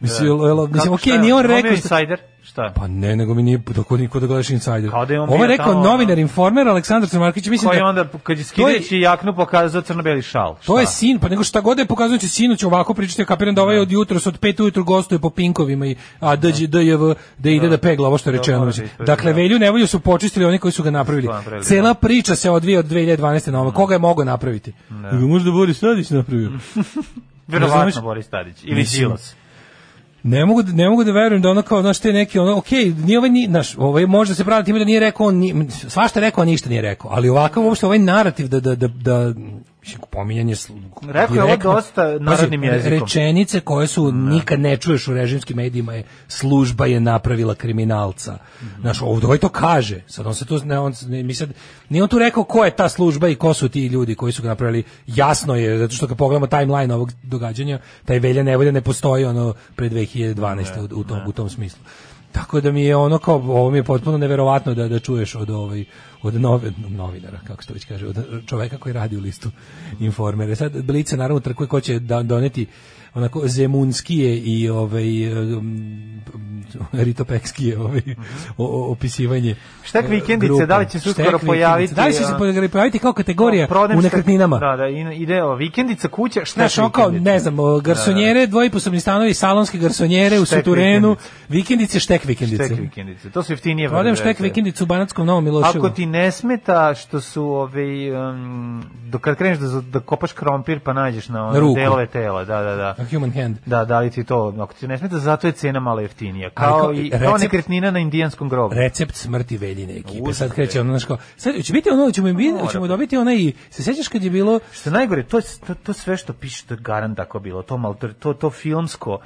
S7: Mislim, jel- jel- mislim
S6: Kako,
S7: okej,
S6: šta je
S7: nije on
S6: ovo? Ovo
S7: rekao...
S6: je
S7: šta-
S6: Insider? Šta je?
S7: pa ne, nego mi nije tako niko da gledaš Insider.
S6: Kao da je on
S7: Ovo
S6: bio
S7: je rekao
S6: tamo,
S7: novinar Informer Aleksandar Crmarkić, mislim
S6: Koji je
S7: da
S6: onda, kad je skidajući jaknu, pokazao crno-beli šal.
S7: To je
S6: Šta?
S7: sin, pa nego šta god da je pokazujući sinu će ovako pričati, ja kapiram da ovaj od jutros od 5 ujutru gostuje po pinkovima i a DJV da ide da pegla ovo što je rečeno.
S6: mora
S7: mislim.
S6: da ispravi,
S7: Dakle
S6: da.
S7: Velju Nevolju su počistili oni koji su ga napravili.
S6: Su ga napravili,
S7: Cela
S6: da.
S7: priča se odvija od 2012 na ovamo. Koga je mogao napraviti?
S6: Da.
S7: Nego Možda Boris Tadić
S6: Mhm.
S7: napravio.
S6: Verovatno
S7: razumeš?
S6: Boris Tadić. Ili
S7: Mislim,
S6: Đilas.
S7: Ne mogu da, ne mogu da verujem da ono kao znaš te neki ono okej, nije ovaj ni naš, ovaj može da se praviti time da nije rekao on ni, svašta je rekao, a ništa nije rekao, ali ovakav uopšte ovaj narativ da da da da mislim pominjanje sl-
S6: Rekao je ovo
S7: direktno-
S6: dosta narodnim
S7: Pazi,
S6: jezikom.
S7: Rečenice koje su nikad ne čuješ u režimskim medijima je služba je napravila kriminalca. Znaš, ovdje ovaj to kaže. Sad on se tu ne on ne, mi sad nije on tu rekao ko je ta služba i ko su ti ljudi koji su ga napravili. Jasno je zato što kad pogledamo timeline ovog događanja, taj velja nevolja ne postoji ono pre 2012. u, u tom u tom smislu. Tako da mi je ono kao ovo mi je potpuno neverovatno da da čuješ od ovaj od nove- novinara kako se to već kaže od čoveka koji radi u listu informere. Sad Blica naravno trkuje ko će da doneti onako zemunskije i ovaj um, ritopekskije ovaj o- o- opisivanje.
S6: Štek
S7: e,
S6: vikendice,
S7: grupe.
S6: da li će se uskoro
S7: Štek vikendice.
S6: pojaviti,
S7: Da li će se
S6: a-
S7: pojaviti kao kategorija
S6: Prodajem
S7: u
S6: šta-
S7: nekretninama?
S6: Da, da, i- ide ova vikendica, kuća, šta
S7: Znaš,
S6: je
S7: on kao,
S6: vikendica?
S7: ne znam, o, garsonjere, dvojiposobni stanovi, salonske garsonjere u
S6: Da, Štek
S7: Suturenu, vikendice, štek vikendice.
S6: Štek vikendice. To su jeftinije.
S7: Prodajem
S6: varijacije.
S7: štek vikendicu u Banatskom Novom Miloševu.
S6: Ako ti ne smeta što su ovaj um, dok kad kreneš da, da kopaš krompir pa nađeš na
S7: Na
S6: ono
S7: ruku.
S6: delove tela, da, da, da.
S7: A human hand.
S6: Da, da li ti to, ako ti ne smeta, zato je cena malo jeftinija.
S7: Ali
S6: Kao,
S7: kao-
S6: i, kao
S7: recept-
S6: nekretnina na indijanskom grobu.
S7: Recept smrti veljine ekipe.
S6: Užas,
S7: Sad kreće ono, znaš kao, sad će biti ono, ćemo, im biti,
S6: Mora.
S7: ćemo dobiti onaj, se sjećaš kad je bilo,
S6: Što je najgore, to, to, to sve što piše, to je garant tako bilo, to, mal, to, to filmsko,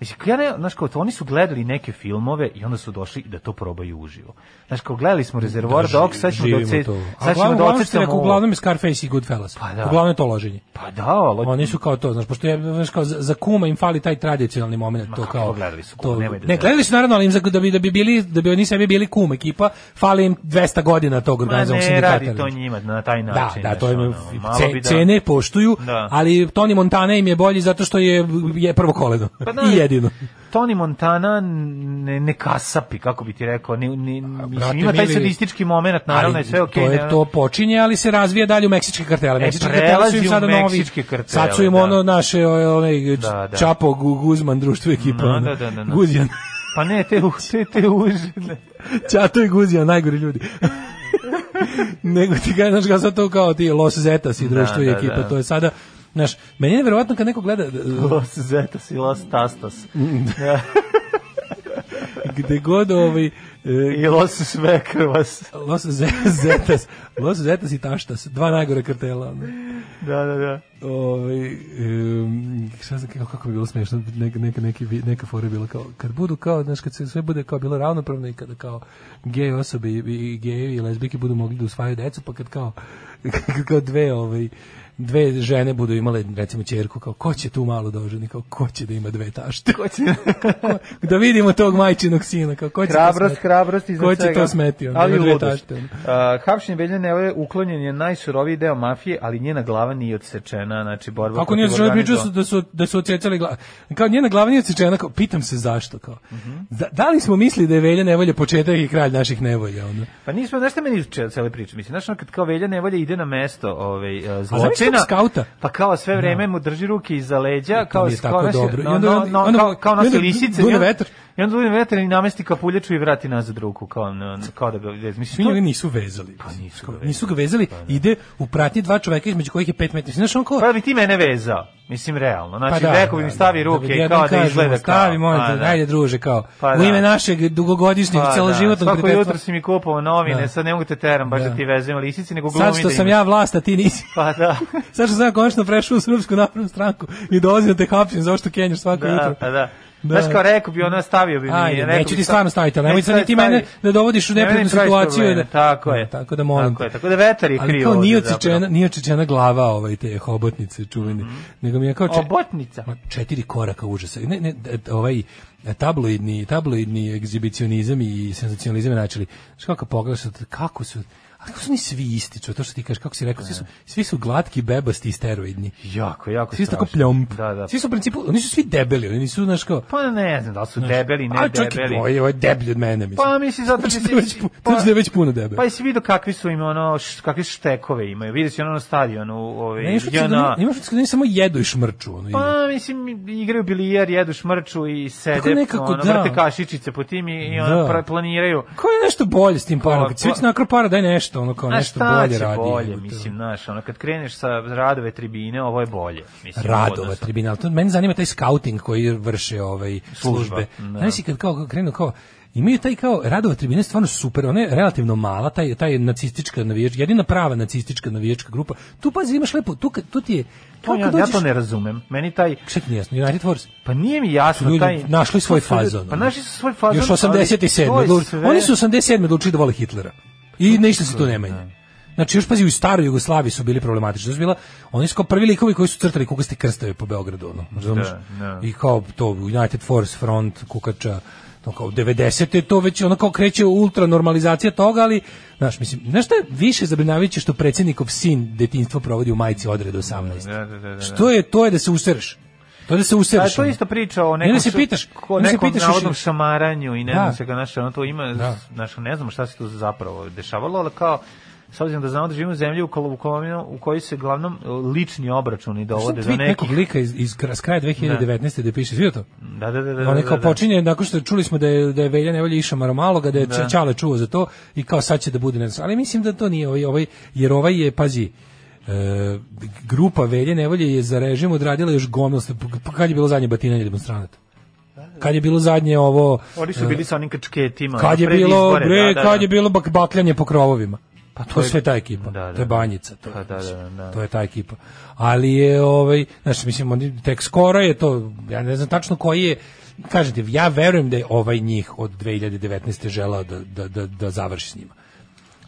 S6: Mislim, ja ne, znaš, kao to, oni su gledali neke filmove i onda su došli da to probaju uživo. Znaš, kao gledali smo Reservoir
S7: Da,
S6: Dogs, sad ćemo da
S7: živimo
S6: oce-
S7: to. A
S6: sad ćemo
S7: uglavnom,
S6: da
S7: uglavnom, što je
S6: ocetamo
S7: rekao,
S6: ovo.
S7: uglavnom je Scarface i Goodfellas.
S6: Pa da.
S7: Uglavnom je to loženje.
S6: Pa da, ali...
S7: Oni su kao to, znaš, pošto je znaš, kao za, za kuma im fali taj tradicionalni moment, to
S6: kako
S7: kao.
S6: to gledali su kuma, nemoj da
S7: ne,
S6: zezam.
S7: gledali su naravno, ali im za, da bi da bi bili da bi oni sebi bili kuma ekipa, fali im 200 godina tog
S6: Ma
S7: organizovanog
S6: ne
S7: sindikata.
S6: radi to njima na taj
S7: Da,
S6: način.
S7: da,
S6: znaš,
S7: to im
S6: ono,
S7: je,
S6: malo
S7: ce-
S6: bi da-
S7: cene poštuju,
S6: Da.
S7: ali Tony Montana im je bolji zato što je, je prvo koleno
S6: Pa da,
S7: i jedino.
S6: Tony Montana ne, ne kasapi, kako bi ti rekao. Ne, ne, mislim,
S7: brate
S6: ima taj
S7: mili,
S6: sadistički moment, naravno je
S7: Ali
S6: sve okej.
S7: to
S6: ne-
S7: je to počinje, ali se razvija dalje u meksičke kartele.
S6: E,
S7: Meksički karteli su im
S6: prelazi u
S7: sada novi.
S6: meksičke kartele,
S7: Sad su im
S6: da.
S7: ono naše o- onaj
S6: Da, da.
S7: Čapo Gu- Guzman društvo ekipa.
S6: No,
S7: Pa ono.
S6: da, da, da, da.
S7: Guzjan.
S6: Pa ne, te, u- te, te užine.
S7: Čato i Guzija, najgori ljudi. Nego ti kažeš znaš, kao sad to kao ti Los Zetas i društvo i
S6: da,
S7: ekipa,
S6: da.
S7: to je sada Znaš, meni je nevjerovatno kad neko gleda e,
S6: Los Zetas i Los Tastas.
S7: gde god ovaj e,
S6: I Los Svekrvas.
S7: Los Ze- Zetas, Los Zetas i Taštas, dva najgore kartela. ono.
S6: Da, da, da.
S7: ovaj em, šta znam kako, kako bi bilo smešno neka neka neki vi- neka fora je bila kao kad budu kao znaš kad se sve bude kao bilo ravnopravno i kada kao gej osobe i, i gejevi i lezbijke budu mogli da usvajaju decu pa kad kao kad kao dve ovaj dve žene budu imale recimo ćerku kao ko će tu malu doženi kao ko će da ima dve tašte ko će da vidimo tog majčinog sina kao ko će to
S6: Hrabrost,
S7: smeti?
S6: hrabrost iznad
S7: ko će
S6: svega.
S7: to smeti ono,
S6: ali
S7: ima
S6: i
S7: dve
S6: ludost.
S7: tašte ono.
S6: Uh, hapšenje Belje Nevoje uklonjen je najsuroviji deo mafije, ali njena glava nije odsečena, znači borba
S7: Kako nije zašto pričao su da su da su odsecali glavu. Kao njena glava nije odsečena, kao pitam se zašto kao.
S6: Mhm.
S7: Da, da li smo mislili da je Velja nevolja početak i kralj naših nevolja onda?
S6: Pa nismo, znaš šta meni če- cele priče, mislim, znaš ono kad kao Velja Nevolja ide na mesto ovaj, e,
S7: zamisli
S6: zločina,
S7: tog skauta.
S6: pa kao sve vreme mu drži ruke iza leđa, kao,
S7: Nije
S6: s-
S7: tako
S6: kao, naše-
S7: dobro. I
S6: no,
S7: onda-
S6: no, no,
S7: onda-
S6: kao, kao
S7: i onda
S6: naše lisice,
S7: dune
S6: ja?
S7: vetar.
S6: I onda budem veter i namesti kapuljaču i vrati nazad ruku, kao, na, na- kao da ga vez.
S7: Svi
S6: Mislim,
S7: njega
S6: to,
S7: nisu vezali. Pa
S6: nisu ga da.
S7: nisu ga vezali, ide u pratnji dva čoveka između kojih je 5 metara. Znaš, on kao, da,
S6: pa bi ti mene vezao. Mislim, realno. Znači,
S7: Pa
S6: rekao bi mi stavi ruke i kao da
S7: jednom
S6: izgleda
S7: kažemo,
S6: kao.
S7: Stavi, molim
S6: Pa,
S7: te,
S6: da.
S7: ajde druže, kao.
S6: Pa
S7: u
S6: da.
S7: ime našeg dugogodišnjeg
S6: Pa
S7: celoživotnog
S6: da, svako
S7: prijateljstva.
S6: jutro si mi kupovao novine,
S7: Da.
S6: sad ne mogu te teram baš da,
S7: Da.
S6: ti vezujem lisice, nego glumim
S7: Sad što
S6: da
S7: sam
S6: imaš.
S7: ja vlast, a ti nisi.
S6: Pa da.
S7: Sad što sam ja konačno prešao u Srpsku napravnu stranku i dolazim da te hapsim zašto kenjaš svako jutro.
S6: da, pa da.
S7: Da.
S6: Znaš kao rekao bi ona stavio bi mi.
S7: Ajde,
S6: rekao
S7: neću
S6: bi
S7: ti
S6: stav-
S7: stvarno staviti, ali nemoj
S6: Neću
S7: sad ni ti
S6: staviti.
S7: mene da dovodiš u
S6: Ne,
S7: neprijatnu
S6: meni praviš
S7: situaciju. i Da,
S6: probleme, Tako je.
S7: Tako da molim.
S6: Tako
S7: te.
S6: je, tako da vetar je
S7: Ali
S6: krivo.
S7: kao
S6: ovde
S7: nije
S6: zapravo. Mhm.
S7: odsečena, nije odsečena glava ovaj te hobotnice čuvene, nego mi je kao če-
S6: Obotnica.
S7: Ma, četiri koraka užasa. Ne, ne, d- d- ovaj tabloidni, tabloidni egzibicionizam i senzacionalizam je načeli. Znaš kako pogledaš, kako su, a kako su oni svi isti, čo, to što ti kažeš, kako si rekao, svi su, svi su glatki, bebasti i steroidni.
S6: Jako, jako
S7: Svi su tako
S6: strašno.
S7: pljomp.
S6: Da, da.
S7: Svi su u principu, oni su svi debeli, oni nisu, znaš kao,
S6: Pa ne znam da li su debeli, ne
S7: ali čak i
S6: debeli.
S7: tvoji, ovo je deblji od mene, mislim.
S6: Pa mislim zato
S7: Znači
S6: što
S7: da je već,
S6: si-
S7: pu-
S6: pa-
S7: znači da je već puno debel.
S6: Pa jesi vidio kakvi su im ono, š- kakve štekove imaju. Vidio si ono na stadionu, ovaj,
S7: Ne, imaš utisak da
S6: JNA.
S7: oni- imaš utisak da oni samo jedu i šmrču. Ono, i-
S6: Pa, mislim, igraju bilijer, jedu šmrču i
S7: Tako
S6: sede,
S7: nekako,
S6: ono,
S7: da.
S6: vrte kašičice po tim i, i ono,
S7: Da.
S6: pra- planiraju.
S7: Ko je nešto bolje s tim parom? Kad si već
S6: Pa-
S7: nakro para, daj nešto, ono kao
S6: A
S7: Pa nešto
S6: šta
S7: bolje
S6: će
S7: radi.
S6: bolje,
S7: jebote.
S6: mislim, znaš, ono, kad kreneš sa radove tribine, ovo je bolje. Mislim, da u
S7: Radova
S6: odnosu.
S7: tribinal. To mene zanima taj scouting koji vrše ovaj službe.
S6: da.
S7: Znaš si kad kao krenu kao imaju taj kao Radova tribina je stvarno super, ona je relativno mala, taj taj nacistička navijačka, jedina prava nacistička navijačka grupa. Tu pazi imaš lepo, tu kad- tu ti je
S6: To
S7: kao
S6: ja,
S7: kad
S6: ja
S7: dođeš-
S6: to ne razumem. Meni taj,
S7: Šta ti nije jasno? United Force.
S6: pa nije mi jasno
S7: Ljudi
S6: taj...
S7: našli svoj fazon.
S6: Pa našli su svoj fazon.
S7: Još
S6: ali
S7: 87.
S6: to je
S7: odluč-
S6: sve-
S7: Oni su 87. odlučili da vole Hitlera. I ništa se tu ne
S6: da.
S7: menja. Znači, još pazi, u staroj Jugoslaviji su bili problematični. To su bila, oni su kao prvi likovi koji su crtali kukaste krstave po Beogradu, ono, razumiješ?
S6: Da, da.
S7: I kao to, United Force Front, kukača, to kao 90. je to već ono kao kreće ultra normalizacija toga, ali, znaš, mislim, znaš šta je više zabrinavajuće što predsjednikov sin detinjstvo provodi u majici odreda 18.
S6: Da, da, da, da, da.
S7: Što je, to je da se usereš. To je da se
S6: A
S7: usereš.
S6: to je
S7: ono.
S6: isto priča o
S7: I
S6: nekom,
S7: onda se
S6: šu-
S7: pitaš,
S6: ko,
S7: onda se
S6: nekom
S7: pitaš još-
S6: navodnom šamaranju i ne
S7: Da.
S6: znam se ga naše, ono to ima,
S7: Da.
S6: znaš, ne znam šta se tu zapravo dešavalo, ali kao, s obzirom da znamo da živimo u zemlji u, kolo, u, kolo, u kojoj se glavnom e, lični obračuni
S7: Sam
S6: dovode do
S7: tweet nekog
S6: nekih...
S7: lika iz, iz kra- s kraja 2019. da piše, vidio to?
S6: Da, da, da, da.
S7: On
S6: da,
S7: je kao
S6: da, da.
S7: počinje, nakon što čuli smo da je, da je Velja Nevolja išao Maromaloga, da je da. Čale čuo za to i kao sad će da bude. ne znam. Ali mislim da to nije ovaj, ovaj jer ovaj je, pazi, e, grupa Velje Nevolje je za režim odradila još gomil, pa kad je bilo zadnje batinanje demonstranata? Kad je bilo zadnje ovo...
S6: Oni su bili sa onim kačketima.
S7: Kad je
S6: pred
S7: bilo,
S6: izbore,
S7: bre,
S6: da, da,
S7: kad
S6: da.
S7: je bilo bak, bakljanje po krovovima. Pa to,
S6: to
S7: je
S6: je-
S7: sve ta ekipa.
S6: Da, da.
S7: to je banjica, to, je,
S6: Pa da,
S7: znaš,
S6: da, da.
S7: to je ta ekipa. Ali je ovaj, znači mislim oni tek skoro je to, ja ne znam tačno koji je kažete, ja verujem da je ovaj njih od 2019. želao da, da, da, da završi s njima.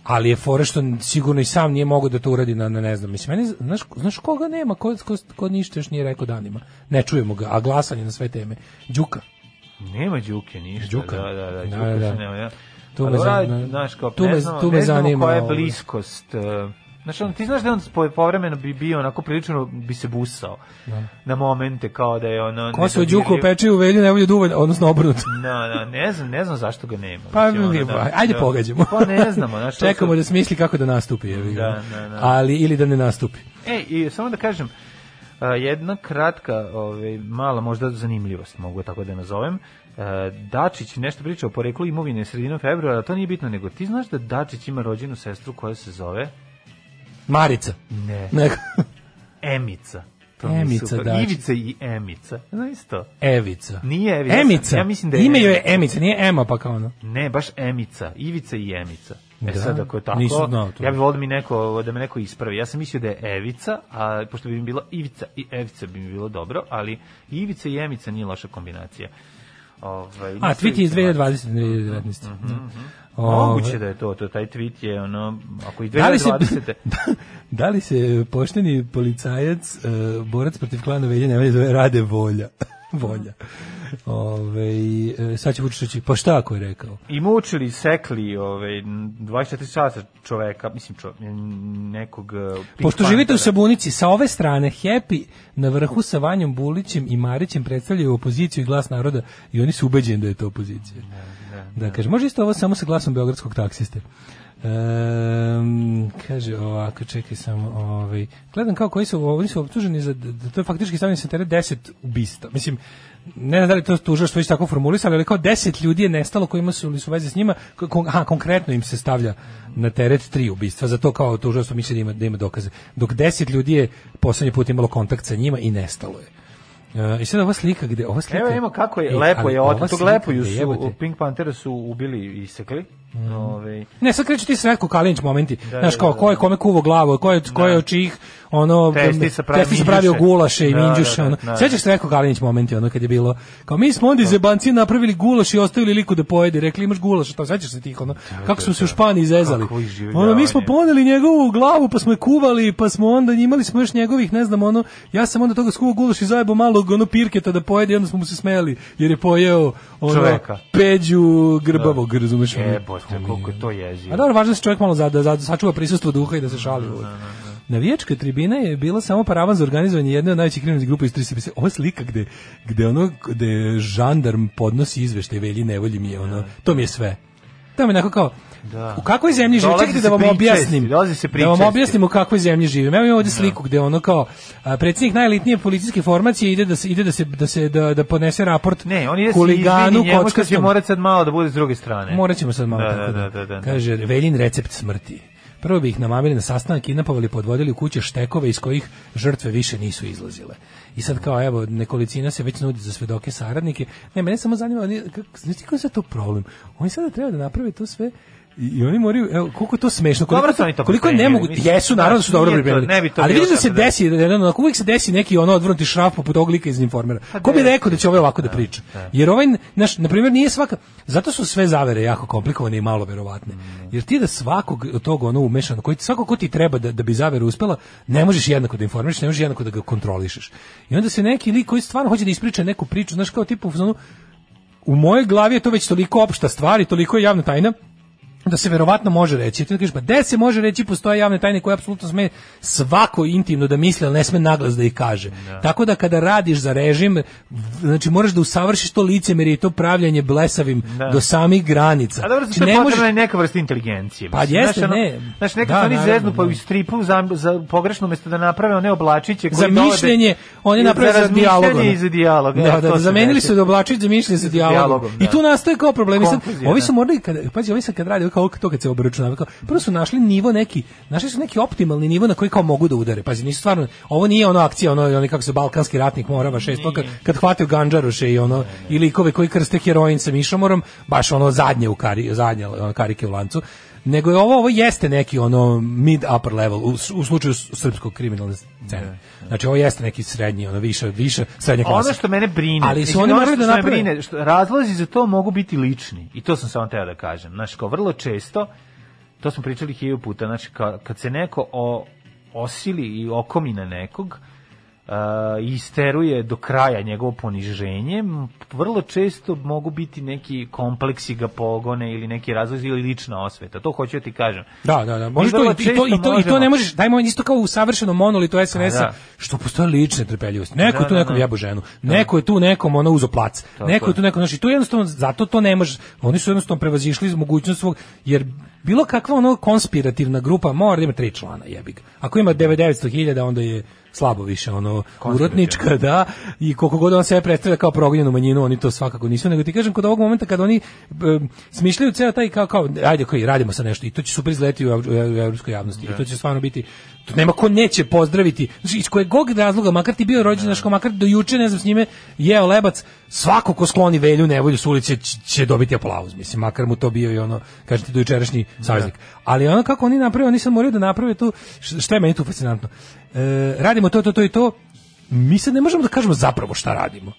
S7: Ali je fore što sigurno i sam nije mogao da to uradi na, na ne znam. Mislim, meni, znaš, znaš koga nema, ko, ko, ko ništa još nije rekao danima. Ne čujemo ga, a glasanje na sve teme. Đuka.
S6: Nema Đuke ništa.
S7: Đuka.
S6: Da, da, da,
S7: Da,
S6: Đuka
S7: da, da.
S6: se nema. Da.
S7: Tu
S6: Tu
S7: me
S6: me zanima.
S7: zanima-
S6: Znaš, kao,
S7: tu
S6: ne
S7: me-
S6: znamo,
S7: tu me
S6: ne znamo
S7: zanima ovaj.
S6: koja je
S7: ovo.
S6: bliskost. e, Znaš, on, ti znaš da on po- povremeno bi bio onako prilično bi se busao na momente kao da je ono...
S7: Da. Ko se u
S6: nedodirljiv.
S7: Đuku peče u velju, ne volje duvalj, odnosno obrnuto.
S6: Da, da, ne znam, ne znam zašto ga nema.
S7: Pa,
S6: Mislim, ono, da,
S7: ajde
S6: da.
S7: pogađamo.
S6: Pa ne znamo, znaš. to
S7: Čekamo
S6: su-
S7: da smisli kako da nastupi. jebi ga.
S6: Da, da, da.
S7: Ali, ili da ne nastupi.
S6: E, i samo da kažem, a, jedna kratka, ovaj, mala možda zanimljivost, mogu tako da je nazovem. E, Dačić nešto priča o poreklu imovine sredinom februara, to nije bitno, nego ti znaš da Dačić ima rođenu sestru koja se zove
S7: Marica.
S6: ne.
S7: Neko-
S6: Emica. To mi je
S7: Emica
S6: super.
S7: Dačić.
S6: Ivica i Emica. Znaš to?
S7: Evica.
S6: Nije Evica.
S7: Emica.
S6: Ja mislim da je
S7: Ime joj je Emica, nije Ema pa kao ono.
S6: Ne, baš Emica. Ivica i Emica. E
S7: Da?
S6: sad ako je tako,
S7: Nisam znao to.
S6: ja bih volio da mi neko, da me neko ispravi. Ja sam mislio da je Evica, a pošto bi mi bila Ivica i Evica bi mi bilo dobro, ali Ivica i Emica nije loša kombinacija. Ovaj,
S7: A,
S6: nisam
S7: tweet je iz
S6: vidio.
S7: 2020. 2019. Ove,
S6: Mhm, Moguće da je to, to taj tweet je ono, ako i
S7: Ovaj, Da li, se,
S6: 2020.
S7: da li se pošteni policajac, e, borac protiv klana Velje Nevelje zove Rade Volja? Volja.
S6: Mhm.
S7: Ove, e, sad će Vučić reći, pa šta ako je rekao?
S6: I mučili, sekli ovaj, 24 sata čoveka, mislim čov, nekog... eh, Pink
S7: Pošto živite u
S6: Panthera.
S7: Sabunici, sa ove strane Happy na vrhu sa Vanjom Bulićem i Marićem predstavljaju opoziciju i glas naroda i oni su ubeđeni da je to opozicija. Da, kaže, može isto ovo samo sa glasom beogradskog taksiste. Ehm, kaže ovako, čekaj samo, ovaj, gledam kao koji su, oni su optuženi za, da to je faktički stavljeno se teret 10 ubista. Mislim, ne znam da li to tužilaštvo već tako formulisalo, ali kao 10 ljudi je nestalo kojima su ili su veze s njima, ko- kon, aha, konkretno im se stavlja na teret tri ubistva, zato kao tužilaštvo misli da ima, da ima dokaze. Dok 10 ljudi je poslednji put imalo kontakt sa njima i nestalo je. E, I sad ova slika gde ova slika
S6: Evo imamo kako je,
S7: E,
S6: lepo
S7: ali
S6: je,
S7: ova
S6: od tog
S7: slika
S6: lepoju
S7: gde
S6: su,
S7: jebote- Mm.
S6: u Pink Panthera su ubili i isekli. Ove,
S7: Ne, sad kreću ti Sretko Kalinić momenti.
S6: Da,
S7: Znaš
S6: da,
S7: kao,
S6: da.
S7: ko je kome kuvo glavu, ko je, ko je od čijih ono,
S6: Testisa pravi
S7: testisa pravio
S6: minđuše.
S7: gulaše i
S6: Da, da,
S7: minđuše.
S6: da,
S7: Ono.
S6: da, da.
S7: Sećaš se Sretko Kalinić momenti, ono kad je bilo, kao mi smo onda iz jebanci napravili gulaš i ostavili liku da pojede, rekli imaš gulaš, šta sećaš se tih, ono, kako smo se u Španiji zezali.
S6: Da, Kako da, iživljavanje.
S7: Ono, mi smo poneli njegovu glavu, pa smo je kuvali, pa smo onda imali smo još njegovih, ne znam, ono, ja sam onda toga skuvao gulaš i zajebo malog, ono, pirketa da pojede i onda smo mu se smejali, jer je pojeo, ono,
S6: Čoveka. E,
S7: peđu grbavog, razumeš? ono.
S6: jebote, koliko je to jezivo.
S7: A dobro, važno je da se čovjek malo zada, zada, sačuva prisustvo duha i da se šali. uvek. Navijačka tribina je bila samo paravan za organizovanje jedne od najvećih kriminalnih grupa iz 30. Ovo je slika gde, gde, ono, gde žandarm podnosi izveštaj velji nevolji mi je ono, to mi je sve. To mi je onako kao,
S6: Da.
S7: U kakvoj zemlji živim?
S6: Dolazi
S7: Čekajte
S6: se
S7: da vam
S6: pričesti,
S7: objasnim.
S6: dolazi se Da.
S7: da vam
S6: pričesti.
S7: objasnim u kakvoj zemlji živim. Evo imamo ovde sliku gde ono kao a, predsjednik najelitnije policijske formacije ide da se ide da se da se da, da podnese raport
S6: Ne, on ide da se
S7: huliganu
S6: izvini njemu što će
S7: kockastom.
S6: morat sad malo da bude s druge strane.
S7: Morat ćemo sad malo
S6: da,
S7: tako
S6: da, da, da, da.
S7: Kaže, Veljin recept smrti. Prvo bi ih namamili na sastanak, kidnapovali, podvodili u kuće štekove iz kojih žrtve više nisu izlazile. I sad kao, evo, nekolicina se već nudi za svedoke saradnike. Ne, mene samo zanima, oni, kako, znaš ti koji je sad to problem? Oni sada treba da naprave to sve i i oni moraju, evo, koliko je to smešno, koliko,
S6: Dobro su oni to
S7: koliko je
S6: pripremili,
S7: nemogu,
S6: mislim.
S7: jesu, naravno da su dobro
S6: Nije to-
S7: pripremili,
S6: ne bi to
S7: ali
S6: bilo
S7: vidiš da se
S6: tako, da.
S7: desi, da, da, da, uvijek se desi neki ono odvrnuti šraf poput ovog lika iz informera. Ko bi
S6: da.
S7: rekao da će ovaj ovako da priča? Jer ovaj, naš, na primjer, nije svaka, zato su sve zavere jako komplikovane i malo verovatne.
S6: Mm.
S7: Jer ti da svakog od tog ono umešano, koji, svako ko ti treba da, da bi zavera uspela, ne možeš jednako da informišeš, ne možeš jednako da ga kontrolišeš. I onda se neki lik koji stvarno hoće da ispriča neku priču, znaš kao tipu, ono, u mojoj glavi je to već toliko opšta stvar i toliko je javna tajna, da se verovatno može reći. Ti kažeš, pa gde se može reći, postoje javne tajne koje apsolutno sme svako intimno da misli, ali ne sme naglas da ih kaže. Tako da kada radiš za režim, znači moraš da usavršiš to licemerje i to pravljanje blesavim do samih granica.
S6: Da. A dobro,
S7: Znači,
S6: zato je
S7: ne
S6: potrebna
S7: možeš-
S6: i neka vrsta inteligencije.
S7: Pa
S6: mislim.
S7: jeste,
S6: Znaš, ono,
S7: ne.
S6: Znaš, neka
S7: Da,
S6: da, oni
S7: naravno,
S6: zeznu pa
S7: da.
S6: u stripu za, za pogrešno mesto da naprave one oblačiće koji
S7: za
S6: dovode-
S7: mišljenje, oni naprave za dijalog.
S6: razmišljanje i za dijalog.
S7: Da,
S6: evo,
S7: da,
S6: to
S7: da,
S6: se
S7: zamenili
S6: desi.
S7: su da oblačić za mišljenje za dijalog.
S6: dijalogom,
S7: I
S6: da.
S7: tu nastaje kao problem. I sad,
S6: Konfuzija,
S7: ovi
S6: da.
S7: su morali, kada, pazi, ovi sad kad radi, kao to kad se obračunava, kao, prvo su našli nivo neki, našli su neki optimalni nivo na koji kao mogu da udare. Pazi, nisu stvarno, ovo nije ono akcija, ono, ono kako se balkanski ratnik morava šest, to kad, kad hvataju ganđaruše i
S6: Da,
S7: ono, i likove koji krste heroin sa mišomorom, baš ono zadnje u kari, zadnje ono, karike u lancu nego je ovo ovo jeste neki ono mid upper level u, s- u slučaju s- srpskog kriminalne scene. Znači ovo jeste neki srednji, ono više više srednja klasa.
S6: Da, Ono što mene brine,
S7: Ali su
S6: mislim,
S7: oni
S6: ono
S7: morali
S6: što
S7: da
S6: me
S7: naprave.
S6: brine, što razlozi za to mogu biti lični. I to sam samo teo da kažem. Znaš, kao vrlo često, to smo pričali hiljadu puta, znači ka, kad se neko o, osili i okomi na nekog, uh, i isteruje do kraja njegovo poniženje, m, vrlo često mogu biti neki kompleksi ga pogone ili neki razlozi ili lična osveta. To hoću da ti kažem.
S7: Da, da, da. Možeš
S6: Mi
S7: to, i,
S6: vrlo
S7: to, i, to, i, to, i to
S6: možemo-
S7: ne možeš, dajmo isto kao u savršenom monolitu SNS-a,
S6: A, da.
S7: što postoje lične trpeljivosti. Neko je
S6: Da,
S7: tu
S6: da,
S7: nekom
S6: da.
S7: jebo ženu, neko je tu nekom ono uzo plac, neko je
S6: je.
S7: tu nekom, znači tu jednostavno, zato to ne može, oni su jednostavno prevazišli iz mogućnost svog, jer bilo kakva ono konspirativna grupa mora da ima tri člana, jebi ga. Ako ima 900.000, onda je slabo više, ono, urotnička, da, i koliko god on sebe predstavlja kao progonjenu manjinu, oni to svakako nisu, nego ti kažem, kod ovog momenta kada oni em, smišljaju ceo taj kao, kao, ajde, koji radimo sa nešto, i to će super izleti u, ev- u, ev- u evropskoj javnosti, i to će stvarno biti, to nema ko neće pozdraviti, znači, iz kojeg god razloga, makar ti bio rođen, znaš, kao makar do juče, ne znam, s njime jeo lebac, svako ko skloni velju nevolju s ulice će, će dobiti aplauz, mislim, makar mu to bio i ono, kažete, dojučerašnji saveznik. Ali ono kako oni naprave, oni sad moraju da naprave tu, š- šta je meni tu fascinantno, E, radimo to, to, to i to, mi sad ne možemo da kažemo zapravo šta radimo.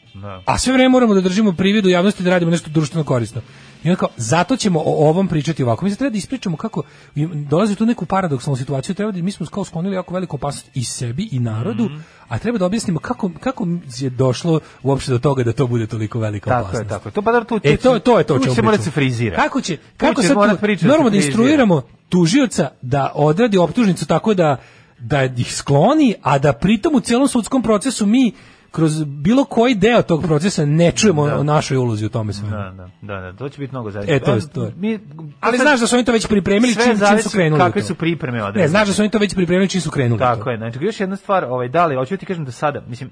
S7: A sve vreme moramo da držimo privid u javnosti da radimo nešto društveno korisno. I onda kao, zato ćemo o ovom pričati ovako. Mi se treba da ispričamo kako i dolazi u tu neku paradoksalnu situaciju, treba da mi smo kao sklonili jako veliku opasnost i sebi i narodu, a treba da objasnimo kako, kako je došlo uopšte do toga da to bude toliko velika
S6: Tako je,
S7: opasnost.
S6: tako je. To pa dobro, tu-
S7: e, to, to je to o
S6: tu
S7: čemu
S6: će morat se
S7: pričamo.
S6: frizira.
S7: Kako će,
S6: Tu
S7: kako
S6: će
S7: sad,
S6: morat priča da se
S7: normalno da
S6: frizira.
S7: instruiramo tužioca da odradi optužnicu tako da da ih skloni, a da pritom u celom sudskom procesu mi kroz bilo koji deo tog procesa ne čujemo o našoj ulozi u tome svemu.
S6: Da, da, da, da, to će biti mnogo zajedno.
S7: E, to je- to je.
S6: Mi,
S7: Ali znaš da su oni to već pripremili
S6: Sve
S7: čim, čim
S6: zavisi
S7: su krenuli.
S6: kakve
S7: u to.
S6: su pripreme određene.
S7: Ne, znaš da su oni to već pripremili čim su krenuli. u to.
S6: Tako je, znači još jedna stvar, ovaj da li hoću ti kažem da sada, mislim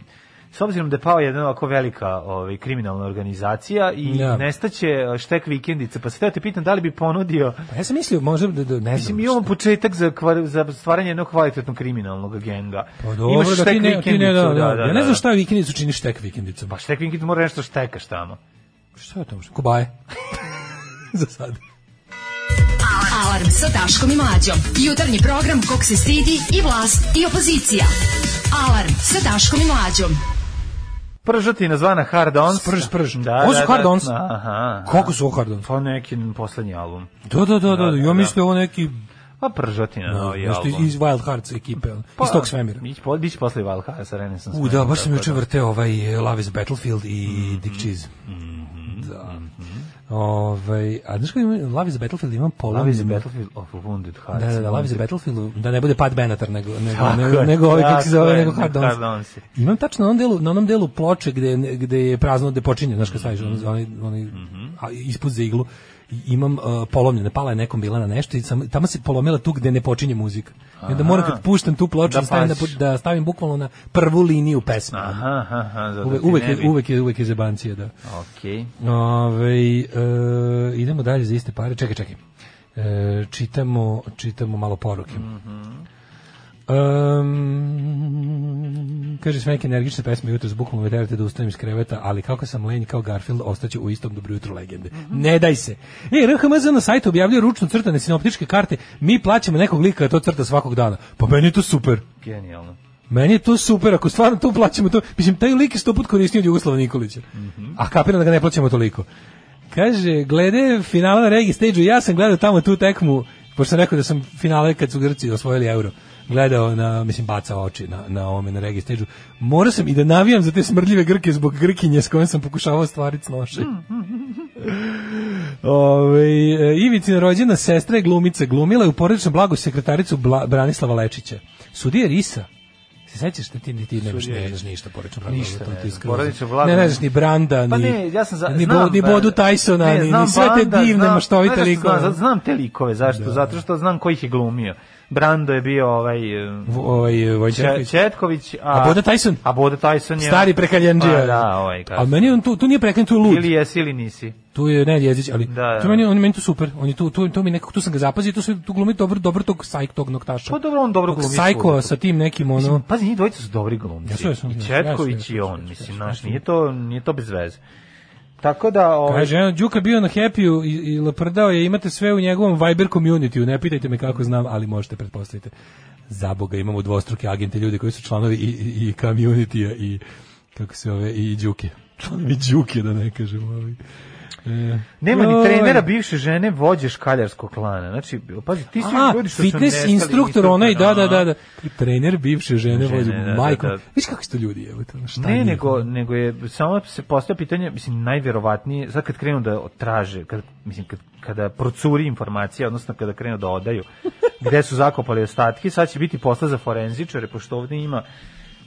S6: s obzirom da je pao jedna ovako velika ovaj kriminalna organizacija i
S7: Da.
S6: nestaće eh, štek vikendica, pa se teo te pitam da li bi ponudio
S7: Pa ja sam mislio, možda da, da ne znam.
S6: Mislim, imamo početak za, kvar, za stvaranje jednog kvalitetnog kriminalnog genga.
S7: Pa dobro, da ti ne, ti ne, da,
S6: vikendicu,
S7: da, Ja ne znam šta vikendicu čini štek vikendicom.
S6: Pa štek vikendicu mora nešto štekaš tamo.
S7: Šta je to? Kobaje. Za sad.
S5: Alarm sa Daškom i Mlađom. Jutarnji program kog se stidi i vlast i opozicija. Alarm sa Daškom i Mlađom.
S6: Pržotina zvana Hard Ons.
S7: Sprž, sprž.
S6: Da,
S7: Ovo
S6: da,
S7: su
S6: da,
S7: Hard Ons?
S6: Aha.
S7: Koliko su ovo hardon?
S6: Pa neki poslednji album.
S7: Da, da, da, da, da.
S6: da.
S7: Ja mislim da je ovo neki
S6: Pa Pržotina
S7: da,
S6: novi
S7: nešto
S6: album.
S7: iz Wild Hearts ekipe, on,
S6: Pa,
S7: iz tog svemira.
S6: Biće, po- biće posle Valhalla sa Renaissance.
S7: U, da,
S6: Manom,
S7: baš sam
S6: tako
S7: juče
S6: da. Mhm.
S7: vrteo ovaj eh, Love is Battlefield i Dick Cheese. Da. Ovaj, a znaš kada imam Love is Battlefield, imam polom.
S6: Love is a da. battlefield of a wounded heart.
S7: Da, da, da, Love is a Battlefield, da ne bude Pat Benatar, nego, nego,
S6: Pa Tako
S7: nego,
S6: je,
S7: nego ovaj, kako se zove,
S6: tako je,
S7: nego Hard Downs.
S6: Hard Ons.
S7: Imam tačno na onom delu, na onom delu ploče gde, gde je prazno, gde počinje, znaš kad staviš,
S6: Mhm.
S7: onaj, onaj, onaj, a, ispod za iglu, i imam uh, polomljene, pala je nekom bila na nešto i sam, tamo se polomila tu gde ne počinje muzika. I onda moram kad puštam tu ploču
S6: Da
S7: da, stavim, na,
S6: paziš.
S7: da stavim bukvalno na prvu liniju pesme. Aha.
S6: Aha, aha, aha, zato
S7: Uvek,
S6: da ti
S7: uvek,
S6: ne
S7: je,
S6: bi-
S7: uvek, je, uvek je zebancija, da.
S6: Okej.
S7: Ove, e, idemo dalje za iste pare. Čekaj, čekaj. E, čitamo, čitamo malo poruke. Mm kaže sve neke energične pesme jutro zbukom me terate da ustanem iz kreveta, ali kako sam lenj kao Garfield ostaću u istom dobro jutro legende. Ne daj se. E, RHMZ na sajtu objavljuje ručno crtane sinoptičke karte. Mi plaćamo nekog lika da to crta svakog dana. Pa meni je to super.
S6: Genijalno.
S7: Meni je to super, ako stvarno to plaćamo to, mislim, taj lik je sto put korisniji od Jugoslava Nikolića. A kapiram da ga ne plaćamo toliko. Kaže, glede finala na Regi stage ja sam gledao tamo tu tekmu, pošto sam rekao da sam finale kad su Grci osvojili euro, gledao na, mislim, bacao oči na, na ovome, na Regi stage Morao sam i da navijam za te smrdljive Grke zbog Grkinje s kojom sam pokušavao stvariti snoše. Ove, e, Ivicina rođena sestra je glumica, glumila je u porodičnom blagu sekretaricu Bla, Branislava Lečića. Sudija Risa. Se sećaš da ti, ni ti nemaš, ne znaš ništa porodično blago.
S6: Ništa
S7: to
S6: ne
S7: ti je
S6: znam.
S7: skroz-
S6: Porodično blago
S7: Ne
S6: ne-
S7: znaš ni Branda,
S6: Pa
S7: ni,
S6: ne, ja sam za,
S7: ni,
S6: znam,
S7: Bo- ni
S6: pa-
S7: Bodu Tysona,
S6: ne,
S7: ni,
S6: znam
S7: ni sve te
S6: Banda,
S7: divne
S6: znam-
S7: maštovite
S6: znaš šta
S7: likove. Da.
S6: Znam, znam te likove, zašto? Zato što znam kojih je glumio. Brando je bio ovaj... em,
S7: V- ovaj, e,
S6: Če-
S7: Vojčeković.
S6: Četković, a,
S7: A Boda Tyson?
S6: A Boda Tyson je...
S7: Stari prekaljanđija.
S6: Pa da, ovaj
S7: A
S6: kaže.
S7: meni on tu, tu nije prekaljan, tu je lud.
S6: Ili jesi ili nisi.
S7: Tu je ne jezić, ali
S6: Da, da.
S7: tu meni on meni tu super. On je tu tu to mi nekako tu sam ga zapazio, tu se tu glumi dobro dobro tog sajk tog noktaša.
S6: Pa dobro, on dobro
S7: Tog
S6: glumi
S7: Sajko
S6: svuda.
S7: sa tim nekim ono.
S6: Mislim, pazi, njih dvojica su dobri glumci.
S7: Jesu, jesu,
S6: I
S7: jesu,
S6: Četković
S7: jesu,
S6: i
S7: jesu,
S6: on,
S7: jesu,
S6: mislim,
S7: jesu,
S6: znaš,
S7: jesu.
S6: nije to, nije to bez veze. Tako da, ovaj,
S7: Kaže, eno, Đuka bio na Happy i, i laprdao je, imate sve u njegovom Viber community ne pitajte me kako znam, ali možete pretpostaviti. Za Boga, imamo dvostruke agente, ljude koji su članovi i, i, i community i kako se ove, i Đuke. Članovi Đuke, da ne kažem. Ovaj. E,
S6: nema ni
S7: joj.
S6: trenera bivše žene vođe škaljarskog klana. Znači, pazi, ti si
S7: A,
S6: ljudi što su
S7: fitness
S6: nestali,
S7: instruktor,
S6: instruktor,
S7: onaj, da, da,
S6: aha.
S7: da, da. Trener bivše žene,
S6: Žene,
S7: vozi
S6: da, da,
S7: majkom.
S6: da.
S7: Viš kako su to ljudi, evo to, šta
S6: Ne,
S7: njih?
S6: nego, nego je, samo se postoje pitanje, mislim, najverovatnije, sad kad krenu da traže, kad, mislim, kad, kada procuri informacija, odnosno kada krenu da odaju, gde su zakopali ostatke, sad će biti posla za forenzičare, pošto ovde ima,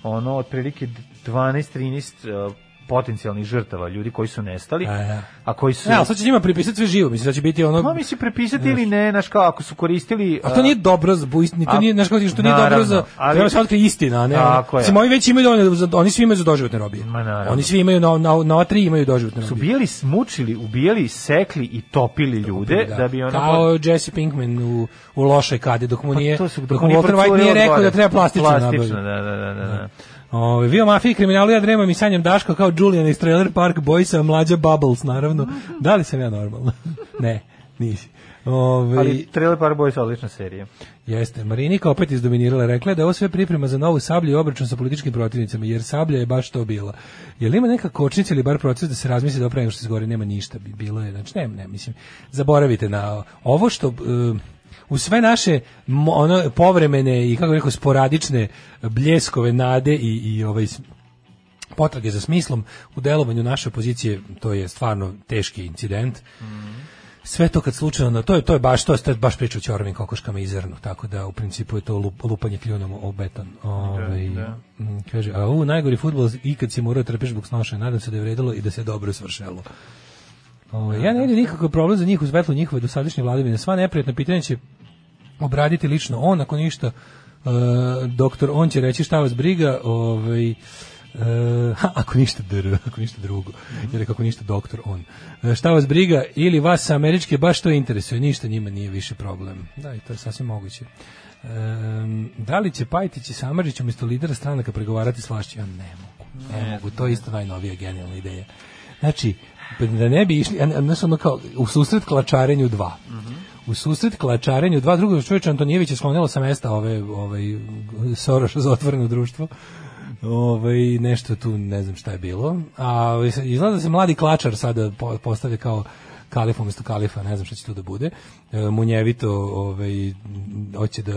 S6: ono, otprilike 12-13 potencijalnih žrtava, ljudi koji su nestali,
S7: A, E, ja.
S6: a koji su...
S7: Ne, ali sad će njima pripisati sve živo, mislim da će biti ono...
S6: Ma mislim prepisati ili ne, znaš kao ako su koristili... e,
S7: A to nije dobro za buist, ni to
S6: A,
S7: nije, znaš kako ti što nije dobro za,
S6: naravno, ali-
S7: treba se otkriti istina, a ne. ono.
S6: Tako je.
S7: Mislim, ovi već imaju dovoljno za- oni svi imaju za doživotne robije.
S6: Ma, naravno.
S7: Oni svi imaju na na na ova tri imaju doživotne
S6: su
S7: robije.
S6: bili smučili, ubijali, sekli i topili ljude da, bi ono
S7: Kao Jesse Pinkman u, u lošoj kadi, dok mu
S6: Pa
S7: nije,
S6: to su-
S7: dok mu Walter
S6: procurilo
S7: White nije
S6: od
S7: rekao
S6: gore.
S7: da treba plastično, nabaviti.
S6: Plastično, da, da, da, da. da.
S7: Ove, vi o mafiji i kriminalu, ja dremam i sanjam Daška kao Julian iz Trailer Park Boysa, mlađa Bubbles, naravno.
S6: Mhm.
S7: Da li sam ja normalna? ne, nisi. Ove,
S6: Ali Trailer Park Boys je odlična serija.
S7: Jeste, Marinika opet izdominirala, rekla je da je ovo sve priprema za novu sablju i obračun sa političkim protivnicama, jer sablja je baš to bila. Je li ima neka kočnica ili bar proces da se razmisli da nego što se govori, nema ništa, bi bilo je, znači ne, ne, mislim, zaboravite na ovo što... e, u sve naše mo- ono povremene i kako bih rekao sporadične bljeskove nade i i ovaj s- potrage za smislom u delovanju naše opozicije to je stvarno teški incident sve to kad slučajno, na- to je to je baš to je baš priča o ćoravim kokoškama i zrnu, tako da u principu je to lup- lupanje kljunom o beton. Ovaj mm, kaže, a u najgori fudbal ikad si morao trpeš zbog snoše, nadam se da je vredilo i da se dobro svršelo. Ovaj, ja ne vidim nikakav problem za njih u svetlu njihove dosadašnje vladavine. Sva neprijatna pitanja će obraditi lično on, ako ništa, e, doktor, on će reći šta vas briga, ovaj, e, ha, ako ništa dr, ako ništa drugo, jer ako ništa doktor, on. E, šta vas briga, ili vas sa američke baš to interesuje, ništa njima nije više problem. Da, i to je sasvim moguće. E, da li će Pajtić i Samarđić umjesto lidera stranaka pregovarati s vlašću? Ja ne mogu, ne mogu, to je isto najnovija genijalna ideja. Znači, da ne bi išli, a ne, a ne su ono kao, u susret klačarenju dva u susret klačarenju dva drugog čovječa Antonijević je sklonilo sa mesta ove, ovaj Soroša za otvoreno društvo. Ovaj nešto tu ne znam šta je bilo. A ovaj, izgleda da se mladi klačar sada po- postavi kao kalif umesto kalifa, ne znam šta će tu da bude. E, munjevito, ovaj hoće da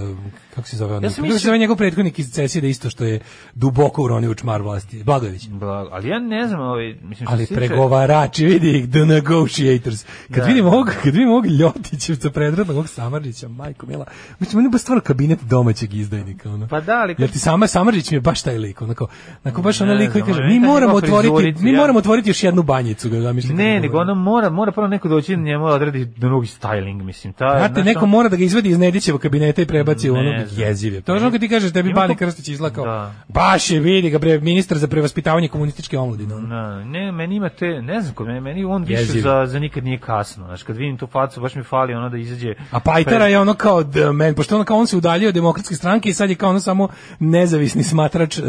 S7: kako se zove on?
S6: Ja
S7: Ja
S6: sam
S7: sam
S6: mislio-
S7: njegov prethodnik iz Cesije da isto što je duboko uronio u čmar vlasti. Blagojević.
S6: Blago. Ali ja ne znam, ovaj, mislim, što
S7: Ali
S6: se tiče-
S7: pregovarači, vidi ih, the negotiators. Kad
S6: Da.
S7: vidim ovog, kad vidim ovog Ljotićevca predradnog, ovog Samarđića, majko mila, mislim, on je baš stvarno kabinet domaćeg izdajnika, ono.
S6: Pa da, ali
S7: Jer ti sama Samarđić mi je baš taj lik, onako, onako baš onaj
S6: Ne
S7: lik koji
S6: znam,
S7: kaže,
S6: ali
S7: mi
S6: neka
S7: moramo
S6: njegova
S7: otvoriti,
S6: frizurica,
S7: mi
S6: ja.
S7: moramo otvoriti još jednu banjicu, ga zamišljam.
S6: Ne,
S7: kako
S6: nego
S7: govori.
S6: ono mora, mora prvo neko doći da njemu odradi drugi styling, mislim. Ta,
S7: Znate,
S6: znaš,
S7: neko
S6: ono-
S7: mora da ga izvedi iz Nedićevog kabineta i prebaci u
S6: Ne
S7: onog
S6: znam.
S7: jeziv je. To je ono kad ti kažeš da bi
S6: Ima
S7: Bane
S6: to-
S7: Krstić izlakao.
S6: Da.
S7: Baš je, vidi ga, bre, ministar za prevaspitavanje komunističke omladine. ono.
S6: Na, Da, ne, meni ima te, ne znam kod mene, meni on više
S7: Jeziv.
S6: za, za nikad nije kasno. Znaš, kad vidim tu facu, baš mi fali ono da izađe...
S7: A Pajtera je ono kao the man, pošto ono kao on se udaljio od demokratske stranke i sad je kao ono samo nezavisni smatrač uh,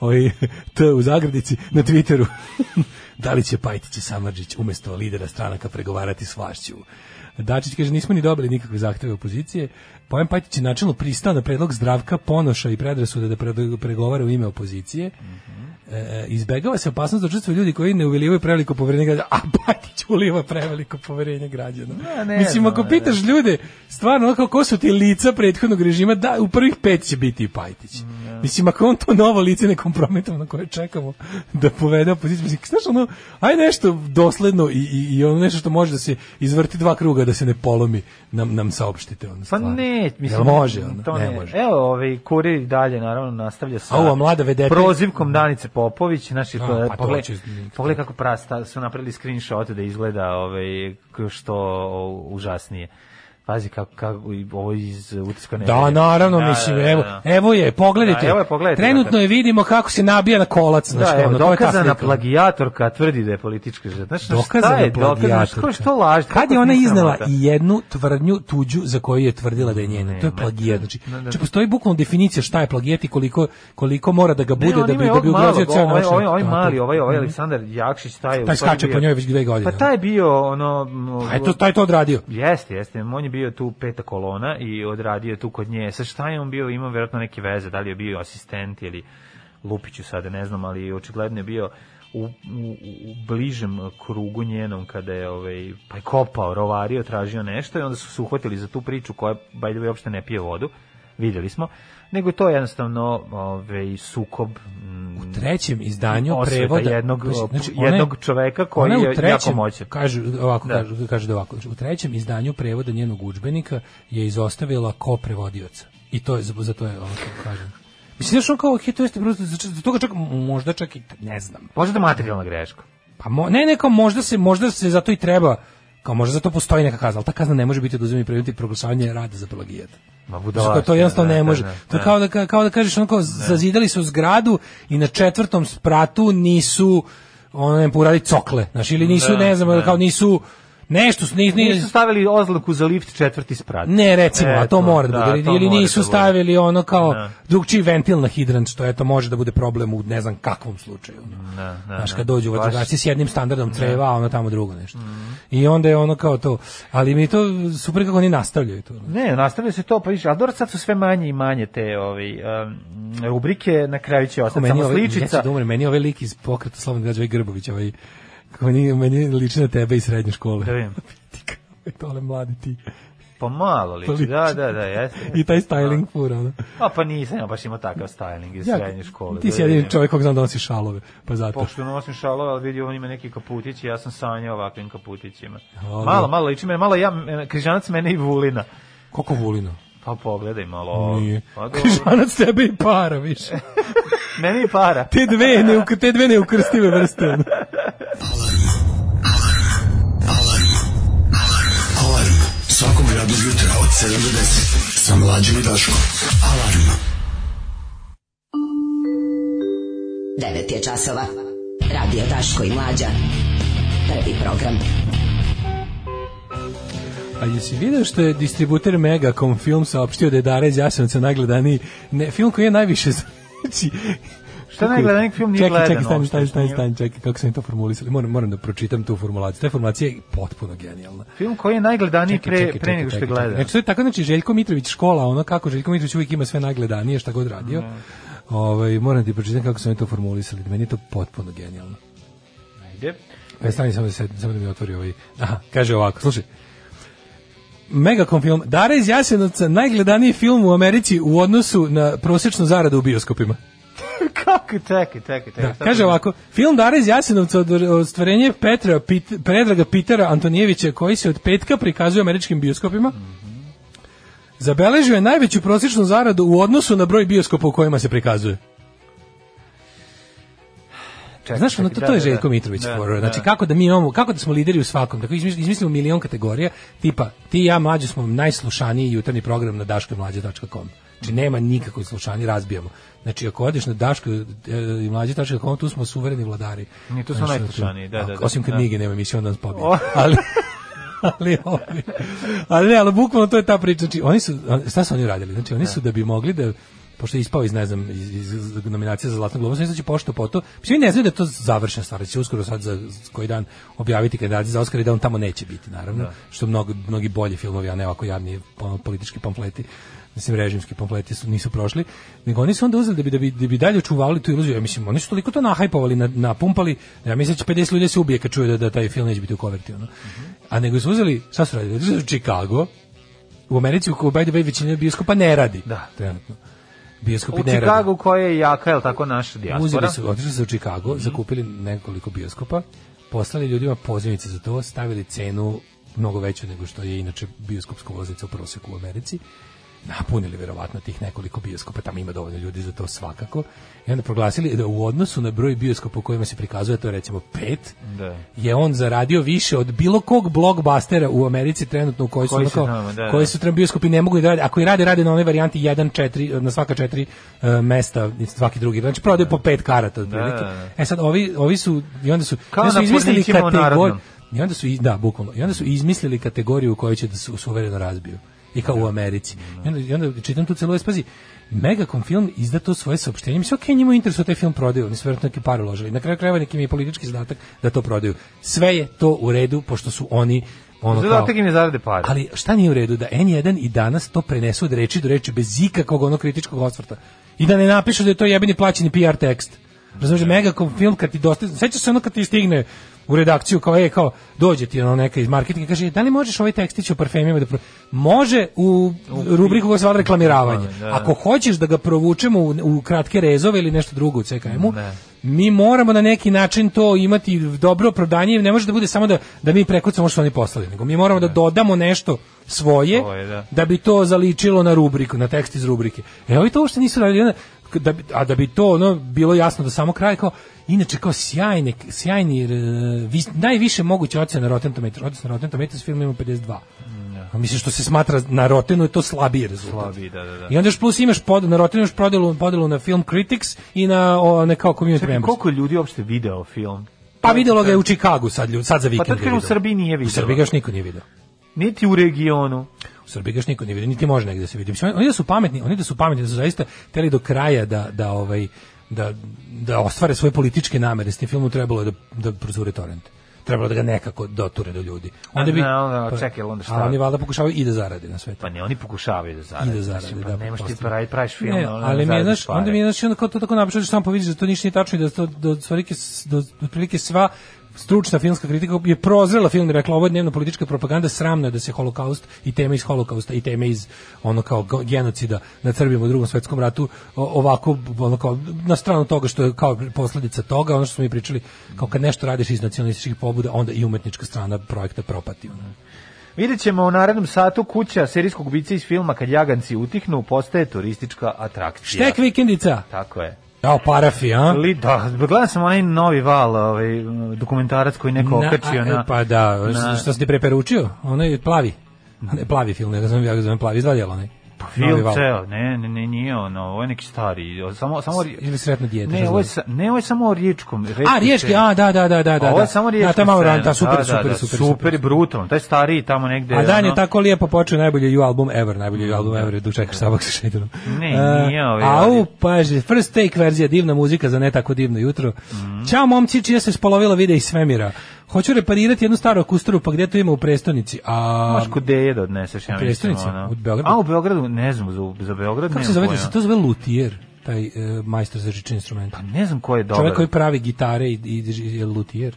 S7: ovaj, T u zagradici na Twitteru. da li će Pajtić i Samarđić umesto lidera stranaka pregovarati s vlašću? Dačić kaže, nismo ni dobili nikakve zahteve opozicije. Bojan Pajtić je načelno pristao na predlog zdravka ponoša i predrasuda da pre- pregovara u ime opozicije. E, izbegava se opasnost da učestvuju ljudi koji ne uvelivaju preveliko poverenje građana, a Pajtić uliva preveliko poverenje građana.
S6: Ja ne
S7: Mislim,
S6: znam,
S7: ako
S6: ne,
S7: pitaš ljude, stvarno, ono kao ko su ti lica prethodnog režima, da, u prvih pet će biti i Pajtić.
S6: Mm,
S7: Mislim, ako je on to novo lice nekompromitovno na koje čekamo da povede opoziciju, mislim, znaš, ono, aj nešto dosledno i, i, i ono nešto što može da se izvrti dva kruga da se ne polomi, nam, nam saopštite. Ono,
S6: Pa
S7: stvarno.
S6: ne, mislim...
S7: Jel može? Ono?
S6: to
S7: ne,
S6: ne. da.
S7: može.
S6: Evo, ovaj, kurir i dalje, naravno, nastavlja sa...
S7: A ova mlada vedeta-
S6: Prozivkom Danice Popović, znači,
S7: A,
S6: pa,
S7: pa to
S6: pogled,
S7: će-
S6: pogled kako prasta su napravili screenshot da izgleda ovaj, k- što o, užasnije. Pazi kako, kako i ovo iz utiska ne.
S7: Da, naravno, mislim, evo, evo je, pogledajte.
S6: Da, evo je, pogledajte,
S7: Trenutno
S6: dakle.
S7: je vidimo kako se nabija na kolac.
S6: Da,
S7: znači,
S6: evo,
S7: ono, to je ta
S6: dokazana
S7: slika.
S6: plagijatorka tvrdi da je politička žrtva. Znači,
S7: dokazana
S6: šta je dokazana?
S7: plagijatorka.
S6: Što, što laž?
S7: Kad je ona iznela
S6: da-
S7: i jednu tvrdnju tuđu za koju je tvrdila da je njena. To je
S6: Nema.
S7: plagijat. Znači,
S6: Da, da.
S7: znači postoji bukvalno definicija šta je plagijat i koliko, koliko mora da ga bude da bi, da bi ugrozio
S6: ugrozio
S7: ceo
S6: Ovaj,
S7: naučni.
S6: ovaj, ovaj mali,
S7: Tako.
S6: ovaj, ovaj Aleksandar Jakšić, taj je... u
S7: Mhm. Taj
S6: stvari
S7: skače
S6: bio-
S7: po njoj već dve godine.
S6: Pa taj je bio, ono...
S7: Pa eto, taj je to odradio.
S6: Jeste, jeste. On je bio tu peta kolona i odradio tu kod nje. Sa šta je on bio? Imao vjerojatno neke veze. Da li je bio asistent ili Lupiću sada, ne znam, ali očigledno je bio u, u, u bližem krugu njenom kada je ovaj, pa je kopao, rovario, tražio nešto i onda su se uhvatili za tu priču koja, by the way, uopšte ne pije vodu. Vidjeli smo. Nego je to jednostavno ovaj, sukob mm,
S7: trećem izdanju
S6: osveta
S7: prevoda znači,
S6: jednog,
S7: ona je-
S6: jednog čoveka koji
S7: ona u
S6: je jako moćan.
S7: Kaže ovako,
S6: Da.
S7: kaže, kaže da ovako, u trećem izdanju prevoda njenog udžbenika je izostavila ko prevodioca. I to je za to je ovako kažem. Mislim da što kao hit to jeste brutalno, znači, za toga čak možda čak i ne znam.
S6: Možda materijalna greška.
S7: Pa mo, ne, ne, kao možda se, možda se zato i treba, kao možda zato postoji neka kazna, ali ta kazna ne može biti oduzimanje predmeta i proglašavanje rada za plagijat.
S6: Ma
S7: Znači, kao to
S6: budalaština,
S7: jednostavno
S6: da,
S7: ne
S6: da,
S7: može.
S6: da,
S7: To je
S6: da.
S7: kao da, ka- kao da kažeš onako, zazidali su zgradu i na četvrtom spratu nisu ono, ne, uradili cokle, znaš, ili nisu,
S6: Da,
S7: ne znam,
S6: da.
S7: kao nisu, nešto su, ni, ni,
S6: Nisu stavili oznaku za lift četvrti sprat.
S7: ne, recimo, a to
S6: Eto,
S7: mora da,
S6: da,
S7: bude.
S6: to
S7: Ili
S6: mora
S7: nisu
S6: da bude.
S7: stavili ono kao
S6: Da.
S7: drugčiji ventil na hidrant, što eto može da bude problem u ne znam kakvom slučaju. ono.
S6: Da, da,
S7: Znaš,
S6: da.
S7: kad dođu
S6: Baš- Da. Mhm.
S7: vatrogasci s jednim standardom creva, a ono tamo drugo nešto. I onda je ono kao to. Ali mi je to super kako oni nastavljaju to.
S6: Ne, nastavlja se to, pa više, ali dobro, sad su sve manje i manje te ovaj, um, rubrike, na kraju će
S7: Kako
S6: ostati
S7: meni
S6: samo
S7: ovaj, ja ću
S6: sličica.
S7: da umrem, meni ovaj lik iz pokreta Slobodnog građa, ovaj Grbović, ovaj, kako meni, meni liči na tebe iz srednje škole.
S6: Da vidim.
S7: Tole mladi ti.
S6: Pa malo liči,
S7: Liči.
S6: da, da, da, jeste.
S7: I taj styling fura, ono.
S6: A pa nisam ja baš imao takav styling Da. iz srednje škole.
S7: Ti
S6: da
S7: si jedini
S6: vidim.
S7: čovjek kog znam da nosi šalove, pa zato.
S6: Pošto nosim šalove, ali vidi, on ima neki kaputić i ja sam sanjao ovakvim kaputićima.
S7: Dobro.
S6: Malo, malo liči mene, malo ja, mene- križanac mene i vulina.
S7: Koliko vulina?
S6: Pa pogledaj malo. ovo.
S7: Nije.
S6: Pa dobro.
S7: Križanac tebe i para više.
S6: meni i para.
S7: Te dve, ne, te dve neukrstive vrste. ono.
S8: Alarm svakog radnog jutra od 7 do 10 sa mlađom i Daškom. Alarm.
S5: 9 je časova. Radio Daško i Mlađa. Prvi program.
S7: A jesi vidio što je distributer Megacom film saopštio da je Dara iz Jasenovca najgledaniji ne, film koji je najviše znači
S6: Šta najgledaniji film nije
S7: čekaj,
S6: gledan
S7: Čekaj, stani, stani,
S6: uopšte,
S7: stani,
S6: nije.
S7: stani, čekaj, kako sam to formulisali. Moram, moram da pročitam tu formulaciju. Ta formulacija je potpuno genijalna.
S6: Film koji je najgledaniji pre, pre nego što
S7: čekaj,
S6: gleda.
S7: čekaj. Znači, to je tako, znači, Željko Mitrović škola, ono kako Željko Mitrović uvijek ima sve najgledanije, šta god radio.
S6: Da.
S7: Ovaj, moram ti pročitam kako su oni to formulisali. Meni je to potpuno genijalno.
S6: Ajde.
S7: E, stani samo da, se, samo da mi otvori ovaj. Aha, kaže ovako, slušaj. Megacom film. Dara iz Jasenovca najgledaniji film u Americi u odnosu na prosječnu zaradu u bioskopima.
S6: Kako, čekaj, čekaj, čekaj.
S7: Da,
S6: šta
S7: kaže
S6: to-
S7: ovako, film Dara iz Jasenovca od ostvarenje Petra Pit, Predraga Pitera Antonijevića koji se od petka prikazuje u američkim bioskopima. Zabeležio je najveću prosječnu zaradu u odnosu na broj bioskopa u kojima se prikazuje.
S6: Čekaj,
S7: Znaš, ono,
S6: čekaj,
S7: to,
S6: da,
S7: to je
S6: da,
S7: Željko
S6: da.
S7: Mitrović
S6: Da,
S7: forward. Znači,
S6: da.
S7: kako da mi imamo, kako da smo lideri u svakom, tako izmiš- izmislimo milion kategorija, tipa, ti i ja mlađi smo najslušaniji jutarnji program na daškomlađe.com. Znači, nema nikakvog slušanja, razbijamo. Znači, ako odeš na daško e, i mlađe.com, tu smo suvereni vladari.
S6: Ne, tu smo
S7: Znači,
S6: najslušaniji, da, da, da.
S7: Osim kad
S6: Da.
S7: Migi nema emisiju, onda nas pobije.
S6: O.
S7: Ali, ali, ovi- ali ne, ali bukvalno to je ta priča. Znači, oni su, šta su oni radili? Znači, oni su da bi mogli da pošto je ispao iz, ne znam, iz, iz, iz nominacije za Zlatnu globu, znači pošto po to. Mislim, oni ne znaju da je to završena stvar, da će uskoro sad za za koji dan objaviti kandidati za Oskar i da on tamo neće biti, naravno, što mnogi, mnogi bolji filmovi, a ne ovako javni ono, politički pamfleti mislim da režimski pamfleti su nisu prošli nego oni su onda uzeli da bi da bi, da bi dalje čuvali tu iluziju ja mislim oni su toliko to nahajpovali na, napumpali da ja mislim da će 50 ljudi se ubije kad čuje da, da taj film neće biti u koverti ono. a nego su uzeli šta su radili uzeli su Chicago u Americi u kojoj by the way većina bioskopa ne radi
S6: Da.
S7: trenutno bioskopi
S6: U
S7: ne rade.
S6: Čikagu koja je jaka, je li tako, naša dijaspora? Mhm.
S7: Uzeli su, otišli su u Chicago, zakupili nekoliko bioskopa, poslali ljudima pozivnice za to, stavili cenu mnogo veću nego što je inače bioskopska ulaznica u proseku u Americi. Napunili verovatno tih nekoliko bioskopa, tamo ima dovoljno ljudi za to svakako. I onda proglasili da u odnosu na broj bioskopa u kojima se prikazuje, to je recimo pet,
S6: Da.
S7: je on zaradio više od bilo kog blockbustera u Americi trenutno u kojoj su,
S6: Koji
S7: ono
S6: su
S7: kao-
S6: tamo, da,
S7: koji
S6: da.
S7: su trenutno Ovaj, bioskopi ne mogu i da rade. Ako i rade, rade na onoj varijanti 1 4 na svaka 4 mesta, svaki drugi. Znači prodaju po pet karata otprilike.
S6: da, da.
S7: E sad ovi ovi su i onda su
S6: Kao
S7: i onda
S6: na
S7: su izmislili
S6: Pornićima u
S7: kategoriju.
S6: Narodnom.
S7: I onda su i- da, bukvalno. I onda su izmislili kategoriju u kojoj će da su suvereno razbiju. I kao
S6: Da.
S7: u Americi. I onda, i onda čitam tu celo spazi. Megacom film izda to svoje saopštenje. Mislim, okej, njima interesu taj film prodaju. Oni su verovatno neki par uložili. Na kraju krajeva neki mi je politički zadatak da to prodaju. Sve je to u redu, pošto su oni ono kao...
S6: Zadatak im je zarade pare.
S7: Ali šta nije u redu da N1 i danas to prenesu od reči do reči bez ikakvog onog kritičkog osvrta. I da ne napišu da je to jebeni plaćeni PR tekst. Razumeš, Megacom film kad ti dostigne, sećaš se ono kad ti stigne u redakciju kao e kao dođe ti ono neka iz marketinga i kaže da li možeš ovaj tekstić o parfemima da pro... može u rubriku koja se zvala reklamiravanje.
S6: Da, da.
S7: Ako hoćeš da ga provučemo u, u kratke rezove ili nešto drugo u CKM-u,
S6: Ne.
S7: mi moramo na neki način to imati dobro prodanje, ne može da bude samo da, da mi prekucamo što su oni poslali, nego mi moramo da dodamo nešto svoje,
S6: Svoje, da.
S7: da. bi to zaličilo na rubriku, na tekst iz rubrike. E, ovi to uopšte nisu radili, onda, k- da bi, a da bi to ono, bilo jasno do samo kraja, kao, inače kao sjajne, sjajni, e, vi- najviše moguće ocene na Rotten Tomatoes, odnosno Rotten Tomatoes film ima 52. A mislim što se smatra na Rottenu je to slabiji rezultat.
S6: Slabiji, da, da, da.
S7: I onda još plus imaš pod, na Rottenu još podelu, podelu na Film Critics i na o, ne kao Community
S6: Čekaj,
S7: Members.
S6: koliko je ljudi uopšte video film?
S7: Pa videlo ga je u Čikagu sad, ljud- sad za vikend.
S6: Pa tad
S7: ga
S6: kad
S7: je
S6: u
S7: videlo.
S6: Srbiji nije
S7: U
S6: videlo.
S7: Srbiji ga još niko nije video.
S6: Niti u regionu.
S7: U Srbiji ga još niko nije video, niti može negde da se vidi. Mislim, oni da su pametni, oni da su pametni, da su zaista teli do kraja da, da, ovaj, da, da ostvare svoje političke namere. S tim filmom trebalo je da, da prozure torrent. Trebalo je da ga nekako doture do ljudi. pa-
S6: ne, onda, čekaj, onda šta?
S7: A oni valjda pokušavaju i da zarade na sve to.
S6: Pa ne, oni pokušavaju da zarade.
S7: i da zarade,
S6: Mislim,
S7: da.
S6: pa nemaš ti
S7: pretpostavljam.
S6: pravi, praviš film.
S7: Ne,
S6: ono,
S7: ali mi je,
S6: zaradiš
S7: znaš,
S6: pare.
S7: onda mi je, znaš, i onda kao to tako napišeš, samo povidiš da to ništa nije tačno i da to, da otprilike, s- da otprilike sva stručna filmska kritika je prozrela film i rekla ovo je dnevno politička propaganda, sramno je da se holokaust i teme iz holokausta i teme iz ono kao go- genocida na Srbima u drugom svetskom ratu o- ovako ono kao na stranu toga što je kao posledica toga, ono što smo mi pričali, kao kad nešto radiš iz nacionalističkih pobuda, onda i umetnička strana projekta propati. ono.
S6: Vidjet ćemo u narednom satu kuća serijskog ubica iz filma Kad jaganci utihnu postaje turistička atrakcija.
S7: Štek vikendica!
S6: Tako je.
S7: Jao, parafija, a?
S6: Li, da, gledam sam onaj novi val, ovaj, m, dokumentarac koji neko
S7: Na-
S6: okačio
S7: a,
S6: na...
S7: e, Pa da,
S6: na- Mhm.
S7: što si ti preperučio? Onaj je plavi. Ne, plavi film, ne ga zovem, ja ga zovem plavi, izvadjela onaj. Pa
S6: Film ceo, ne, ne, ne, nije ono, ovo je neki stari, o, samo, samo, ri-
S7: Ili sretno dijete.
S6: ne, ovo je, sa- ne, ovo je samo o riječkom,
S7: A, riječki, a, da, da, da, da, da.
S6: ovo je samo riječki
S7: Da, to je malo
S6: scena.
S7: ranta, super,
S6: da,
S7: super,
S6: da, da,
S7: super,
S6: super, i brutalno, taj stariji tamo negde,
S7: A Dan je
S6: ono-
S7: tako lijepo počeo najbolji You album ever, najbolji You album ever, dok čekaš sabak sa šeitanom.
S6: Mm, da. Ne, nije ovaj
S7: Au,
S6: radio.
S7: paže, pa first take verzija, divna muzika za ne tako divno jutro.
S6: Mm.
S7: Ćao momci, čija se spolovila vide iz svemira. Hoću reparirati jednu staru akustaru, pa gdje to ima u prestonici? A,
S6: Možeš kod deje da odneseš, ja
S7: u
S6: mislim.
S7: prestonici?
S6: ono.
S7: U Beogradu?
S6: A, u Beogradu, ne znam, za, za Beograd
S7: kako se
S6: nemam
S7: zove,
S6: pojma.
S7: se to zove luthier, taj e, majstor za žične instrumente?
S6: Ne znam ko je dobar.
S7: Čovjek koji pravi gitare i, i, i je luthier.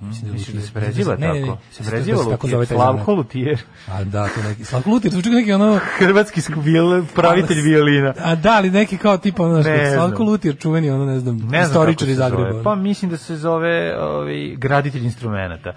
S7: Mislim
S6: Misliš da se
S7: luthier.
S6: preziva
S7: Ne, ne, ne,
S6: tako? Se
S7: mislim da
S6: preziva
S7: se tako
S6: Lutijer,
S7: zove taj
S6: Slavko
S7: znak.
S6: Lutijer.
S7: A da, to neki, Slavko Luthier, zvuči kao neki ono,
S6: Hrvatski skvil, pravitelj
S7: Ali-
S6: violina.
S7: A da, ali neki kao tipa, ono, što,
S6: Ne znam.
S7: Slavko Lutir, čuveni, ono, ne znam,
S6: Ne znam kako
S7: istoričar
S6: se
S7: iz Zagreba.
S6: zove. Pa mislim da se zove ovaj, graditelj instrumenta.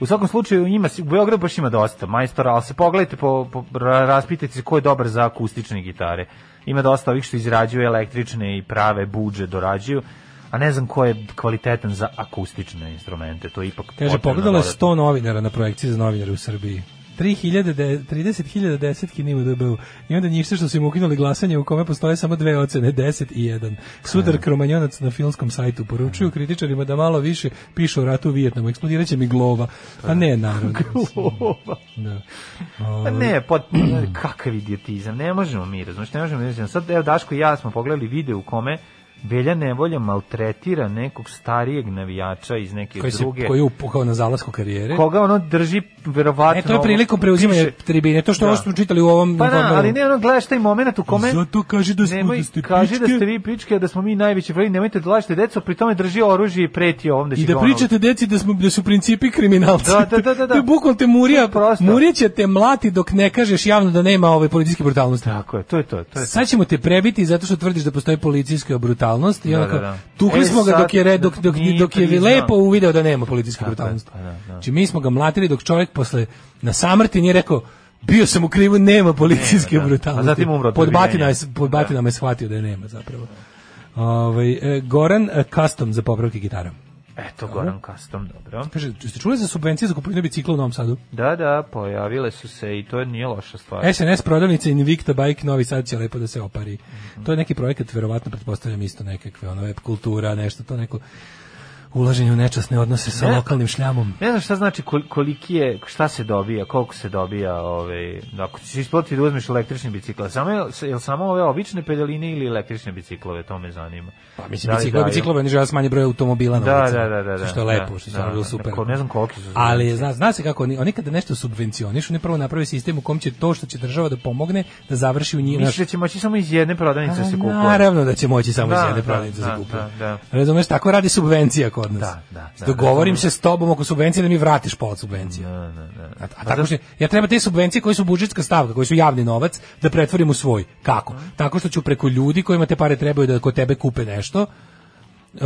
S6: U svakom slučaju ima se- u Beogradu baš ima dosta majstora, ali se pogledajte po, po ra- raspitajte se ko je dobar za akustične gitare. Ima dosta ovih što izrađuju električne i prave budže dorađuju, a ne znam ko je kvalitetan za akustične instrumente. To je ipak
S7: Kaže,
S6: potrebno
S7: pogledalo je
S6: dodatno.
S7: 100 novinara na projekciji za novinare u Srbiji. 3000, de- 30.000 desetki nije u DB-u. I onda njište što su im ukinuli glasanje u kome postoje samo dve ocene, 10 i 1. Sudar kromanjonac na filmskom sajtu poručuju kritičarima da malo više piše o ratu u Vijetnamu. Eksplodiraće mi glova. A ne, naravno. Da.
S6: Pa ne, pot, kakav idiotizam, ne možemo mi, razumiješ, ne možemo mi, razumiješ. Sad, evo, Daško i ja smo pogledali video u kome Velja Nevolja maltretira nekog starijeg navijača iz neke
S7: Koji, se,
S6: druge,
S7: koji je upukao na zalasku karijere.
S6: koga ono drži verovatno...
S7: E, to je prilikom preuzimanja
S6: piše-
S7: tribine. To što
S6: Da.
S7: ovo smo čitali u ovom
S6: Pa da,
S7: informeru.
S6: ali ne ono, gledaš taj moment u kome...
S7: Zato kaži da smo-
S6: nemoj,
S7: da ste
S6: kaži da
S7: pičke.
S6: ste vi pičke, da smo mi najveći vrli, nemojte da lažete deco, pri tome drži oružje i preti ovom da će
S7: I da
S6: ga ono-
S7: pričate deci da smo da su u principi kriminalci.
S6: Da, da, da, da, da.
S7: To je bukvalno te murija,
S6: To je prosto.
S7: murija će te mlati dok ne kažeš javno da nema ove policijske brutalnosti.
S6: Tako je, to je to, Da, to je to.
S7: Sad ćemo te prebiti zato što tvrdiš da postoji policijska brutalnost i
S6: Da,
S7: onako
S6: da, da.
S7: tukli
S6: E,
S7: smo ga
S6: sad
S7: dok je red, dok, dok,
S6: nije
S7: dok je
S6: priznao.
S7: lepo uvideo da nema policijske
S6: Tako je,
S7: brutalnosti.
S6: pa da, da.
S7: Znači mi smo ga mlatili dok čovjek posle na samrti nije rekao bio sam u krivu, nema policijske
S6: Nema, da. A
S7: brutalnosti.
S6: zatim umro od
S7: pod batina, je-
S6: prebijenja.
S7: pod batinama je shvatio da je nema zapravo. Ovaj, e, Goran e, Custom za popravke gitara.
S6: Eto, Goran Kastom, dobro.
S7: Kaže, ste čuli za subvencije za kupovinu bicikla u Novom Sadu?
S6: Da, da, pojavile su se i to nije loša stvar.
S7: SNS prodavnica Invicta Bike Novi Sad će lepo da se opari. To je neki projekat, verovatno pretpostavljam isto nekakve, ono web kultura, nešto to neko ulaženje u nečasne odnose sa
S6: Ne.
S7: lokalnim šljamom.
S6: Ne znam šta znači kol- koliki je, šta se dobija, koliko se dobija, ovaj, ako ćeš isplatiti da uzmeš električni bicikl, samo je, jel samo ove obične pedaline ili električne biciklove, to me zanima. Da
S7: Pa mislim,
S6: li
S7: biciklo,
S6: daju-
S7: biciklo, oni žele da smanje broj automobila na
S6: Da,
S7: ulicama,
S6: da, da, da, da.
S7: Što je lepo,
S6: Da, da,
S7: što je stvarno bilo
S6: da.
S7: super.
S6: Neko- ne znam koliki su
S7: Ali zna, zna se kako oni, oni kada nešto subvencionišu, oni prvo naprave sistem u kom će to što će država da pomogne da završi u njih.
S6: Misliš da će moći samo iz jedne prodavnice
S7: A,
S6: se kupuje?
S7: Pa Naravno da će moći samo iz
S6: Da,
S7: jedne
S6: da,
S7: prodavnice
S6: da,
S7: za kupnju.
S6: da, da.
S7: Razumeš, tako radi subvencija kod nas.
S6: Da, da, da,
S7: Dogovorim
S6: razumem.
S7: se s tobom oko subvencije da mi vratiš pola subvencije.
S6: Da, da, da.
S7: A, a tako što, ja treba te subvencije koje su budžetska stavka, koje su javni novac, da pretvorim u svoj. Kako?
S6: Mhm.
S7: Tako što ću preko ljudi kojima te pare trebaju da kod tebe kupe nešto, e,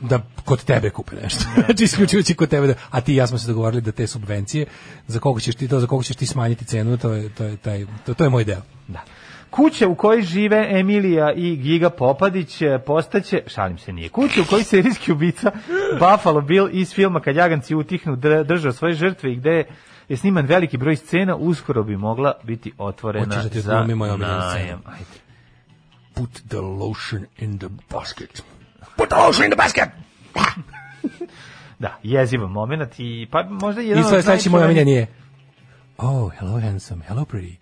S7: da kod tebe kupe nešto.
S6: Da,
S7: Znači isključujući kod tebe, da, a ti i ja smo se dogovorili da te subvencije, za koliko ćeš ti to, za koliko ćeš ti smanjiti cenu, to je, to je, taj, to, to je moj deo.
S6: Da. Kuća u kojoj žive Emilija i Giga Popadić e, postaće, šalim se nije, kuća u kojoj serijski ubica Buffalo Bill iz filma Kad jaganci utihnu dr- držao svoje žrtve i gde je, je sniman veliki broj scena, uskoro bi mogla biti otvorena
S7: Hoćeš da ti
S6: za
S7: odglumi moju omiljenu
S6: najam. Ajde.
S7: Put the lotion in the basket.
S4: Put the lotion in the basket!
S6: Da, jezivan moment i pa možda jedan...
S7: I
S6: od
S7: sve sledeće moje
S6: najčuvenijih-
S7: omiljeni je Oh, hello handsome, hello pretty.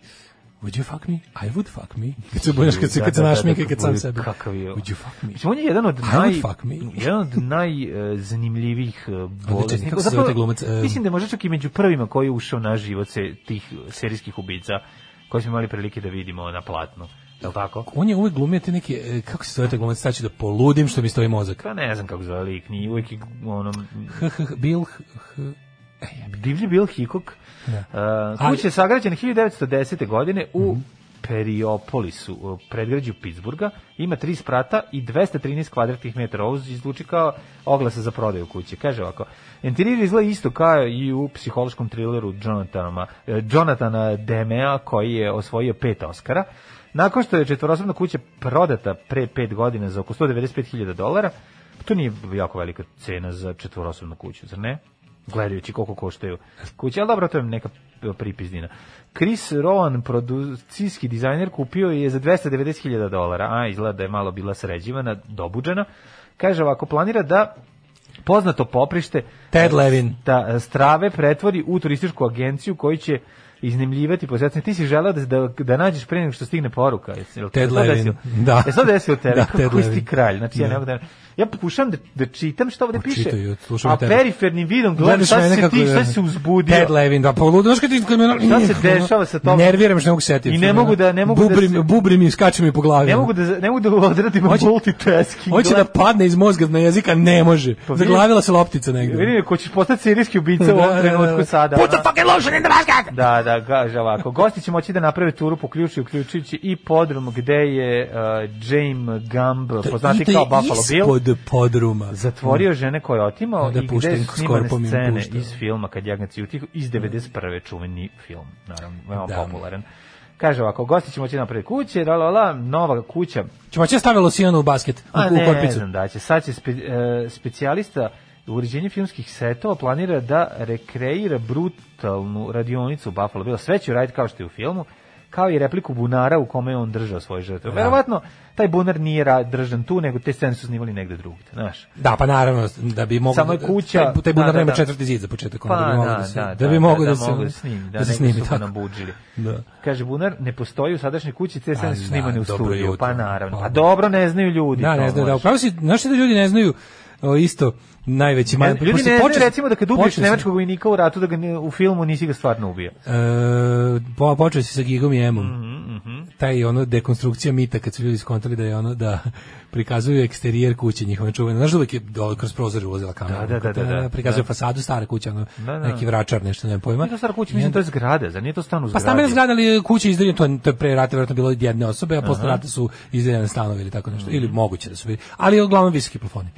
S7: Would you fuck me? I would fuck me. Kad se budeš, kad se, kad se
S6: Da, da,
S7: naš
S6: da,
S7: mika,
S6: da,
S7: kad sam
S6: bude
S7: sebe.
S6: Kakav je.
S7: Would you fuck me?
S6: Mislim, on je jedan od
S7: would
S6: naj
S7: fuck me. da,
S6: jedan od najzanimljivijih
S7: čekaj,
S6: e, bolesti.
S7: kako se zove taj glumac? E,
S6: Mislim da je možda čak i među prvima koji je ušao na život se tih serijskih ubica koje smo imali prilike da vidimo na platnu. Je li tako?
S7: On je uvek glumio te neke, e, kako se zove taj glumac, sad ću da poludim što mi stoji mozak.
S6: Pa ne znam kako zove lik, nije uvijek onom...
S7: Bill, H- H-
S6: Divlji Bill Hickok. Da. Uh, kuća je sagrađena 1910. godine u Periopolisu, u predgrađu Pittsburgha. Ima tri sprata i 213 kvadratnih metara. Ovo izluči kao oglasa za prodaju kuće. Kaže ovako, interijer izgleda isto kao i u psihološkom trileru Jonathana, eh, Jonathana Demea koji je osvojio pet Oscara. Nakon što je četvorosobna kuća prodata pre pet godina za oko 195.000 dolara, to nije jako velika cena za četvorosobnu kuću, zar ne? gledajući koliko koštaju kuće, ali dobro, to je neka pripizdina. Chris Rowan, producijski dizajner, kupio je za 290.000 dolara, a izgleda da je malo bila sređivana, dobuđena. Kaže ovako, planira da poznato poprište
S7: Ted Levin.
S6: da strave pretvori u turističku agenciju koji će iznemljivati posjetitelje. Ti si želeo da, da, da nađeš pre nego što stigne poruka. Jesi, jel,
S7: Ted
S6: to
S7: Levin,
S6: desio?
S7: da.
S6: Jesi to desio tebe?
S7: Da,
S6: Da,
S7: Ted
S6: Kako si ti
S7: Levin.
S6: kralj? Znači, ja, ne
S7: Da.
S6: mogu da, ja pokušam da, da čitam što ovde piše,
S7: Čitaj, slušam
S6: a
S7: tebe.
S6: perifernim vidom gledam
S7: Gledaš
S6: šta
S7: mene
S6: se
S7: kako
S6: ti,
S7: je-
S6: šta se uzbudio.
S7: Ted Levin, da poludim, što ti kad me...
S6: Šta se dešava sa tobom?
S7: Nerviram što ne mogu setiti.
S6: I ne mogu da- ne mogu da
S7: bubri,
S6: se-
S7: Bubri mi skače mi po glavi.
S6: Ne mogu da ne mogu da odradimo
S7: Hoće-
S6: multitasking.
S7: Hoće da padne iz mozga na jezika, ne može.
S6: Pa vidi-
S7: Zaglavila se loptica negde.
S6: Vidim ko ćeš postati serijski ubica u
S7: Da,
S6: ovom
S7: da, da.
S6: trenutku sada.
S7: Put the
S6: ono.
S7: fucking lotion in the basket!
S6: Da, da, kaže ovako. Gosti će moći da naprave turu po ključu, uključujući i podrum gde je uh, James Gumb, poznati
S7: Da, Ide
S6: pa kao Buffalo Bill,
S7: Ispod podruma.
S6: zatvorio žene koje je otimao
S7: Da
S6: i
S7: pušta
S6: gde
S7: im
S6: su snimane
S7: skorpom im
S6: scene
S7: pušta.
S6: iz filma Kad jagnjaci utihu iz 91. čuveni film, naravno, veoma
S7: Da.
S6: popularan. Kaže ovako, gosti će moći da naprave kuće, la, la, la, nova kuća,
S7: Ćemo će stavilo Sijanu u basket, u,
S6: A
S7: u
S6: ne,
S7: korpicu.
S6: znam da će. Sad će spe, e, specijalista u uređenju filmskih setova planira da rekreira brutalnu radionicu u Buffalo Bill. Sve će uraditi kao što je u filmu, kao i repliku bunara u kome je on držao svoje žrtve.
S7: Da.
S6: Verovatno, taj bunar nije ra- držan tu, nego te scene su snimali negde drugde, znaš.
S7: Da, pa naravno, da bi mogao...
S6: Samo je kuća-
S7: Taj, taj bunar
S6: da, da,
S7: nema
S6: da.
S7: četvrti zid za početak. onda
S6: Pa,
S7: bi mogao
S6: da,
S7: da, se,
S6: da,
S7: da, bi
S6: da,
S7: mogao
S6: da,
S7: da,
S6: da
S7: se,
S6: mogu da snimi, da,
S7: da se
S6: nego
S7: snimi
S6: su ga
S7: tako.
S6: nabuđili.
S7: Da.
S6: Kaže, bunar ne postoji u sadašnjoj kući, te scene su
S7: da,
S6: snimane u
S7: dobro
S6: studiju.
S7: jutro.
S6: Pa naravno.
S7: Pa.
S6: Pa dobro, ne znaju ljudi.
S7: Da,
S6: to
S7: ne znaju, da,
S6: možeš.
S7: upravo si, znaš šta da ljudi ne znaju o, isto najveći
S6: Ne,
S7: man-
S6: ljudi ne
S7: pošto
S6: znaju,
S7: počeo-
S6: recimo da kad ubiješ
S7: počeo sam-
S6: nemačkog vojnika u ratu da ga ne- u filmu nisi ga stvarno ubio.
S7: E, po, počeo si sa Gigom i Emom.
S6: Mhm,
S7: Taj ono dekonstrukcija mita kad su ljudi skontali da je ono da prikazuju eksterijer kuće njihove čuvene. Znaš da uvek je do, kroz prozor ulazila kamera. eh,
S6: Da, da, da, da, da.
S7: Prikazuju
S6: Da.
S7: fasadu stare kuće, ono,
S6: Da, da.
S7: neki vračar, nešto ne pojma.
S6: Nije Pa to stara kuća, mislim to je zgrada, zar nije to stan u
S7: Pa
S6: zgradi?
S7: stambena zgrada ali kuće izdeljene, to je, to je pre rata verovatno bilo od jedne osobe, a posle rata su izdeljene stanovi ili tako nešto,
S6: Mhm.
S7: ili moguće da su bili, ali uglavnom visoki plafoni.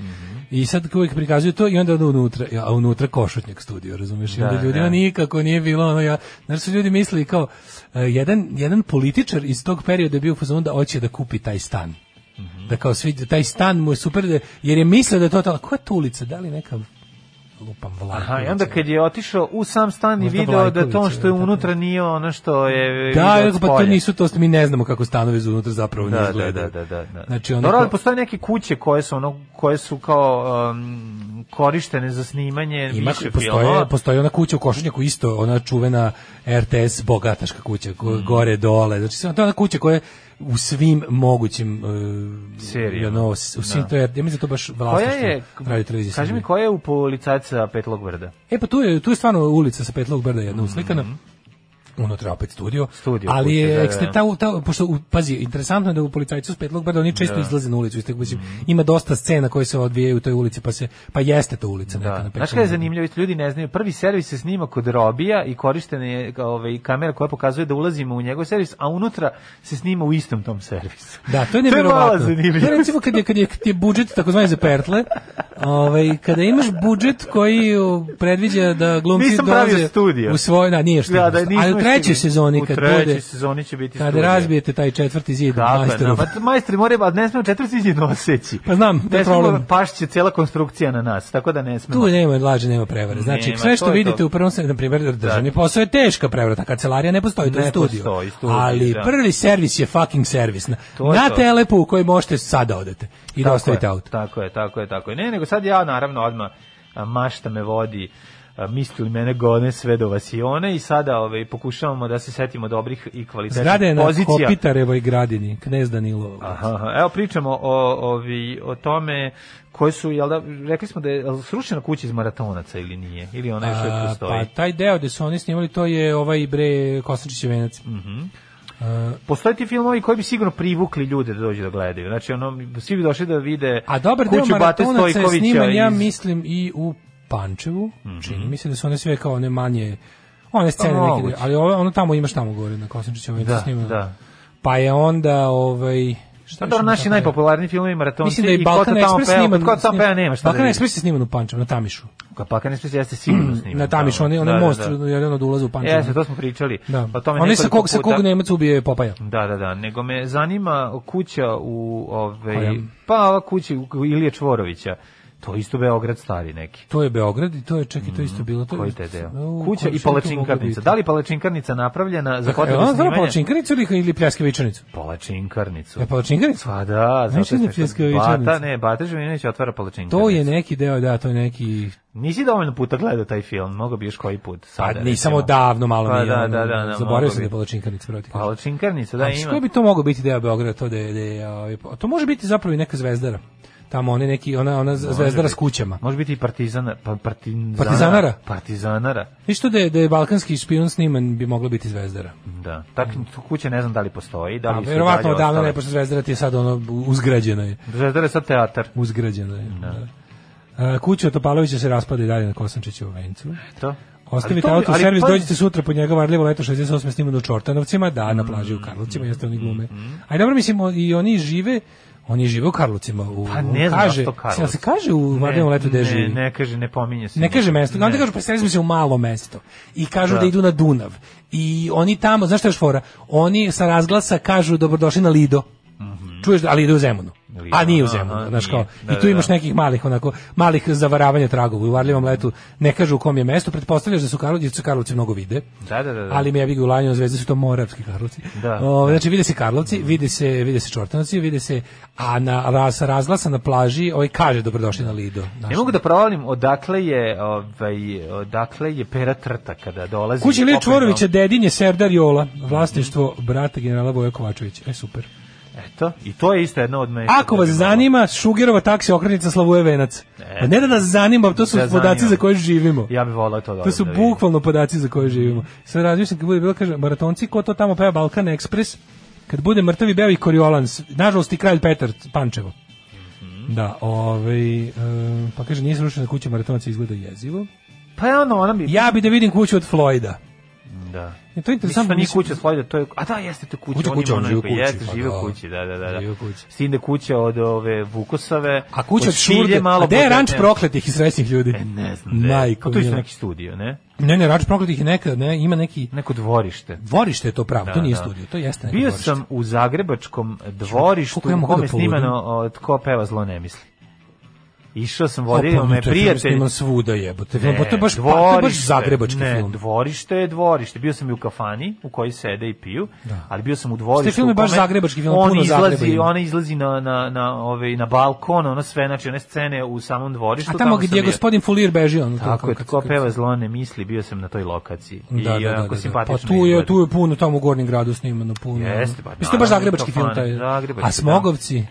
S7: I sad kao uvijek prikazuju to i onda ono unutra, a unutra košutnjak studio, razumiješ? I
S6: Da,
S7: onda ljudima
S6: da.
S7: nikako nije bilo ono, ja, znaš su ljudi mislili kao, e, jedan, jedan političar iz tog perioda je bio u fazonu da hoće da kupi taj stan.
S6: Mhm.
S7: Da kao svi, taj stan mu je super, da- jer je mislio da je to, to koja je to ulica, da li neka lupam vlada.
S6: Aha, i onda kad je otišao u sam stan i
S7: Možda
S6: video da to
S7: Vlajković,
S6: što je
S7: da, da.
S6: unutra nije ono što je
S7: Da,
S6: video
S7: ja,
S6: od
S7: pa to
S6: spolja.
S7: nisu to, mi ne znamo kako stanovi za unutra zapravo ne
S6: Da, da,
S7: izgledaju.
S6: da, da, da, da.
S7: Znači, ono
S6: Dobro, ali
S7: kao-
S6: postoje neke kuće koje su ono koje su kao um, korištene za snimanje
S7: Ima,
S6: više
S7: postoje,
S6: filmova.
S7: postoji ona kuća u Košunjaku isto, ona čuvena RTS bogataška kuća, ko-
S6: Mm.
S7: gore, dole. Znači, sve- to je ona kuća koja je u svim mogućim uh,
S6: Serijama.
S7: ono, s- u svim
S6: Da.
S7: to je, ja mislim da je to baš
S6: Koja
S7: vlasništvo
S6: je,
S7: radio televizije.
S6: kaži mi,
S7: Srbije.
S6: koja je u policajca Petlog Brda?
S7: E pa tu je, tu je stvarno ulica sa Petlog brda jedna uslikana. Unutra opet studio.
S6: Mhm. Studio
S7: ali
S6: kuća,
S7: je
S6: da, da.
S7: ekster- ta, ta, pošto, u- pazi, interesantno je da u policajcu s Petlog brda
S6: Da.
S7: oni često izlaze na ulicu. isto, Mislim,
S6: Mhm.
S7: Ima dosta scena koje se odvijaju u toj ulici, pa, se, pa jeste to ulica neka
S6: Da.
S7: na
S6: Znaš kada je
S7: Petlog brdu.
S6: zanimljivo, ljudi ne znaju, prvi servis se snima kod Robija i korištena je ovaj, kamera koja pokazuje da ulazimo u njegov servis, a unutra se snima u istom tom servisu.
S7: Da, to je
S6: To je
S7: nevjerovatno.
S6: malo zanimljivo.
S7: To je recimo kad je, kad je, kad je budžet takozvani za pertle, ovaj, kada imaš budžet koji o, predviđa da glumci
S6: Nisam pravio
S7: dolaze
S6: studio.
S7: u svoj, da, nije što.
S6: Da, da, nismo
S7: ali u trećoj
S6: stigli.
S7: sezoni kad
S6: U trećoj
S7: bude,
S6: sezoni će biti
S7: kada
S6: studija.
S7: razbijete taj četvrti zid
S6: Tako je,
S7: majsterov.
S6: pa majstri moraju, ali ne smemo četvrti zid noseći.
S7: Pa znam, to je
S6: ne smemo,
S7: problem.
S6: pašće cijela konstrukcija na nas, tako da ne smemo.
S7: Tu nema laži, nema prevare. Znači,
S6: Nema,
S7: sve što
S6: to je
S7: vidite
S6: to.
S7: u prvom se, na primjer, državni
S6: Da.
S7: posao je teška prevara, ta kancelarija ne postoji, to je
S6: Ne
S7: studio.
S6: postoji, studio,
S7: Ali
S6: da.
S7: prvi servis je fucking servis. Na,
S6: To je
S7: na
S6: to.
S7: telepu u koji možete sada odete i da
S6: Tako
S7: ostavite
S6: je,
S7: auto.
S6: Tako je, tako je, tako je. Ne, nego sad ja naravno odmah a, mašta me vodi a, misli mene gone sve do vasione i sada ovaj, pokušavamo da se setimo dobrih i kvalitetnih
S7: Zgrada je na
S6: pozicija.
S7: Kopitarevoj gradini, knez Danilo.
S6: Aha, aha. evo pričamo o, ovi, o tome koji su, jel da, rekli smo da je jel srušena kuća iz maratonaca ili nije, ili ona još uvijek
S7: A,
S6: postoji.
S7: pa taj deo gde su oni snimali, to je ovaj bre Kostančićev venac. Mhm.
S6: Postoje ti filmovi koji bi sigurno privukli ljude da dođu da gledaju. Znači, ono, svi bi došli da vide
S7: A dobar deo
S6: kuću Bate
S7: maratonaca je
S6: Stojkovića
S7: sniman, ja
S6: iz- Mhm.
S7: mislim, i u Pančevu. Čini mi se da su one sve kao one manje, one scene
S6: Pa,
S7: neke,
S6: moguće.
S7: ali ovo- ono tamo imaš tamo gore na Kosančiću, ovaj
S6: Da,
S7: da, snimano.
S6: da.
S7: Pa je onda, ovaj... Šta
S6: Pa dobro, naši najpopularniji filmovi maratonci
S7: Mislim da je
S6: i
S7: Balkan
S6: ko to tamo
S7: Express
S6: peva-
S7: sniman.
S6: Ko to tamo peva nema šta
S7: Balkan
S6: da vidi.
S7: Express je sniman u Pančevu, na Tamišu.
S6: Ka- Balkan Express jeste sigurno da, sniman.
S7: Na Tamišu,
S6: tamo. da.
S7: onaj onaj most, jer on od ulaza u Pančevu.
S6: Jeste, to smo pričali.
S7: Da.
S6: O tome
S7: Onaj sa
S6: nekoliko
S7: kog, sa kog
S6: puta.
S7: Nemac ubije Popaja.
S6: Da, da, da, nego me zanima kuća u
S7: Koja?
S6: ovaj pa ova kuća u Ilije Čvorovića. To je isto Beograd stari neki.
S7: To je Beograd i to je, čekaj, to je isto bilo. To je-
S6: Mm, Koji te deo?
S7: U,
S6: Kuća
S7: koji
S6: i
S7: su to mogli
S6: palačinkarnica.
S7: biti?
S6: Da li palačinkarnica napravljena za
S7: Jel
S6: potrebe
S7: ona zvala
S6: snimanja?
S7: palačinkarnicu ili, ili pljaskavičarnicu?
S6: Palačinkarnicu.
S7: E, palačinkarnicu?
S6: Pa da, zato
S7: Znaš
S6: što
S7: šta je
S6: je što-
S7: pljeskavičarnica?
S6: Bata, ne, Bata Živinović otvara palačinkarnicu.
S7: To je neki deo, da, to je neki...
S6: Nisi dovoljno puta gledao taj film, mogao bi još koji put.
S7: Pa
S6: Sada,
S7: nisam
S6: Pa recimo.
S7: odavno, malo
S6: Pa
S7: mi je,
S6: da,
S7: ono,
S6: da, da, da,
S7: zaboravio
S6: mogao
S7: sam da je
S6: bi.
S7: palačinkarnica, vrati.
S6: Palačinkarnica, da,
S7: Da,
S6: ima.
S7: Koji bi to mogao biti deo Beograda, to da je... Da je ovaj, pa- to može biti zapravo i neka zvezdara. Tamo one neki, ona, ona zvezdara s kućama.
S6: Može biti i partizana, pa, partizanara.
S7: Partizanara?
S6: Partizanara,
S7: Viš to da je, da je balkanski špijun sniman bi mogla biti zvezdara.
S6: da. Tak, tu kuća ne znam da li postoji, da
S7: A,
S6: li su
S7: Pa, verovatno
S6: dalje
S7: odavno
S6: ostale.
S7: ne, pošto zvezdara ti je sad ono uzgrađena je.
S6: Zvezdara je sad teatar.
S7: Uzgrađena je. Da. A, Kuća od Topalovića se raspada i dalje na Kosančiću u Vencu.
S6: To.
S7: Ostavite
S6: Ali to-
S7: auto u
S6: ali
S7: servis,
S6: pa-
S7: dođite sutra po njega varljivo leto 68. snimano u Čortanovcima, da,
S6: Mm.
S7: na plaži u Karlovcima, jeste oni glume. A dobro, mislim, o- i oni žive, oni žive u Karlovcima. U,
S6: Pa ne znam
S7: kaže,
S6: zašto Karlovac.
S7: Jel se kaže u varljivom letu gde
S6: ne,
S7: živi?
S6: Ne, kaže, ne pominje se.
S7: Ne kaže mesto, onda
S6: Ne.
S7: kažu preselili smo se u malo mesto i kažu da.
S6: Da.
S7: idu na Dunav. I oni tamo, znaš šta je još fora? Oni sa razglasa kažu dobrodošli na Lido. Čuješ, da- ali ide u Zemunu.
S6: Mhm. Lido,
S7: A nije u
S6: aha,
S7: Zemunu, znaš
S6: nije.
S7: kao.
S6: Da,
S7: I tu
S6: da,
S7: imaš
S6: da.
S7: nekih malih onako malih zavaravanja tragova. U varljivom letu ne kažu u kom je mesto, pretpostavljaš da su Karlovci, jer su Karlovci mnogo vide.
S6: Da, da, da. da.
S7: Ali mi ja bih u Lanjom zvezdi su to moravski Karlovci.
S6: Da. Mhm.
S7: O, znači vide se Karlovci, vide se vide se Čortanovci, vide se a na raz, razglasa na plaži, ovaj kaže dobrodošli na Lido. Znaš,
S6: Ne mogu da provalim odakle je, ovaj, odakle je pera trta kada dolazi.
S7: Kući Ilije
S6: pokojno-
S7: Čvorovića, dedin je Serdar Jola, vlasništvo brata generala Boja Kovačevića. E, super.
S6: Eto, i to je isto jedno od mesta.
S7: Ako vas
S6: gde da bi E.
S7: zanima, Šugerova taksi okrenica Slavuje Venac. A ne da nas zanima, to su
S6: Da zanima.
S7: podaci za koje živimo.
S6: moglo- Ja bih volao to da.
S7: To su
S6: vidim.
S7: bukvalno podaci za koje živimo. Sve razmišljam kad bude bilo, kaže, maratonci, ko to tamo peva Balkan Ekspres, kad bude mrtavi beo i Koriolans, nažalost i kralj Petar Pančevo.
S6: Mhm.
S7: Da, ovaj, e, pa kaže, nije srušena kuća maratonaca, izgleda jezivo.
S6: Pa je ono, ona bi...
S7: Ja bi da vidim kuću od Floyda.
S6: Da.
S7: E, to je
S6: Mislim
S7: interesantno.
S6: da nije
S7: mislim-
S6: kuća Slojda, to je... A da, jeste to kuća.
S7: Kuća,
S6: on
S7: kuća,
S6: ima
S7: on
S6: ono
S7: živi u
S6: ime,
S7: kući,
S6: Jeste,
S7: pa
S6: živi
S7: da.
S6: u kući, da, da, da. da.
S7: Živi u kući.
S6: S tim da kuća od ove Vukosave...
S7: A kuća od
S6: Šilje
S7: Šurde,
S6: malo
S7: a gde je ranč
S6: bogatnija.
S7: prokletih i srećnih ljudi?
S6: E, ne znam. gde je.
S7: Majko
S6: Pa to je isto
S7: mila.
S6: neki studio, ne?
S7: Ne, ne, ranč prokletih je neka, ne, ima neki
S6: Neko dvorište.
S7: dvorište je to pravo, to
S6: Da,
S7: nije
S6: da.
S7: studio, to jeste neko
S6: Bio
S7: dvorište.
S6: sam u zagrebačkom dvorištu
S7: Koliko ja
S6: u
S7: mogu da
S6: kome je
S7: poludim?
S6: snimano od ko peva zlo ne misli. Išao sam,
S7: Opa,
S6: vodio me
S7: taj film
S6: prijatelj.
S7: Snimam svuda jebote. Film, pa to je baš, pa, to je baš
S6: dvorište,
S7: zagrebački
S6: ne,
S7: film.
S6: dvorište je dvorište. Bio sam i u kafani u kojoj sede i piju, ali bio sam u
S7: Da. Ste
S6: dvorištu.
S7: film je
S6: u
S7: baš
S6: kome
S7: zagrebački film,
S6: on
S7: puno Zagreba
S6: izlazi,
S7: ima.
S6: ona izlazi na, na, na, ovaj, na balkon, ono sve, znači one scene u samom dvorištu.
S7: A tamo gdje je
S6: sam bio.
S7: gospodin Fulir beži, ono to
S6: Tako je,
S7: kako-
S6: ko
S7: kako-
S6: peva zlo ne misli, bio sam na toj lokaciji.
S7: Da, da,
S6: I eh,
S7: da,
S6: onako
S7: da, da.
S6: simpatično
S7: Pa tu je,
S6: izgleda.
S7: tu je puno, tamo u Gornjem gradu snimano puno.
S6: Jeste, pa
S7: Mislim, to je
S6: naravno,
S7: baš zagrebački film
S6: kafana,
S7: taj.
S6: zagrebački, da.
S7: A Smogovci?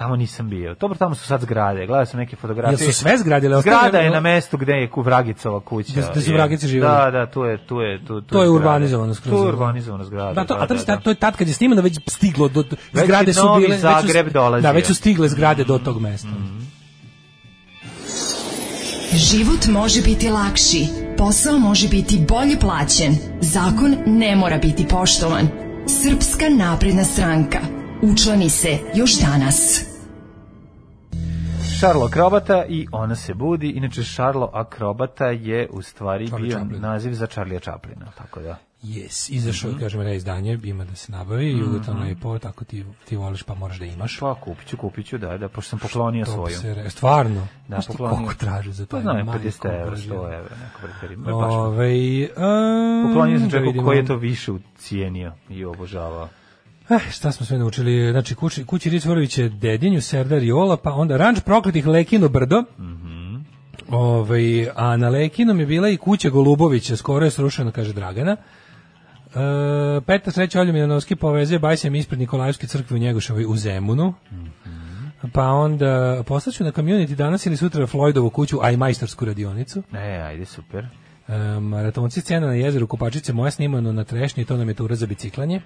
S6: Tamo nisam bio. Dobro, tamo su sad zgrade. Gledao sam neke fotografije.
S7: Jel su sve zgrade, ali ostavljeno-
S6: Zgrada je na mestu gde je ku- Vragicova kuća.
S7: Gde su- gde su
S6: je.
S7: Vragici živeli.
S6: Da, da, tu je, tu je, tu, tu
S7: To je
S6: zgrada.
S7: urbanizovano skroz.
S6: Tu je urbanizovano zgrada.
S7: Da, to, a to,
S6: da,
S7: da, to je tad kad je snimano već stiglo do, do
S6: Već
S7: zgrade
S6: je
S7: su
S6: Novi
S7: bile
S6: Zagreb
S7: već su,
S6: dolazio. Mm.
S7: Da, već su stigle zgrade do tog mesta.
S5: Život može biti lakši, posao može biti bolje plaćen, zakon ne mora biti poštovan. Srpska napredna stranka. Učlani se još danas.
S6: Šarlo Akrobata i ona se budi. Inače, Šarlo Akrobata je u stvari
S7: Charlie
S6: bio
S7: Chaplin.
S6: naziv za Charlie Chaplina. Tako da.
S7: Yes, izašao, mm
S6: Mhm.
S7: -hmm. kažem, reizdanje, ima da se nabavi, mm -hmm. lepo, tako ti, ti voliš pa moraš da imaš.
S6: Pa kupit ću, kupit ću, da, da, pošto sam poklonio
S7: To bi
S6: svoju.
S7: se, re- stvarno.
S6: Da,
S7: Znaš ti
S6: poklonio.
S7: Koliko traže za to?
S6: Pa znam, 50 evra, 100 evra, neko preferim. Baš me
S7: Ove, um,
S6: Poklonio sam čovjeku koji je to više ucijenio i obožavao.
S7: Eh, šta smo sve naučili? Znači, kući, kući Ritvorović je dedinju, Serdar Jola, pa onda ranč prokletih Lekino brdo. Mm a na Lekinom je bila i kuća Golubovića, skoro je srušena, kaže Dragana. E, Petar Sreća Olja Milanovski povezuje Bajsem ispred Nikolajevske crkve u Njegoševoj u Zemunu. Pa onda poslaću na community danas ili sutra Floydovu kuću, a i majstorsku radionicu.
S6: E, ajde, super.
S7: E, maratonci scena na jezeru Kupačice moja snimano na trešnji, to nam je tura za biciklanje.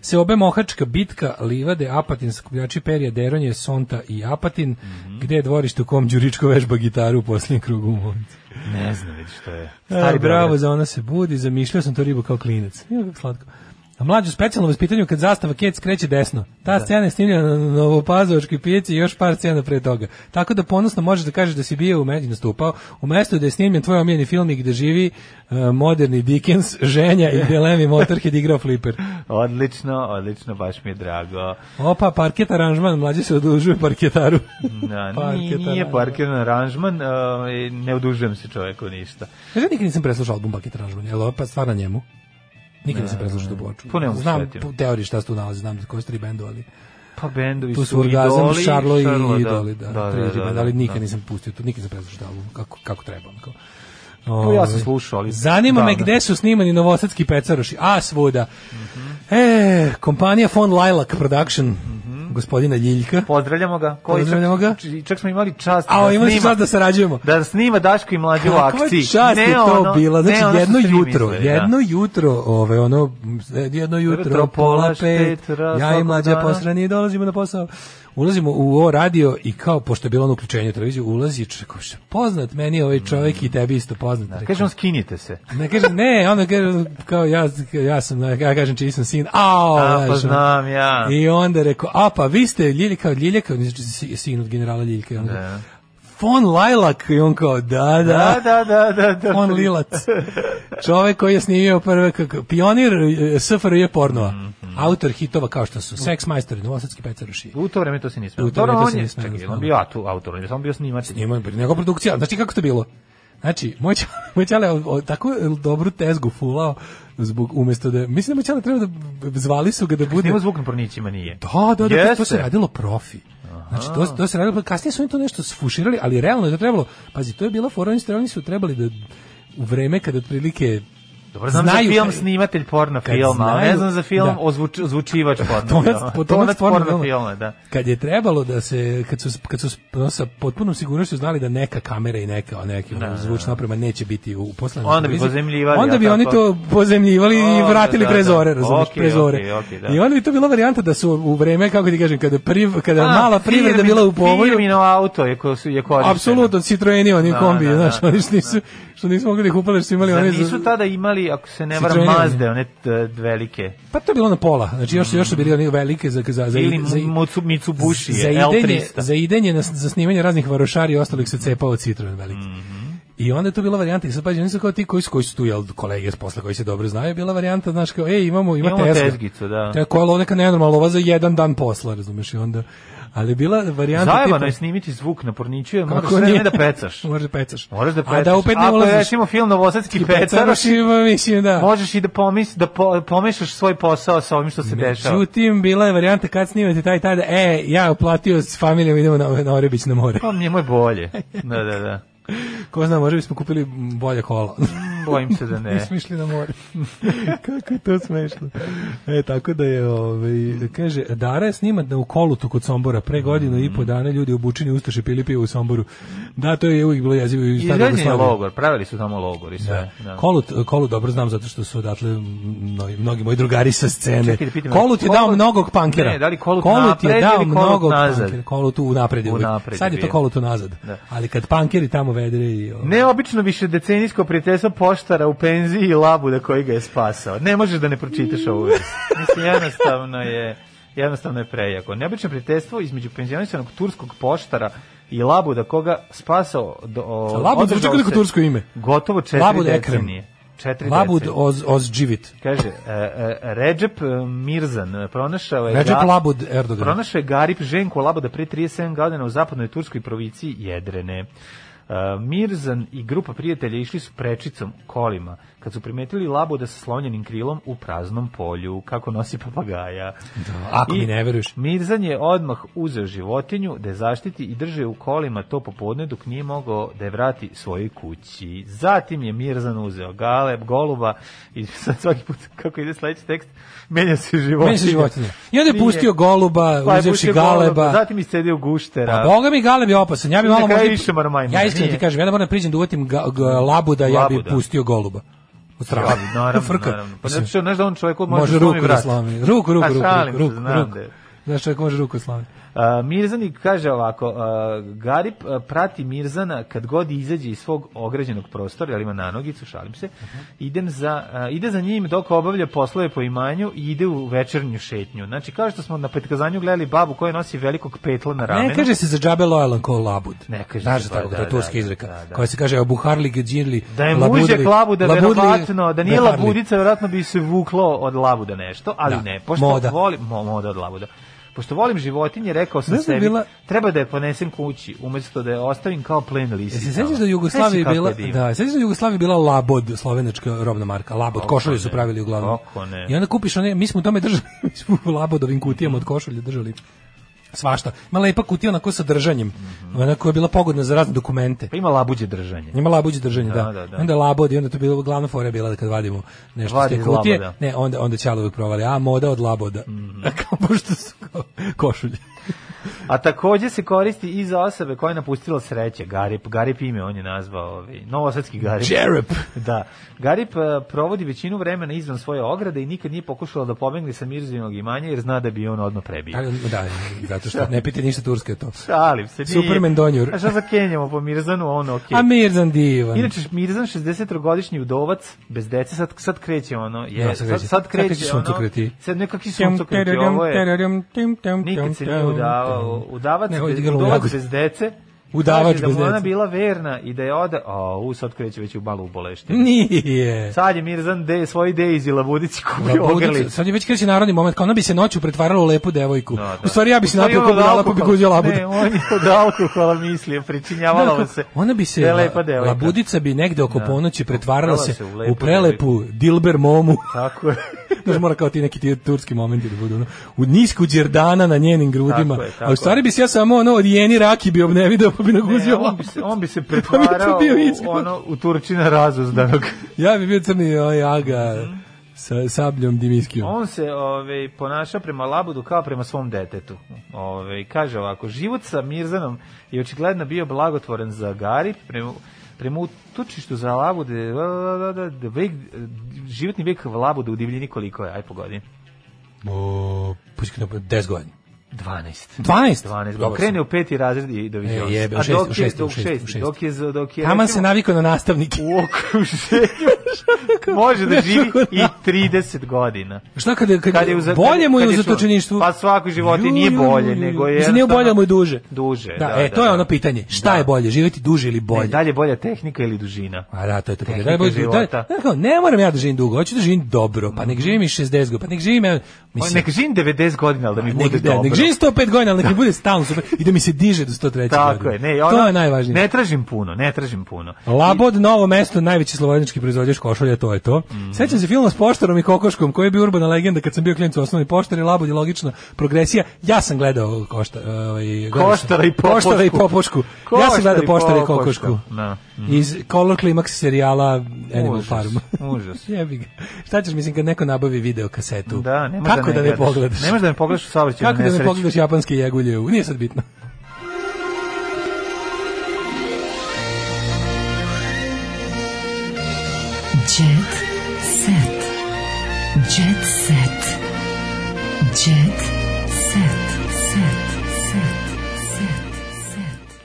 S7: Seobe Mohačka, Bitka, Livade, Apatin, Skupljači Perija, Deronje, Sonta i Apatin, gde je dvorište u kom Đuričko vežba gitaru u posljednjem krugu u Monci.
S6: Ne znam već što je.
S7: Stari E, bravo,
S6: Beograd.
S7: za ona se budi, zamišljao sam to ribu kao klinac. Ima kako slatko. A mlađu specijalno vaspitanju kad zastava Kec kreće desno. Ta scena je snimljena na Novopazovačkoj pijaci i još par scena pre toga. Tako da ponosno možeš da kažeš da si bio u Mediji nastupao. U mestu gde je snimljen tvoj omiljeni film i gde živi e, moderni Dickens, ženja i Delemi Motorhead igrao fliper.
S6: Odlično, odlično, baš mi je drago.
S7: Opa, parket aranžman, mlađi se odužuju parketaru.
S6: Na,
S7: Parket
S6: Da, nije
S7: aranžman.
S6: parkiran aranžman, ovaj, ne odužujem se čoveku ništa.
S7: Znaš, ja nikad nisam preslušao album Parket aranžman, jel ovo pa stvar na njemu? Nikad nisam preslušao tu ploču.
S6: To ne mogu
S7: Znam
S6: shvatiti.
S7: po teoriji šta se tu nalazi, znam koji su tri bendo, ali...
S6: Pa bendovi
S7: Tu
S6: su,
S7: su orgazam,
S6: idoli,
S7: Šarlo i
S6: Šarlo,
S7: idoli, da, da, da, da, ali nikad
S6: da.
S7: nisam pustio to, nikad nisam preslušao album, kako, kako treba. Kao.
S6: Pa ja sam
S7: Ovaj.
S6: slušao, ali... da,
S7: Zanima me
S6: davno.
S7: gde su snimani novosadski pecaroši, a svuda.
S6: Mhm.
S7: E, kompanija Von Lilac Production,
S6: Mhm.
S7: gospodina Ljiljka,
S6: Pozdravljamo ga. Koji
S7: Pozdravljamo ga.
S6: čak, znači, Čak smo imali čast
S7: a
S6: da
S7: imali su
S6: snima-
S7: čast da sarađujemo.
S6: da snima Daško i mlađu u
S7: Kakva
S6: akciji.
S7: čast je to
S6: ono-
S7: bila? Znači,
S6: ne ono
S7: jedno
S6: što ste vi
S7: jutro,
S6: mislili, da.
S7: jedno jutro, ove, ono, jedno jutro,
S6: Jutro,
S7: pola
S6: pola
S7: pet,
S6: pet, raz
S7: ja i
S6: svakog
S7: mlađa
S6: dana.
S7: posrani dolazimo na posao. Ulazimo u o radio i kao, pošto je bilo ono uključenje u televiziju, ulazi, čekao, šta, poznat meni je ovaj čovjek i tebi isto poznat. Rekao,
S6: Da, Kaže on, skinite se.
S7: ne, kaže, ne, onda kaže, kao ja, ja sam, ja kažem čiji sam sin, ao,
S6: A, pa
S7: znaš, ono.
S6: znam ja.
S7: da, I onda je rekao, a pa vi ste Ljiljka od Ljiljka, on je si- sin od generala Ljiljka. i onda,
S6: Da.
S7: Fon Lajlak, i on kao, da, da,
S6: Da, da, da, da. da.
S7: on Lilac. Čovek koji je snimio prve, kako, pionir e, SFRJ pornova.
S6: Mhm.
S7: Autor hitova kao što su Sex Majstori, Novosadski pecaroši.
S6: U to vreme to se nije
S7: U
S6: smelo.
S7: to
S6: Dobro,
S7: vreme to se
S6: on je,
S7: nije smelo,
S6: čekaj,
S7: znam.
S6: on bio atu, autor, on je samo bio snimatelj.
S7: Njima je nego produkcija. Znači kako je to bilo? Znači, moj čale, moj čale o- o- tako je dobru tezgu fulao zbog umesto da mislim da moj čale treba da zvali su ga da bude
S6: Snima zvuk na pronićima, nije.
S7: Da, da, da, to- to se
S6: Jeste.
S7: radilo profi. Znači, to, to se radilo, kasnije su oni to nešto sfuširali, ali realno je to trebalo, pazi, to je bila fora, oni su, oni su trebali da u vreme kada otprilike
S6: Dobro, znam
S7: znaju
S6: za film
S7: kad-
S6: snimatelj porno
S7: kad
S6: filma, ali ne
S7: znaju-
S6: znam za film
S7: da.
S6: ozvuč, ozvučivač porno
S7: Tonac,
S6: filma.
S7: po tonac porno filma.
S6: filma, da.
S7: kad je trebalo da se kad su kad su no, sa potpunom sigurnošću znali da neka kamera i neka neki da, zvučna oprema neće biti u poslednjem
S6: Onda bi pozemljivali,
S7: Onda
S6: a
S7: bi
S6: tako?
S7: oni to pozemljivali i
S6: Onda,
S7: vratili
S6: da,
S7: pre
S6: da.
S7: zore, razumeš,
S6: Okej,
S7: pre zore.
S6: okej, okej, da.
S7: I onda bi to bila varijanta da su u vreme kako ti kažem kada priv, kada
S6: A,
S7: mala privreda
S6: firmin-
S7: bila u povolju
S6: Firmino auto je, ko su, je korišteno.
S7: Apsolutno, Citroeni, oni
S6: Da,
S7: kombi,
S6: da, da.
S7: znaš, oni što nisu, što nisu mogli da ih upale, što su imali
S6: Zar
S7: oni...
S6: nisu tada imali, ako se ne varam,
S7: Citroenove.
S6: Mazde, one t- velike.
S7: Pa to je bilo na pola, znači još, još su bili oni velike za, za, za,
S6: Ili
S7: za,
S6: Mutsu- Mitsubishi,
S7: za idenje,
S6: L300.
S7: za idenje na, za snimanje raznih varošari i ostalih se cepao Citroen veliki.
S6: Mhm.
S7: I onda je to bila varijanta, i sad pađe, oni su kao ti koji su, koji su tu, jel, kolege s posla koji se dobro znaju, bila varijanta, znaš, kao, ej, imamo, ima
S6: Imamo
S7: Tesla.
S6: tezgicu, da.
S7: To je koja lova neka nenormalna, ova za jedan dan posla, razumeš, i onda... Ali je bila varijanta...
S6: Zajebano
S7: tipa-
S6: je snimiti zvuk na porniću, jer moraš
S7: Kako
S6: sve
S7: nije?
S6: vreme da pecaš.
S7: Moraš da pecaš.
S6: Moraš da pecaš.
S7: A da opet ne
S6: Ako je
S7: ulaziš.
S6: recimo film Novosadski pecaroš,
S7: Pecaroš ima, mislim, da.
S6: možeš i da, pomis, da po, pomešaš svoj posao sa ovim što se dešava.
S7: Međutim, bila je varijanta kad snimate taj taj da, e, ja uplatio s familijom, idemo na, na Orebić na more.
S6: Pa njemu je bolje. Da, da, da.
S7: Ko zna, možda bismo kupili bolje kola.
S6: Bojim se da ne.
S7: Nismo išli na more. Kako je to smešno. E, tako da je, ovaj, kaže, Dara je snimat na ukolutu kod Sombora. Pre godinu i po
S6: Mm.
S7: dana ljudi obučeni ustaše pili pivo u Somboru. Da, to je uvijek bilo jezivo. i stara
S6: Izgrađen je
S7: Jugoslavija.
S6: logor, pravili su tamo logor i sve. Da.
S7: Kolut, Kolut dobro znam zato što su odatle mnogi, mnogi moji drugari sa scene.
S6: Čekaj da pitam,
S7: Kolut je dao
S6: Kolut-
S7: mnogog pankera.
S6: Ne, da li Kolut
S7: je
S6: napred
S7: dao
S6: ili Kolut
S7: mnogog
S6: nazad?
S7: pankera. Kolut u napred. je uvijek.
S6: Unapred
S7: Sad
S6: je
S7: je to
S6: bio. Da.
S7: Kolut u nazad. Ali kad pankeri tamo vedre i... ovaj, o-
S6: Neobično više decenijsko prijateljstvo poštara u penziji i labuda koji ga je spasao. Ne možeš da ne pročitaš ovu vez. Mislim, jednostavno je, jednostavno je prejako. Neobično prijateljstvo između penzionisanog turskog poštara i labuda koga spasao... Do, o,
S7: Labud
S6: održao
S7: zvuči kao neko
S6: se
S7: tursko ime. da
S6: Gotovo četiri
S7: Labud Ekrem.
S6: decenije. Četiri
S7: Labud
S6: decenije.
S7: Oz, Ozđivit.
S6: Kaže, e, e, Recep e, Mirzan e, pronašao je...
S7: Recep
S6: ga-
S7: Labud Erdogan.
S6: Pronašao je Garip Ženko Laboda pre 37 godina u zapadnoj turskoj provinciji Jedrene. E, Mirzan i grupa prijatelja išli su prečicom kolima kad su primetili Laboda sa slonjenim krilom u praznom polju, kako nosi papagaja.
S7: Da, Ako
S6: I
S7: mi ne veruješ.
S6: Mirzan je odmah uzeo životinju da je zaštiti i drže u kolima to popodne dok nije mogao da je vrati svojoj kući. Zatim je Mirzan uzeo galeb, goluba i sad svaki put kako ide sledeći tekst menja se životinja.
S7: Meni se životinje. I onda je
S6: Nije.
S7: pustio goluba,
S6: Pa je
S7: uzevši
S6: pustio goluba,
S7: galeba.
S6: Zatim iscedio guštera.
S7: Pa boga mi galeb je opasan. Ja bi
S6: I da. na
S7: malo
S6: kraju
S7: možda-
S6: više marmajmuna.
S7: Ja iskreno ti
S6: Nije.
S7: kažem, ja da moram priđem da uvatim ga, ga- labuda, ja bi
S6: Labuda.
S7: pustio goluba. Od strava.
S6: Ja, naravno,
S7: Frka.
S6: naravno. Pa
S7: Mislim,
S6: znači, znaš da on čovjek može, da
S7: može
S6: slomi
S7: ruku da
S6: vrat.
S7: slomi. Ruku, ruku,
S6: Pa
S7: ruku,
S6: šalim se,
S7: ruku,
S6: znam
S7: ruku.
S6: da je.
S7: Znaš, čovjek može ruku da slomi.
S6: A, Mirzanik kaže ovako, a, Garip a, prati Mirzana kad god izađe iz svog ograđenog prostora, jer ima nanogicu, šalim se, idem za, a, ide za njim dok obavlja poslove po imanju i ide u večernju šetnju. Znači, kao što smo na petkazanju gledali babu koja nosi velikog petla na ramenu.
S7: Ne kaže se za džabe lojalan ko labud.
S6: Ne kaže
S7: Znaš
S6: se,
S7: da tako,
S6: pa,
S7: to je
S6: da,
S7: turska
S6: da,
S7: izreka.
S6: da, da.
S7: Koja se kaže obuharli geđirli.
S6: Da je
S7: labudovi-
S6: mužjak labuda,
S7: labudli-
S6: verovatno, da nije
S7: beharli.
S6: labudica, verovatno bi se vuklo od labuda nešto, ali
S7: Da.
S6: ne, pošto
S7: Moda.
S6: volim, mo, moda od labuda. Pošto volim životinje, rekao sam
S7: Znaš da je
S6: sebi,
S7: bila-
S6: treba da je ponesem kući, umesto da je ostavim kao plen lisi.
S7: Jesi se sećaš da u Jugoslaviji bila da, sećaš da u Jugoslaviji bila Labod, slovenačka robna marka. Labod
S6: Kako
S7: košulje su
S6: ne,
S7: pravili uglavnom.
S6: kako ne.
S7: I onda kupiš one, mi smo u tome držali, mi smo u Labodovim kutijama od košulja držali svašta. Ima lepa kutija onako sa držanjem,
S6: Mhm.
S7: ona koja je bila pogodna za razne dokumente.
S6: Pa ima labuđe držanje.
S7: Ima labuđe držanje, da.
S6: Da, da, da.
S7: Onda je labod i onda je to bilo glavna fora je bila da kad vadimo nešto
S6: Vadi
S7: iz te
S6: iz
S7: kutije.
S6: laboda. Mhm.
S7: Ne, onda onda ćalo uvek provali. A moda od laboda. Kao pošto su kao košulje.
S6: A takođe se koristi i za osobe koja je napustila sreće. Garip, Garip ime on je nazvao, ovaj, novosadski Garip.
S7: Jerep.
S6: Da. Garip e, provodi većinu vremena izvan svoje ograde i nikad nije pokušala da pobegne sa Mirzinog imanja jer zna da bi je on odmah prebio.
S7: Ali, da, zato što ne pite ništa turske to.
S6: Šalim se. nije.
S7: Superman Donjur.
S6: A šta za Kenjamo po Mirzanu, on ok.
S7: A Mirzan divan.
S6: Inače, Mirzan, 63-godišnji udovac, bez dece, sad, sad kreće ono, je,
S7: Da, sad
S6: sad,
S7: kreće.
S6: sad,
S7: Sad
S6: kreće,
S7: kreće suncokreti.
S6: ono, sad nekakvi suncokreti, ovo je, nikad se nije udavao, udavac,
S7: Ne, ovo je
S6: bez,
S7: igralo u
S6: udovac
S7: jagodi.
S6: bez dece,
S7: Udavač
S6: kaže da
S7: bez
S6: mu ona
S7: dece.
S6: bila verna i da je ode, o, u, sad kreće već u malu uboleštenje.
S7: Nije.
S6: Sad je Mirzan de, svoj Dejzi Labudici kupio
S7: Labudica,
S6: ogrlicu.
S7: sad je već kreći narodni moment, kao ona bi se noću pretvarala u lepu devojku.
S6: Da, da.
S7: U stvari ja bi se
S6: U stvari
S7: napio
S6: on od
S7: kogudala pa bi
S6: alkohola-
S7: guzio labudu.
S6: Ne, on je od alkohola mislio,
S7: Da,
S6: pričinjavala
S7: kao,
S6: mu se.
S7: ona bi se,
S6: da je lepa
S7: la-
S6: devojka.
S7: labudica bi negde oko
S6: Da.
S7: ponoći pretvarala
S6: Pretvarala
S7: se
S6: se u lepu
S7: u prelepu Dilber momu.
S6: Tako je.
S7: Znaš, mora kao ti neki ti turski momenti da budu. Ono, u nisku džerdana na njenim grudima.
S6: Tako je, tako
S7: A u stvari bi se ja samo ono, od jeni raki bi obnevidao pa bi
S6: Ne,
S7: naguzio
S6: on, bi
S7: labudu.
S6: se, on bi se
S7: Pa bi to
S6: pretvarao
S7: bio
S6: u,
S7: iskra.
S6: ono, u Turčina razuzdanog.
S7: Ja bi bio crni ovaj, aga
S6: Mhm.
S7: sa sabljom Dimiskijom.
S6: On se ove, ponaša prema Labudu kao prema svom detetu. Ove, kaže ovako, život sa Mirzanom je očigledno bio blagotvoren za Gari, prema, prema utočištu za Labude, da, da, da, da, da, vek, životni vijek Labuda u divljini koliko je, aj pogodi.
S7: O, puški na 10 godina.
S6: 12. 12.
S7: 12?
S6: Dobar
S7: Dobar sam.
S6: krene u peti razred i do
S7: E,
S6: viđenja.
S7: jebe, u
S6: A
S7: šesti,
S6: dok
S7: u
S6: je-
S7: šesti, u
S6: dok
S7: šesti, u šesti.
S6: Dok je, dok je,
S7: Taman se
S6: recimo,
S7: navikao na nastavnike.
S6: u okruženju može da živi i 30 godina. E,
S7: Šta kad je, kad,
S6: Kad je
S7: je
S6: u za-
S7: bolje mu je
S6: kad
S7: u
S6: je čuvan.
S7: zatočeništvu?
S6: Pa svako život
S7: Ju,
S6: nije
S7: ju,
S6: bolje,
S7: ju, ju.
S6: nego je
S7: Mislim, nije
S6: jednostavno-
S7: bolje mu je duže.
S6: Duže,
S7: Da,
S6: da,
S7: e,
S6: da,
S7: to je
S6: da.
S7: ono pitanje. Šta
S6: Da.
S7: je bolje, živjeti duže ili
S6: E,
S7: bolje?
S6: da li je bolja tehnika ili dužina?
S7: A da, to je to.
S6: Tehnika
S7: Da, je bolje- da,
S6: života.
S7: da, kao, ne moram ja da živim dugo, hoću da živim dobro, pa nek živim i 60 godina, pa nek živim... ja-
S6: Pa
S7: Mislim,
S6: Nek živim 90 godina, ali da mi
S7: nek,
S6: bude
S7: da,
S6: dobro.
S7: nek živim 105 godina, ali nek mi bude stalno super i da mi se diže do 103.
S6: Tako
S7: godine.
S6: je, ne,
S7: to
S6: ona,
S7: je najvažnije.
S6: Ne tražim puno, ne tražim puno.
S7: Labod, novo mesto, najveći slovenički proizvođač košulja, to je to. Sećam se filma s poštarom i kokoškom, koji je bio urbana legenda kad sam bio klinac u osnovni poštar i Labod je logična progresija. Ja sam gledao uh, košta, ovaj, gledao
S6: Koštara
S7: sam-
S6: i Popošku.
S7: Koštara i popošku. ja
S6: Koštara
S7: sam gledao
S6: i
S7: poštara i
S6: Popoška.
S7: kokošku.
S6: Da.
S7: Iz Color Climax serijala Animal
S6: Užas,
S7: Farm.
S6: užas.
S7: Jebi ga. Šta ćeš, mislim, kad neko nabavi video kasetu?
S6: Da, ne možeš
S7: Kako da ne,
S6: gledaš.
S7: pogledaš?
S6: Ne možeš da ne pogledaš u saobraćaju
S7: Kako da ne pogledaš japanske jegulje? u- Nije sad bitno.
S5: Jet set. Jet set. Jet set. Set. Set. Set. Set.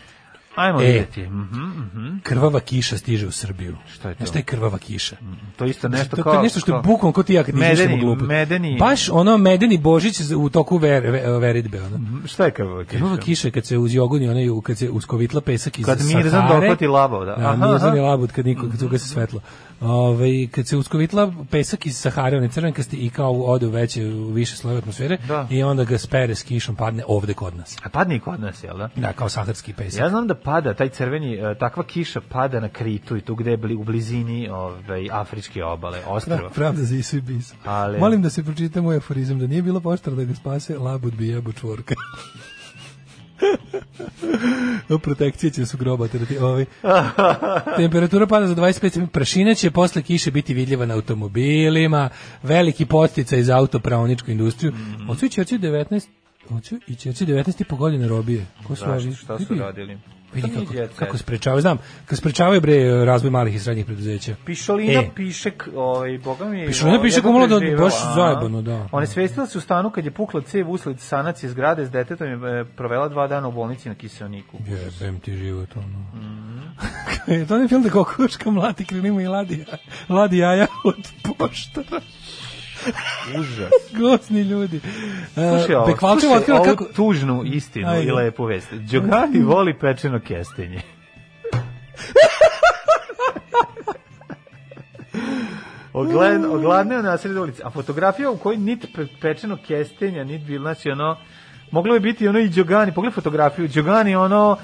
S6: Ajmo
S7: E.
S6: vidjeti. Mhm, mhm.
S7: Krvava kiša stiže u Srbiju.
S6: Šta je to? Mhm.
S7: Znaš Šta je krvava kiša?
S6: To je isto nešto
S7: Znači, to,
S6: kao...
S7: to je nešto što je bukom kod ti ja kad izmišljamo
S6: Medeni,
S7: glupo.
S6: medeni-
S7: Baš ono medeni Božić za- u toku ver, ve- veridbe. Ono.
S6: Šta je krvava kiša?
S7: Krvava kiša je kad se uz jogoni, onaj, u- kad se uskovitla pesak iz
S6: da. Kad
S7: Sahare.
S6: Mirzan dohvati labov, da. Aha,
S7: Mirzan
S6: aha. Mhm.
S7: je labud kad niko, kad se ugasi svetlo. Ove, kad se uskovitla pesak iz Sahare, one crvenkasti i kao ode u veće, u više slojeve atmosfere
S6: Da.
S7: i onda ga spere s kišom, padne ovde kod nas.
S6: A padne i kod nas, jel da?
S7: Da, kao saharski pesak.
S6: Ja znam da pada, taj crveni, e, takva kiša pada na Kritu i tu gde je bili u blizini ovaj, afričke obale,
S7: Da,
S6: ostrava.
S7: pravda za Isu i Bisa.
S6: Ali-
S7: Molim da se pročita moj aforizam, da nije bilo poštara da ga spase, labud bi jebo čvorka. Protekcije će su groba terati. Ovaj. Temperatura pada za 25 stepeni, prašina će posle kiše biti vidljiva na automobilima, veliki posticaj za autopravoničku industriju.
S6: Mhm.
S7: Mm -hmm. Ocu i Čerci 19 Ocu i Čerci 19 i po godine robije. Ko su
S6: Da,
S7: važi?
S6: šta su radili?
S7: Vidi
S6: nije
S7: kako,
S6: jet set.
S7: kako sprečavaju, znam, kako sprečavaju bre razvoj malih i srednjih preduzeća.
S6: Pišolina
S7: E.
S6: Pišek, ovaj, boga mi je...
S7: Pišolina
S6: ovaj,
S7: Pišek
S6: jedva
S7: umrla da-
S6: preživela,
S7: baš
S6: a?
S7: zajebano, da.
S6: Ona je svestila se u stanu kad je pukla cev usled sanacije zgrade s detetom je e, provela dva dana u bolnici na Kiseoniku.
S7: Jebem ti život, ono. Mm. to je film da kokoška mlati krilima i ladi, ladi jaja od poštara.
S6: Užas.
S7: Gosni ljudi. E,
S6: Slušaj, ovo,
S7: Bekvalčev
S6: slušaj
S7: otkrio
S6: ovu
S7: kako...
S6: tužnu istinu
S7: Ajde. Mm.
S6: i lepu vest. Đogani voli pečeno kestenje. Ogled, ogladneo na sred ulici. A fotografija u kojoj nit pe- pečeno kestenja, nit bil, znači ono, moglo bi biti ono i Đogani, pogledaj fotografiju, Đogani ono,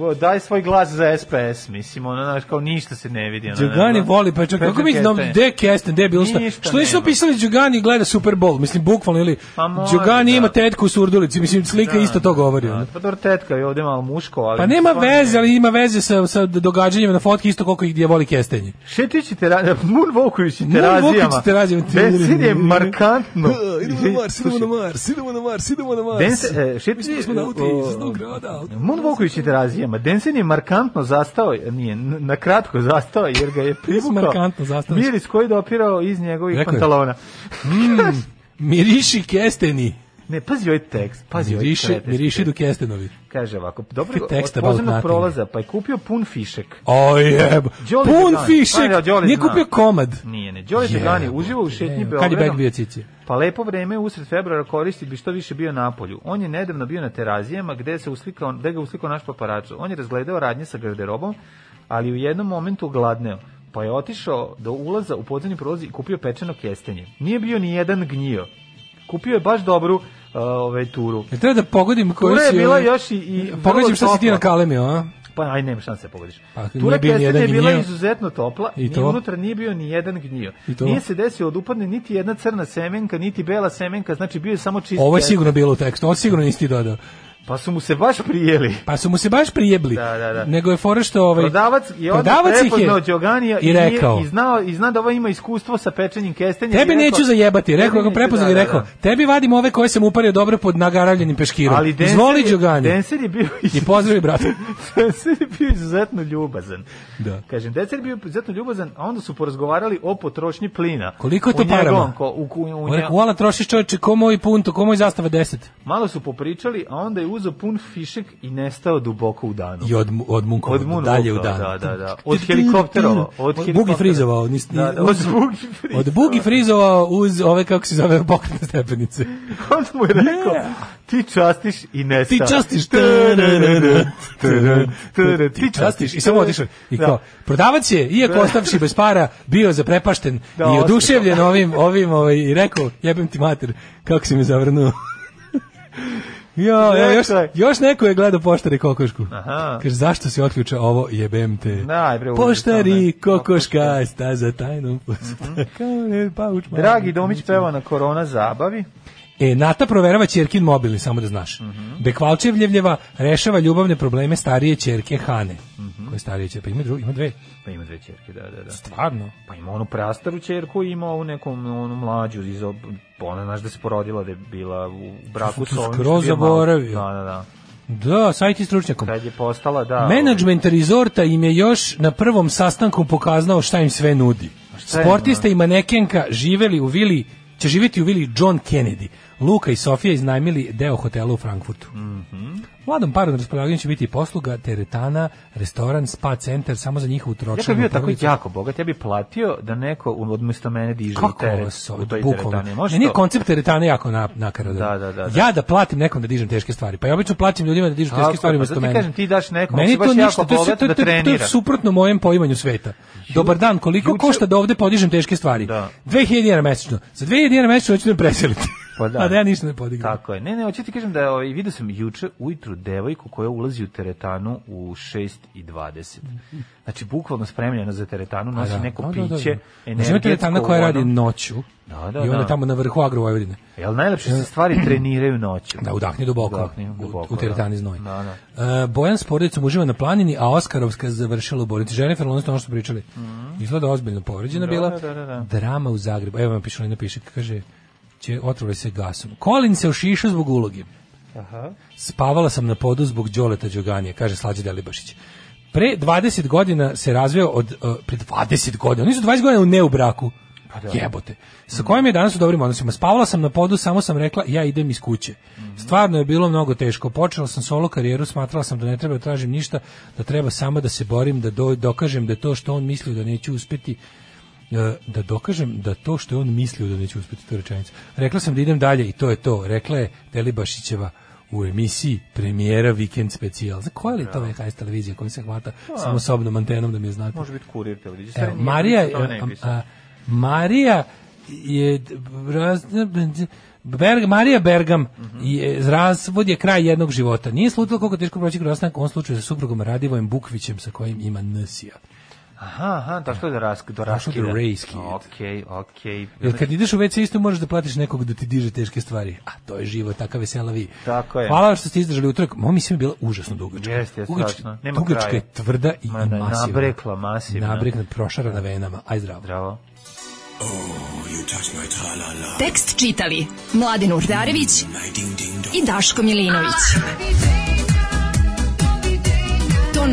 S6: o, daj svoj glas za SPS, mislim, ono, znaš, kao ništa se ne vidi. Ono,
S7: Đugani
S6: ono,
S7: voli pa- pečak. Kako mi znam,
S6: kestenje.
S7: gde Kesten, gde je bilo šta?
S6: Ništa
S7: Što nisu
S6: nema.
S7: napisali Đugani gleda Super Bowl? Mislim, bukvalno, ili
S6: Pa može,
S7: Đugani
S6: da.
S7: ima tetku u surdulici. Mislim, slika isto to govori. ono.
S6: Da, pa dobro, tetka je ovde malo muško, ali...
S7: Pa nema
S6: stvarno
S7: veze, ali ima veze sa, sa događanjima na fotki isto koliko ih gdje voli kestenje.
S6: Šetići tera, Moonwalkujući terazijama.
S7: Moonwalkujući terazijama.
S6: Besin je markantno.
S7: Mars, idemo na Mars, idemo na Mars.
S6: Dense, e, šetići, o,
S7: grada.
S6: Moonwalkujući terazijama. Densen je markantno zastao, nije, n- na kratko zastao, jer ga je privukao
S7: Markantno zastaviš.
S6: miris koji je dopirao iz njegovih
S7: Rekao je.
S6: pantalona.
S7: Miriši kesteni.
S6: Ne, pazi ovaj tekst, pazi ovaj
S7: Miriši,
S6: kretenski
S7: miriši do
S6: tekst.
S7: kestenovi.
S6: Kaže ovako, dobro,
S7: Tekst
S6: od
S7: about
S6: pozemnog
S7: nothing.
S6: prolaza, pa je kupio pun fišek.
S7: O jeb.
S6: Đole
S7: Pun
S6: Đugani.
S7: fišek.
S6: Pa, da, Đole
S7: Nije
S6: zna.
S7: kupio komad.
S6: Nije, ne. Đorđe Dragani uživa u šetnji
S7: Jebo. Kad je bek
S6: Beogradom.
S7: bio cici?
S6: Pa lepo vreme usred februara koristi bi što više bio na polju. On je nedavno bio na terazijama gde se uslikao, gde ga uslikao naš paparač. On je razgledao radnje sa garderobom, ali u jednom momentu gladneo. Pa je otišao do ulaza u podzemni prolaz i kupio pečeno kestenje. Nije bio ni jedan gnjio. Kupio je baš dobru uh, ovaj turu.
S7: Ja treba da pogodim koji
S6: Tura
S7: si...
S6: je bila
S7: ovaj,
S6: još i- i vrlo
S7: Pogodim šta si ti
S6: topla.
S7: na kalemio, a?
S6: Pa aj nema šanse da pogodiš.
S7: Pa,
S6: Tura
S7: nije bio
S6: kestenja je
S7: nijedan
S6: bila
S7: gnjio.
S6: izuzetno topla
S7: I
S6: i
S7: to?
S6: unutra nije bio ni jedan gnjio.
S7: I to?
S6: Nije se desio od upadne niti jedna crna semenka, niti bela semenka, znači bio je samo čist.
S7: Ovo je
S6: kesten.
S7: sigurno bilo u tekstu, ovo sigurno nisi ti dodao.
S6: Pa su mu se baš prijeli.
S7: Pa su mu se baš prijebli.
S6: Da, da, da.
S7: Nego je fora što ovaj
S6: Prodavac je odmah
S7: prodavac ih
S6: prepoznao Đoganija
S7: i
S6: nije-
S7: rekao.
S6: i znao i zna da ovo ima iskustvo sa pečenjem kestenja. i
S7: Tebe
S6: rekao-
S7: neću zajebati, rekao
S6: Tebe
S7: ga
S6: neću,
S7: prepoznao
S6: da,
S7: i
S6: da,
S7: rekao.
S6: da.
S7: Tebi vadim ove koje sam upario dobro pod nagaravljenim peškirom.
S6: Ali Denser
S7: Izvoli
S6: je-
S7: Đogani.
S6: Denser je bio
S7: I pozdravi brate.
S6: Denser je bio izuzetno ljubazan.
S7: Da.
S6: Kažem, Denser je bio izuzetno ljubazan, a onda su porazgovarali o potrošnji plina.
S7: Koliko je
S6: U
S7: to parama?
S6: njegovom ko- u, u, u,
S7: On
S6: nje-
S7: rekao, uala trošiš čoveče, ko moj punto, ko moj zastava 10.
S6: Malo su popričali, a onda je uzeo pun fišek i nestao duboko u danu.
S7: I od, od Munkova,
S6: Od Munkova,
S7: dalje u dan.
S6: da, da, da. Od helikopterova, od
S7: Bugi
S6: helikoptera.
S7: frizovao. Nis,
S6: Da, da, od Bugi frizovao.
S7: Od Bugi frizovao uz ove, kako se zove, pokretne stepenice.
S6: Onda mu je rekao, ti častiš i nestao.
S7: Ti častiš. Ti častiš.
S6: Da.
S7: I samo otišao. I kao, prodavac je, iako ostavši bez para, bio zaprepašten
S6: Da,
S7: i
S6: ostao.
S7: oduševljen ovim, ovim, ovaj, i rekao, jebem ti mater, kako si me zavrnuo. Jo, ja, još,
S6: Rekao je.
S7: još neko je gledao poštari kokošku.
S6: Aha.
S7: Kaže, zašto se otključa ovo, jebem te.
S6: Da, bre, užasno,
S7: poštari
S6: ne. Mhm.
S7: kokoška, sta za tajnom. Kao ne, pauč, malo.
S6: Dragi Domić peva na korona zabavi.
S7: E, Nata proverava ćerkin mobilni, samo da znaš. Mm
S6: Mhm.
S7: Bekvalčevljevljeva rešava ljubavne probleme starije ćerke Hane.
S6: Mhm.
S7: Koje starije ćerke? Pa ima, dru, ima dve.
S6: Pa ima dve čerke, da, da, da.
S7: Stvarno?
S6: Pa ima onu prastaru čerku i ima ovu neku onu mlađu iz ob... ona znaš da se porodila da je bila u braku
S7: To
S6: sa
S7: sam
S6: ovim.
S7: skroz
S6: što je malo-
S7: zaboravio.
S6: Da, da, da.
S7: Da, sajti stručnjakom.
S6: Kad je postala, da.
S7: Menadžment rezorta im je još na prvom sastanku pokazao šta im sve nudi.
S6: šta je,
S7: Sportista i manekenka živeli u vili, će živjeti u vili John Kennedy. Luka i Sofija iznajmili deo hotela u Frankfurtu.
S6: Mhm.
S7: Mladom paru na raspolaganju će biti i posluga, teretana, restoran, spa centar, samo za njihovu
S6: Ja
S7: tročanu.
S6: kad bi bio tako
S7: porodicu.
S6: jako bogat, ja bih platio da neko u- odmesto mene diže
S7: Kako ovo
S6: teret
S7: se
S6: u toj
S7: bukvalno.
S6: teretani.
S7: Ne,
S6: Može
S7: nije
S6: to?
S7: koncept teretane jako na, nakaradan.
S6: Da, da, da, da.
S7: Ja da platim nekom da dižem teške stvari. Pa ja obično platim ljudima da dižu
S6: Tako je,
S7: teške stvari
S6: pa
S7: umesto
S6: zato ti
S7: mene.
S6: kažem, ti daš nekom,
S7: Meni
S6: si
S7: to
S6: baš
S7: ništa,
S6: jako
S7: to je sve-
S6: bogat
S7: to je-
S6: da
S7: to je- To
S6: trenira.
S7: je suprotno mojem poimanju sveta. Dobar dan, koliko
S6: juče-
S7: košta da ovde podižem teške stvari?
S6: Da.
S7: 2000 dinara mesečno. Za 2000 dinara mesečno ću da me preseliti.
S6: Pa da.
S7: A da ja ništa ne podignem.
S6: Tako je. Ne, ne, hoću ti kažem da ovaj, vidio sam juče ujutru devojku koja ulazi u teretanu u 6 i 20. Znači, bukvalno spremljena za teretanu,
S7: Pa
S6: nosi
S7: da.
S6: neko
S7: Da, da, da.
S6: piće,
S7: Znači, ima
S6: energetsko.
S7: teretana koja radi
S6: ono.
S7: noću
S6: Da, da,
S7: i onda
S6: da.
S7: tamo na vrhu Agro Vojvodine.
S6: Pa Jel najlepše se stvari treniraju noću?
S7: Da, udahni duboko.
S6: Udahni
S7: U-
S6: duboko,
S7: u teretani
S6: da.
S7: znoj.
S6: Da,
S7: E, Bojan s porodicom uživa na planini, a Oskarovska završila u bolnici. Jennifer, ono što smo pričali. Izgleda ozbiljno povređena
S6: Mhm. Da,
S7: bila.
S6: da, da, da, da.
S7: Drama u Zagrebu. Evo vam piše, Lina piše, kaže, će otrovali se gasom. Colin se ošišao zbog uloge. Aha. Spavala sam na podu zbog Đoleta Đoganije, kaže Slađe Delibašić. Pre 20 godina se razveo od... Uh, pre 20 godina, oni su 20 godina u ne u braku. Pa da. Jebote. Sa kojim je danas u dobrim odnosima. Spavala sam na podu, samo sam rekla ja idem iz kuće. Stvarno je bilo mnogo teško. Počela sam solo karijeru, smatrala sam da ne treba da tražim ništa, da treba samo da se borim, da do, dokažem da to što on mislio da neću uspeti, e, da dokažem da to što je on mislio da neću uspeti to rečenica. Rekla sam da idem dalje i to je to. Rekla je Delibašićeva u emisiji premijera Vikend specijal. Za koja li je to VHS televizija kojom se hvata samo sobnom antenom da mi je znate?
S6: Može biti kurir televizije.
S7: Evo,
S6: Stvarno nije
S7: E, Marija,
S6: ništa o tome da ne
S7: a,
S6: pisano.
S7: a, Marija je raz, Berg, Marija Bergam je, razvod je kraj jednog života. Nije slutilo koliko je teško proći kroz rastanak, u ovom slučaju sa suprugom Radivojem Bukvićem sa kojim ima nsija.
S6: Aha, aha, došlo je do rask, do
S7: Došlo
S6: raskida.
S7: do raskida.
S6: Okej, okej.
S7: Jer kad ideš u WC isto moraš da platiš nekog da ti diže teške stvari. A to je život, takav vesela vi.
S6: Tako je.
S7: Hvala vam što ste izdržali utorak. Moja mislim je bila užasno dugačka.
S6: Jeste, jeste,
S7: Dugačka-
S6: strašno. Nema
S7: dugačka
S6: kraja.
S7: je tvrda i
S6: Ma da,
S7: masivna.
S6: nabrekla, masivna.
S7: Nabrekla, prošara na venama. Aj zdravo.
S6: Zdravo.
S5: Tekst čitali Mladin Urdarević i Daško Milinović. Ton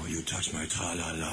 S8: Oh, you touch my tra-la-la.